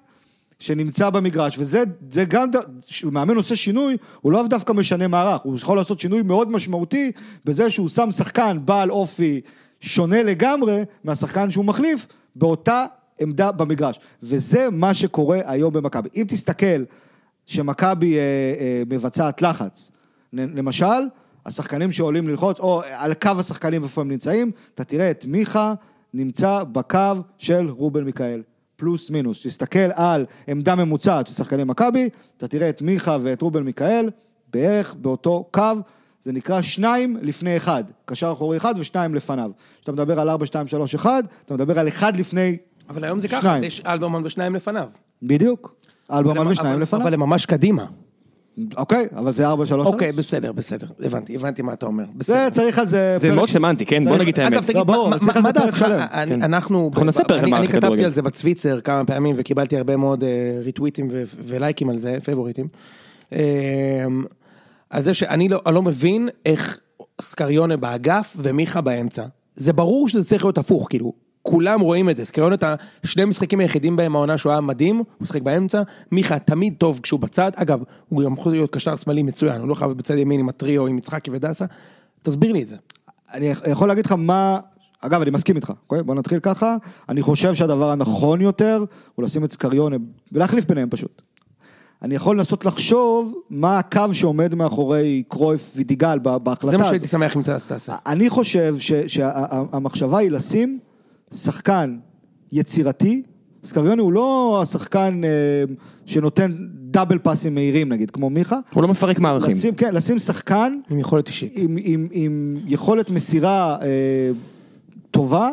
[SPEAKER 2] שנמצא במגרש, וזה זה גם, ד- כשמאמן עושה שינוי, הוא לאו דווקא משנה מערך, הוא יכול לעשות שינוי מאוד משמעותי בזה שהוא שם שחקן בעל אופי שונה לגמרי מהשחקן שהוא מחליף באותה עמדה במגרש. וזה מה שקורה היום במכבי. אם תסתכל שמכבי אה, אה, מבצעת לחץ, נ- למשל, השחקנים שעולים ללחוץ, או על קו השחקנים איפה הם נמצאים, אתה תראה את מיכה נמצא בקו של רובן מיכאל. פלוס מינוס. תסתכל על עמדה ממוצעת של שחקני מכבי, אתה תראה את מיכה ואת רובן מיכאל בערך באותו קו. זה נקרא שניים לפני אחד, קשר אחורי אחד ושניים לפניו. כשאתה מדבר על ארבע, שתיים, שלוש, אחד, אתה מדבר על אחד לפני...
[SPEAKER 3] אבל היום זה ככה,
[SPEAKER 2] שניים.
[SPEAKER 3] אז יש אלברמן ושניים לפניו.
[SPEAKER 2] בדיוק. אלברמן
[SPEAKER 3] אבל-
[SPEAKER 2] ושניים
[SPEAKER 3] אבל-
[SPEAKER 2] לפניו.
[SPEAKER 3] אבל הם ממש קדימה.
[SPEAKER 2] אוקיי, אבל זה ארבע, שלוש,
[SPEAKER 3] אוקיי,
[SPEAKER 2] שלוש.
[SPEAKER 3] בסדר, בסדר. הבנתי, הבנתי מה אתה אומר.
[SPEAKER 2] זה
[SPEAKER 3] בסדר.
[SPEAKER 2] צריך על זה...
[SPEAKER 1] זה
[SPEAKER 2] פרק
[SPEAKER 1] מאוד
[SPEAKER 2] ש-
[SPEAKER 1] סמנטי, כן? בוא
[SPEAKER 2] צריך-
[SPEAKER 1] נגיד את האמת.
[SPEAKER 3] אגב, תגיד,
[SPEAKER 2] לא, ברור,
[SPEAKER 3] מה-
[SPEAKER 2] צריך
[SPEAKER 3] מה-
[SPEAKER 2] על
[SPEAKER 3] מה
[SPEAKER 2] זה פרק
[SPEAKER 3] דעתך?
[SPEAKER 2] שלם.
[SPEAKER 3] אני-
[SPEAKER 1] כן.
[SPEAKER 3] אנחנו...
[SPEAKER 1] אנחנו נספר על
[SPEAKER 3] אני- אני
[SPEAKER 1] מערכת
[SPEAKER 3] כתבתי
[SPEAKER 1] הכדורגל.
[SPEAKER 3] על זה בצוויצר כמה פעמים וקיבלתי הרבה מאוד אה, ריטוויטים ו- ולייקים על זה, פייבוריטים. אה, אמ, על זה שאני לא, אני לא מבין איך סקריונה באגף ומיכה באמצע. זה ברור שזה צריך להיות הפוך, כאילו, כולם רואים את זה. סקריונה, את השני המשחקים היחידים בהם העונה שהוא היה מדהים, הוא משחק באמצע. מיכה תמיד טוב כשהוא בצד, אגב, הוא גם יכול להיות קשר שמאלי מצוין, הוא לא חייב להיות בצד ימין עם הטריו, עם יצחקי ודסה. תסביר לי את זה.
[SPEAKER 2] אני יכול להגיד לך מה... אגב, אני מסכים איתך, אוקיי? בוא נתחיל ככה. אני חושב שהדבר הנכון יותר הוא לשים את סקריונה ולהחליף ביניהם פשוט. אני יכול לנסות לחשוב מה הקו שעומד מאחורי קרויף ודיגל בה- בהחלטה
[SPEAKER 3] זה מה
[SPEAKER 2] הזאת. אה,
[SPEAKER 3] שהייתי שמח אם אתה תעשה.
[SPEAKER 2] אני חושב שהמחשבה היא לשים שחקן יצירתי, סקריוני הוא לא השחקן אה, שנותן דאבל פאסים מהירים נגיד, כמו מיכה.
[SPEAKER 1] הוא לא מפרק מערכים.
[SPEAKER 2] לשים, כן, לשים שחקן
[SPEAKER 3] עם יכולת אישית.
[SPEAKER 2] עם, עם, עם יכולת מסירה אה, טובה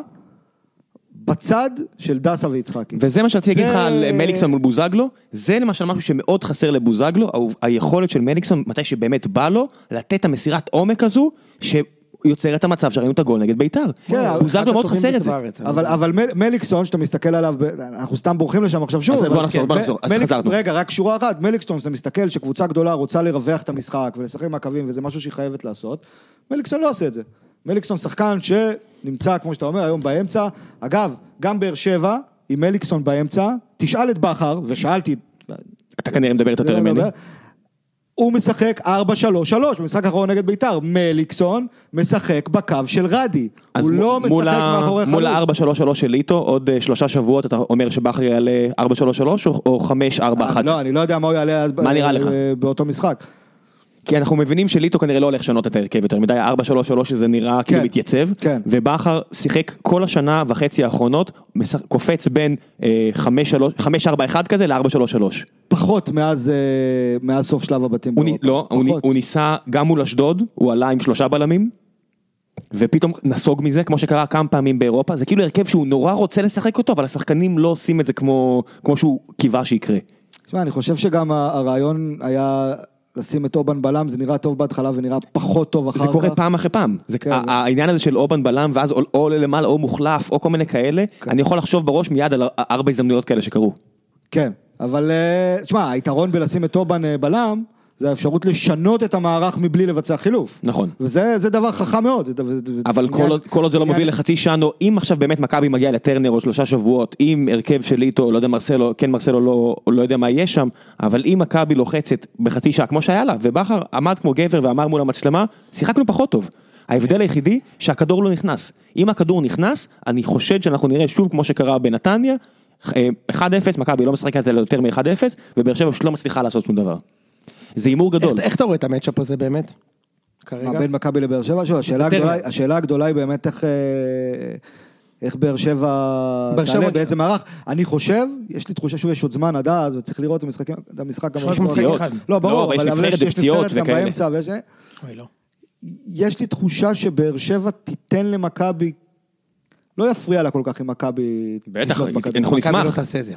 [SPEAKER 2] בצד של דסה ויצחקי.
[SPEAKER 1] וזה מה שרציתי להגיד
[SPEAKER 2] זה-
[SPEAKER 1] לך על מליקסון מול בוזגלו, זה למשל משהו שמאוד חסר לבוזגלו, ה- היכולת של מליקסון, מתי שבאמת בא לו, לתת את המסירת עומק הזו, שיוצר את המצב שראינו את הגול נגד ביתר.
[SPEAKER 2] כן,
[SPEAKER 1] בוזגלו מאוד חסר את זה.
[SPEAKER 2] אבל, אבל מל, מליקסון, שאתה מסתכל עליו, ב- אנחנו סתם בורחים לשם עכשיו שוב.
[SPEAKER 1] אז
[SPEAKER 2] אבל
[SPEAKER 1] בוא נחזור,
[SPEAKER 2] כן,
[SPEAKER 1] בוא
[SPEAKER 2] מ-
[SPEAKER 1] נחזור, אז
[SPEAKER 2] מליק-
[SPEAKER 1] חזרנו.
[SPEAKER 2] רגע, רק שורה אחת, מליקסון, שאתה מסתכל שקבוצה גדולה רוצה לרווח את המשחק ולשחק מהקווים, וזה משהו שהיא חייבת לעשות, מליקסון לא עושה את זה. מליקסון שחקן שנמצא, כמו שאתה אומר, היום באמצע. אגב, גם באר שבע, עם מליקסון באמצע, תשאל את בכר, ושאלתי...
[SPEAKER 1] אתה כנראה מדברת יותר
[SPEAKER 2] לא,
[SPEAKER 1] ממני.
[SPEAKER 2] הוא משחק 4-3-3, במשחק האחרון נגד ביתר. מליקסון משחק בקו של רדי.
[SPEAKER 1] אז
[SPEAKER 2] הוא
[SPEAKER 1] מ-
[SPEAKER 2] לא משחק
[SPEAKER 1] מול ה-
[SPEAKER 2] מאחורי חלוץ.
[SPEAKER 1] מול ה-4-3-3 של ליטו, עוד אה, שלושה שבועות אתה אומר שבכר יעלה 4-3-3 או- או 5-4-1?
[SPEAKER 2] אני לא, אני לא יודע מה הוא יעלה אז ב-
[SPEAKER 1] מה נראה לך?
[SPEAKER 2] אה, באותו משחק.
[SPEAKER 1] כי אנחנו מבינים שליטו כנראה לא הולך לשנות את ההרכב יותר מדי, 4-3-3 שזה נראה כאילו מתייצב,
[SPEAKER 2] כן.
[SPEAKER 1] ובכר שיחק כל השנה וחצי האחרונות, משח- קופץ בין אה, 5-3 5-4-1 כזה ל-4-3-3.
[SPEAKER 2] פחות מאז, אה, מאז סוף שלב הבתים.
[SPEAKER 1] הוא נ-
[SPEAKER 2] באירופה.
[SPEAKER 1] לא, הוא נ-
[SPEAKER 2] אוקיי, פחות.
[SPEAKER 1] הוא ניסה גם מול אשדוד, הוא עלה עם שלושה בלמים, ופתאום נסוג מזה, כמו שקרה כמה פעמים באירופה, זה כאילו הרכב שהוא נורא רוצה לשחק אותו, אבל השחקנים לא עושים את זה כמו כמו שהוא קיווה שיקרה.
[SPEAKER 2] תשמע, אני חושב שגם ה- הרעיון היה לשים את אובן בלם, זה נראה טוב בהתחלה ונראה פחות טוב אחר כך.
[SPEAKER 1] זה קורה פעם אחרי פעם. זה,
[SPEAKER 2] כן.
[SPEAKER 1] ה- העניין הזה של אובן בלם ואז או- או עולה למעלה או מוחלף או כל מיני כאלה, אני יכול לחשוב בראש מיד על ארבע הזדמנויות כאלה שקרו.
[SPEAKER 2] כן, אבל אה, תשמע, היתרון בלשים את אובן אה, בלם, זה האפשרות לשנות את המערך מבלי לבצע חילוף.
[SPEAKER 1] נכון.
[SPEAKER 2] וזה זה דבר חכם מאוד. זה דבר- זה- זה-
[SPEAKER 1] אבל
[SPEAKER 2] עניין-
[SPEAKER 1] כל עוד- כל עוד זה לא
[SPEAKER 2] עניין-
[SPEAKER 1] מוביל לחצי שנו, אם עכשיו באמת מכבי מגיעה לטרנר או שלושה שבועות, עם הרכב של איטו, לא יודע מרסלו, כן מרסלו, לא- לא יודע מה יהיה שם, אבל אם מכבי לוחצת בחצי שעה, כמו שהיה לה, ובכר עמד כמו גבר ואמר מול המצלמה, שיחקנו פחות טוב. ההבדל היחידי, שהכדור לא נכנס. אם הכדור נכנס, אני חושד שאנחנו נראה שוב, כמו שקרה בנתניה, אה, 1-0, מכבי לא משחקת על יותר מ-1-0, ובאר שבע פשוט לא מצליחה לעשות שום דבר. זה הימור גדול.
[SPEAKER 3] איך- איך אתה רואה את המצ'אפ הזה באמת? כרגע?
[SPEAKER 2] מה, בין מכבי לבאר שבע? שוב, השאלה הגדולה-
[SPEAKER 3] בטרנר.
[SPEAKER 2] השאלה הגדולה היא באמת איך... אה, איך באר שבע
[SPEAKER 3] באר שבע-
[SPEAKER 2] תעלה, באיזה מערך. אני חושב, יש לי תחושה שהוא יש עוד זמן עד אז, וצריך לראות את המשחקים- את המשחק. גם
[SPEAKER 3] שלוש
[SPEAKER 2] הראשון.
[SPEAKER 3] משחקים אחד.
[SPEAKER 2] לא,
[SPEAKER 1] לא,
[SPEAKER 2] ברור,
[SPEAKER 1] אבל יש
[SPEAKER 2] אבל אבל
[SPEAKER 1] נבחרת
[SPEAKER 2] יש יש
[SPEAKER 1] ופציעות
[SPEAKER 2] נבחרת גם
[SPEAKER 1] וכאלה.
[SPEAKER 2] באמצע. ויש-
[SPEAKER 3] אוי, לא.
[SPEAKER 2] יש לי תחושה שבאר שבע תיתן למכבי, לא יפריע לה כל כך אם מכבי...
[SPEAKER 1] בטח,
[SPEAKER 2] תשלוט בכדור.
[SPEAKER 1] אנחנו
[SPEAKER 3] מכבי לא
[SPEAKER 1] נשמח.
[SPEAKER 3] תעשה את זה.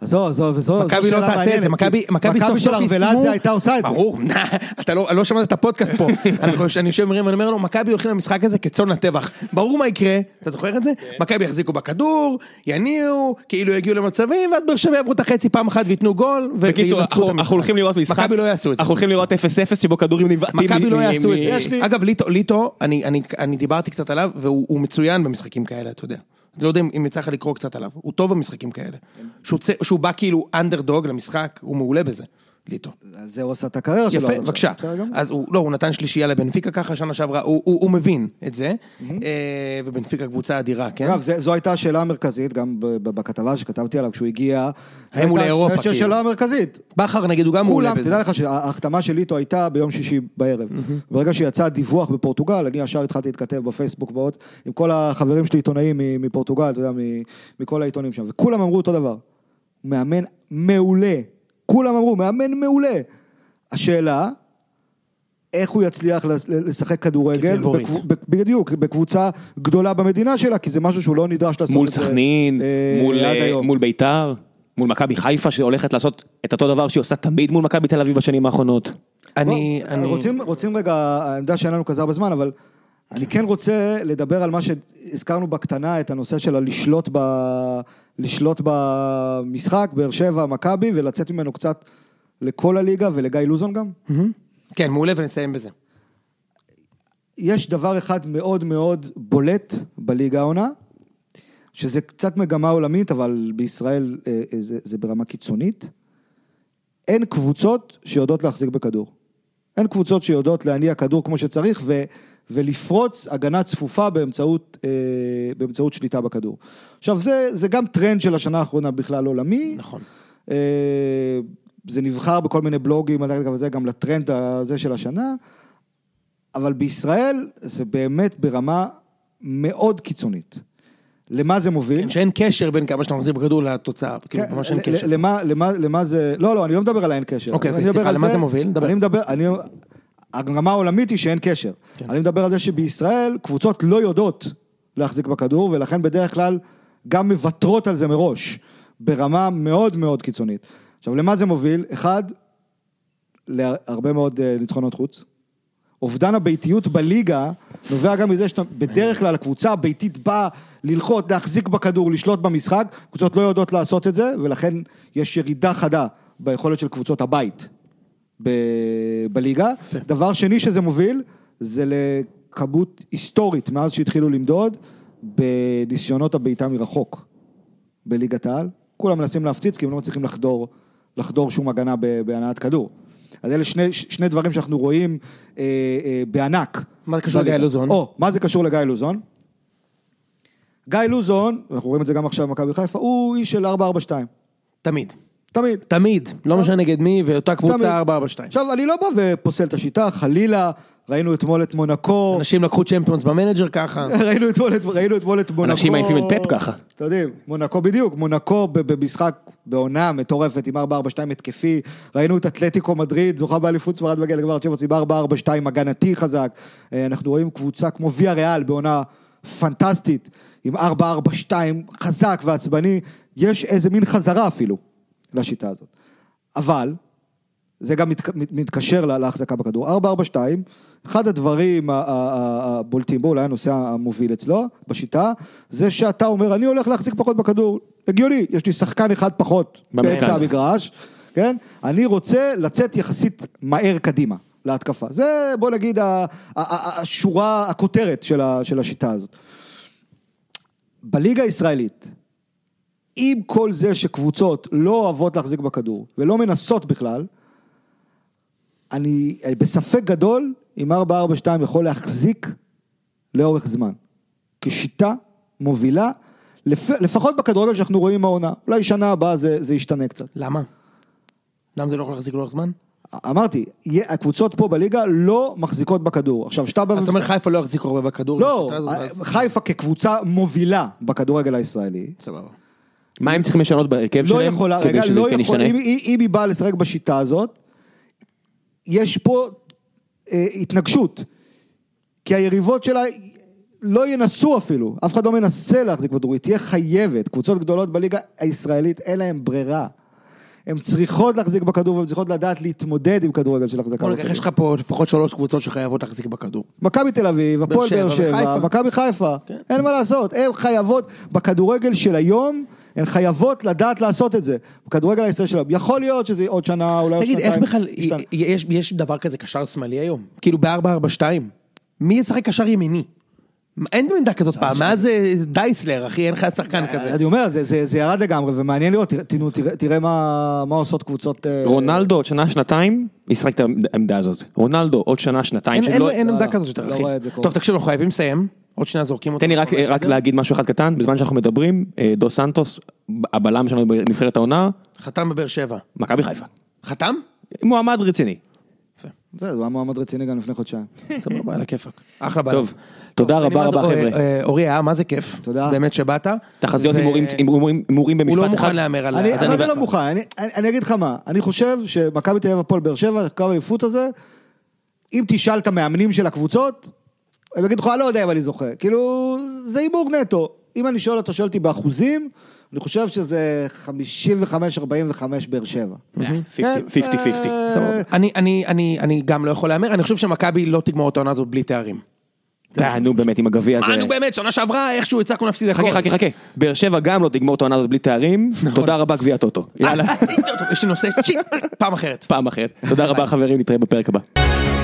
[SPEAKER 2] עזוב, עזוב, עזוב.
[SPEAKER 3] מכבי
[SPEAKER 2] זו שאלה
[SPEAKER 3] לא תעשה את זה,
[SPEAKER 2] מעניינת.
[SPEAKER 3] מכבי מכבי סוף
[SPEAKER 2] של
[SPEAKER 3] סוף יישמו...
[SPEAKER 2] ארוולדזה הייתה עושה את זה. כן.
[SPEAKER 3] ברור, <laughs> אתה לא לא שמעת את הפודקאסט פה. אנחנו- אני יושב עם ראם ואני אומר לו, מכבי הולכים למשחק הזה כצאן לטבח. ברור מה יקרה, אתה זוכר את זה?
[SPEAKER 1] כן.
[SPEAKER 3] מכבי יחזיקו בכדור, יניעו, כאילו יגיעו למצבים, ואז באר שבע יעברו את החצי פעם אחת וייתנו גול, ו-
[SPEAKER 1] בקיצור, אנחנו
[SPEAKER 3] וינצחו את המשחק.
[SPEAKER 1] אנחנו הולכים לראות משחק,
[SPEAKER 3] מכבי לא יעשו את זה.
[SPEAKER 1] אנחנו הולכים לראות 0-0 שבו כדורים נבעטים.
[SPEAKER 3] מכבי לא
[SPEAKER 1] מ-
[SPEAKER 3] יעשו את
[SPEAKER 1] מ-
[SPEAKER 3] זה.
[SPEAKER 2] יש לי-
[SPEAKER 3] אגב, ליטו, ליטו, אני, אני, אני דיברתי קצת עליו, והוא הוא מצוין במשחקים כאלה, אתה יודע. אני לא יודע אם- אם יצא לך לקרוא קצת עליו, הוא טוב במשחקים כאלה. שהוא, צא, שהוא בא כאילו אנדרדוג למשחק, הוא מעולה בזה, ליטו.
[SPEAKER 2] על זה הוא עשה את הקריירה שלו.
[SPEAKER 3] יפה,
[SPEAKER 2] עד עכשיו.
[SPEAKER 3] בבקשה.
[SPEAKER 2] בסדר גמור.
[SPEAKER 3] אז הוא, לא, הוא נתן שלישייה לבנפיקה ככה שנה שעברה, הוא, הוא, הוא מבין את זה, אה, ובנפיקה קבוצה אדירה, כן?
[SPEAKER 2] Mhm. אגב, זה- זו הייתה השאלה המרכזית, גם ב- ב- בכתבה שכתבתי עליו, כשהוא הגיע...
[SPEAKER 3] האם הוא
[SPEAKER 2] הייתה-
[SPEAKER 3] לאירופה,
[SPEAKER 2] הייתה
[SPEAKER 3] כאילו?
[SPEAKER 2] השאלה המרכזית.
[SPEAKER 3] בכר נגיד הוא גם מעולה
[SPEAKER 2] כולם,
[SPEAKER 3] בזה.
[SPEAKER 2] תדע לך שההחתמה של ליטו הייתה ביום שישי בערב. ברגע שיצא הדיווח בפורטוגל, אני ישר התחלתי להתכתב בפייסבוק ועוד, עם כל החברים שלי עיתונאים מ- מפורטוגל, אתה יודע, מ- מכל העיתונים שם, וכולם אמרו אותו דבר. מאמן מעולה. כולם אמרו, מאמן מעולה. השאלה, איך הוא יצליח לס- לשחק כדורגל,
[SPEAKER 3] כפייבוריט.
[SPEAKER 2] בקב- ב- בדיוק, בקבוצה גדולה במדינה שלה, כי זה משהו שהוא לא נדרש לעשות
[SPEAKER 1] מול
[SPEAKER 2] את זה,
[SPEAKER 1] סכנין,
[SPEAKER 2] אה,
[SPEAKER 1] מול,
[SPEAKER 2] עד
[SPEAKER 1] אה,
[SPEAKER 2] היום.
[SPEAKER 1] מול ביתר, מול מכבי חיפה שהולכת לעשות את אותו דבר שהיא עושה תמיד מול מכבי תל אביב בשנים האחרונות.
[SPEAKER 3] אני,
[SPEAKER 2] בוא, אה,
[SPEAKER 3] אני...
[SPEAKER 2] רוצים, רוצים רגע, אני יודע שאין לנו כזה הרבה זמן, אבל אני כן רוצה לדבר על מה שהזכרנו בקטנה, את הנושא של הלשלוט ב... לשלוט במשחק, באר שבע, מכבי, ולצאת ממנו קצת לכל הליגה ולגיא לוזון גם.
[SPEAKER 3] כן, מעולה ונסיים בזה.
[SPEAKER 2] יש דבר אחד מאוד מאוד בולט בליגה העונה, שזה קצת מגמה עולמית, אבל בישראל אה, אה, זה, זה ברמה קיצונית. אין קבוצות שיודעות להחזיק בכדור. אין קבוצות שיודעות להניע כדור כמו שצריך ו, ולפרוץ הגנה צפופה באמצעות, אה, באמצעות שליטה בכדור. עכשיו, זה, זה גם טרנד של השנה האחרונה בכלל עולמי.
[SPEAKER 3] נכון.
[SPEAKER 2] אה, זה נבחר בכל מיני בלוגים, אבל זה גם לטרנד הזה של השנה. אבל בישראל זה באמת ברמה מאוד קיצונית. למה זה מוביל?
[SPEAKER 3] שאין קשר בין כמה שאתה מחזיק בכדור לתוצאה, כן, כאילו
[SPEAKER 2] כן,
[SPEAKER 3] ממש אין
[SPEAKER 2] ל-
[SPEAKER 3] קשר.
[SPEAKER 2] ל- למה, למה, למה זה, לא, לא, אני לא מדבר על האין קשר.
[SPEAKER 3] אוקיי,
[SPEAKER 2] אני
[SPEAKER 3] אוקיי,
[SPEAKER 2] מדבר
[SPEAKER 3] סליחה,
[SPEAKER 2] על
[SPEAKER 3] למה זה מוביל? דבר.
[SPEAKER 2] אני מדבר, אני, הגרמה העולמית היא שאין קשר.
[SPEAKER 3] כן.
[SPEAKER 2] אני מדבר על זה שבישראל קבוצות לא יודעות להחזיק בכדור, ולכן בדרך כלל גם מוותרות על זה מראש, ברמה מאוד מאוד קיצונית. עכשיו, למה זה מוביל? אחד, להרבה מאוד אה, ניצחונות חוץ. אובדן הביתיות בליגה נובע גם מזה שאתה בדרך כלל הקבוצה הביתית באה ללחוץ, להחזיק בכדור, לשלוט במשחק, קבוצות לא יודעות לעשות את זה, ולכן יש ירידה חדה ביכולת של קבוצות הבית ב- בליגה. דבר שני שזה מוביל, זה לכמות היסטורית מאז שהתחילו למדוד בניסיונות הבעיטה מרחוק בליגת העל. כולם מנסים להפציץ כי הם לא מצליחים לחדור, לחדור שום הגנה ב- בהנעת כדור. אז אלה שני, שני דברים שאנחנו רואים אה, אה, בענק.
[SPEAKER 3] מה זה קשור
[SPEAKER 2] בליגה.
[SPEAKER 3] לגיא לוזון?
[SPEAKER 2] או, מה זה קשור לגיא לוזון? גיא לוזון, אנחנו רואים את זה גם עכשיו במכבי חיפה, הוא איש של 4-4-2,
[SPEAKER 3] תמיד.
[SPEAKER 2] תמיד.
[SPEAKER 3] תמיד. לא משנה נגד מי, ואותה
[SPEAKER 2] תמיד.
[SPEAKER 3] קבוצה 4-4-2.
[SPEAKER 2] עכשיו, אני לא בא ופוסל את השיטה, חלילה, ראינו אתמול את מונקו,
[SPEAKER 3] אנשים לקחו צ'מפיונס במנג'ר ככה.
[SPEAKER 2] <laughs> ראינו אתמול את, ראינו אתמול את מונקו.
[SPEAKER 1] אנשים מעיפים את פפ ככה.
[SPEAKER 2] אתם יודעים, מונקו בדיוק, מונקו ב- במשחק, בעונה מטורפת עם 4-4-2 התקפי, ראינו את אתלטיקו מדריד, זוכה באליפות ספרד מגיע לגמר צ'מפוס עם 4-4-2 הגנתי חזק. אה, אנחנו רואים קבוצה כמו ויה ריאל בעונה פנטסטית, עם 4-4-2 חזק ועצבני, יש איזה מין חזרה אפילו לשיטה הזאת. אבל, זה גם מת, מת, מתקשר לה- להחזקה בכדור. 442, אחד הדברים ה- ה- ה- הבולטים בו, אולי הנושא המוביל אצלו, בשיטה, זה שאתה אומר, אני הולך להחזיק פחות בכדור. הגיוני, יש לי שחקן אחד פחות
[SPEAKER 1] במרכז.
[SPEAKER 2] באמצע המגרש, כן? אני רוצה לצאת יחסית מהר קדימה להתקפה. זה, בוא נגיד, ה- ה- ה- השורה, הכותרת של, ה, של השיטה הזאת. בליגה הישראלית, עם כל זה שקבוצות לא אוהבות להחזיק בכדור ולא מנסות בכלל, אני אני בספק גדול אם 442 יכול להחזיק לאורך זמן. כשיטה מובילה, לפ... לפחות בכדורגל שאנחנו רואים העונה. אולי שנה הבאה זה, זה ישתנה קצת.
[SPEAKER 3] למה? למה זה לא יכול להחזיק לאורך זמן?
[SPEAKER 2] אמרתי, יה- הקבוצות פה בליגה לא מחזיקות בכדור. עכשיו, שאתה...
[SPEAKER 3] אז אתה אומר חיפה לא יחזיקו הרבה בכדור.
[SPEAKER 2] לא,
[SPEAKER 3] בשיטה הזאת, אז-
[SPEAKER 2] חיפה כקבוצה מובילה בכדורגל הישראלי.
[SPEAKER 3] סבבה.
[SPEAKER 1] מה הם צריכים לשנות בהרכב שלהם?
[SPEAKER 2] לא יכולה,
[SPEAKER 1] כדי
[SPEAKER 2] רגע,
[SPEAKER 1] שזה
[SPEAKER 2] לא
[SPEAKER 1] כן
[SPEAKER 2] יכולה,
[SPEAKER 1] ישתנה?
[SPEAKER 2] אם, אם אם היא באה לשחק בשיטה הזאת, יש פה אה, התנגשות. כי היריבות שלה לא ינסו אפילו, אף אחד לא מנסה להחזיק בכדור, היא תהיה חייבת. קבוצות גדולות בליגה הישראלית, אין להן ברירה. הן צריכות להחזיק בכדור והן צריכות לדעת להתמודד עם כדורגל של החזקה לא
[SPEAKER 3] בוא ניקח,
[SPEAKER 2] בכדור.
[SPEAKER 3] יש לך פה לפחות שלוש קבוצות שחייבות להחזיק בכדור.
[SPEAKER 2] מכבי תל אביב, הפועל
[SPEAKER 3] שבע
[SPEAKER 2] באר שבע,
[SPEAKER 3] וחיפה. כן.
[SPEAKER 2] מכבי חיפה, אין מה לעשות, הן חייבות, בכדורגל של היום, הן חייבות לדעת לעשות את זה, בכדורגל הישראלי שלהם, יכול להיות שזה עוד שנה, אולי עוד
[SPEAKER 3] תגיד,
[SPEAKER 2] שנתיים,
[SPEAKER 3] איך בכלל,
[SPEAKER 2] ישתנה.
[SPEAKER 3] יש- יש דבר כזה קשר שמאלי היום? כאילו ב-4-4-2? מי ישחק קשר ימיני? אין בעמדה כזאת פעם, מאז אה, דייסלר, אחי, אין לך שחקן כזה.
[SPEAKER 2] אני אומר, זה- זה זה ירד לגמרי, ומעניין לראות, תראה- תראו, תראה- תראה מה מה עושות קבוצות... אה,
[SPEAKER 1] רונלדו עוד שנה שנתיים, ישחק את העמדה הזאת. רונלדו עוד שנה שנתיים
[SPEAKER 3] אין- אין-
[SPEAKER 1] שלא...
[SPEAKER 3] אין עמדה
[SPEAKER 2] לא,
[SPEAKER 3] כזאת יותר,
[SPEAKER 2] לא
[SPEAKER 3] אחי.
[SPEAKER 2] רואה את זה קורה.
[SPEAKER 3] טוב, תקשיב, אנחנו חייבים לסיים. עוד שנייה זורקים אותנו.
[SPEAKER 1] תן לי רק, רק להגיד משהו אחד קטן, בזמן שאנחנו מדברים, אה, דו סנטוס, הבלם שלנו בנבחרת העונה,
[SPEAKER 3] חתם בבאר שבע.
[SPEAKER 1] מכבי חיפה.
[SPEAKER 3] חתם?
[SPEAKER 1] מועמד רציני.
[SPEAKER 2] זה זה היה מועמד רציני גם לפני חודשיים.
[SPEAKER 3] סבבה, על הכיפאק. אחלה בעיה.
[SPEAKER 1] טוב, תודה רבה רבה חבר'ה.
[SPEAKER 3] אורי היה, אה, מה זה כיף.
[SPEAKER 2] תודה.
[SPEAKER 3] באמת שבאת.
[SPEAKER 1] תחזיות
[SPEAKER 3] ו-
[SPEAKER 1] הימורים- הימורים הימורים
[SPEAKER 3] הוא
[SPEAKER 1] במשפט אחד.
[SPEAKER 3] לא מוכן להמר על
[SPEAKER 2] אני
[SPEAKER 3] אז אני
[SPEAKER 2] מה זה
[SPEAKER 3] ואתה.
[SPEAKER 2] לא מוכן, אני- אני אני אגיד לך מה, אני חושב שמכבי תל אביב הפועל באר שבע, קו האליפות הזה, אם תשאל את המאמנים של הקבוצות, הם יגידו לך, אני לא יודע אם אני זוכר, כאילו, זה הימור נטו. אם אני שואל אותו, שואל אותי באחוזים, אני חושב שזה 55-45 באר שבע.
[SPEAKER 1] אה, 50-50.
[SPEAKER 2] כן, אה,
[SPEAKER 3] סבבה. אני- אני- אני אני גם לא יכול להמר, אני חושב שמכבי לא תגמור את העונה הזאת בלי תארים.
[SPEAKER 1] די, אה, נו באמת, עם הגביע הזה.
[SPEAKER 3] אה, נו באמת, שנה שעברה איכשהו הצלחנו להפסיד הכל.
[SPEAKER 1] חכה, חכה, חכה. באר שבע גם לא תגמור את העונה הזאת בלי תארים.
[SPEAKER 3] נכון.
[SPEAKER 1] תודה רבה, גביע טוטו.
[SPEAKER 3] <laughs>
[SPEAKER 1] יאללה,
[SPEAKER 3] אה, אה, טוב, יש לי נושא, צ'יק, פעם אחרת.
[SPEAKER 1] פעם אחרת. תודה רבה, חברים, נתראה בפרק הבא.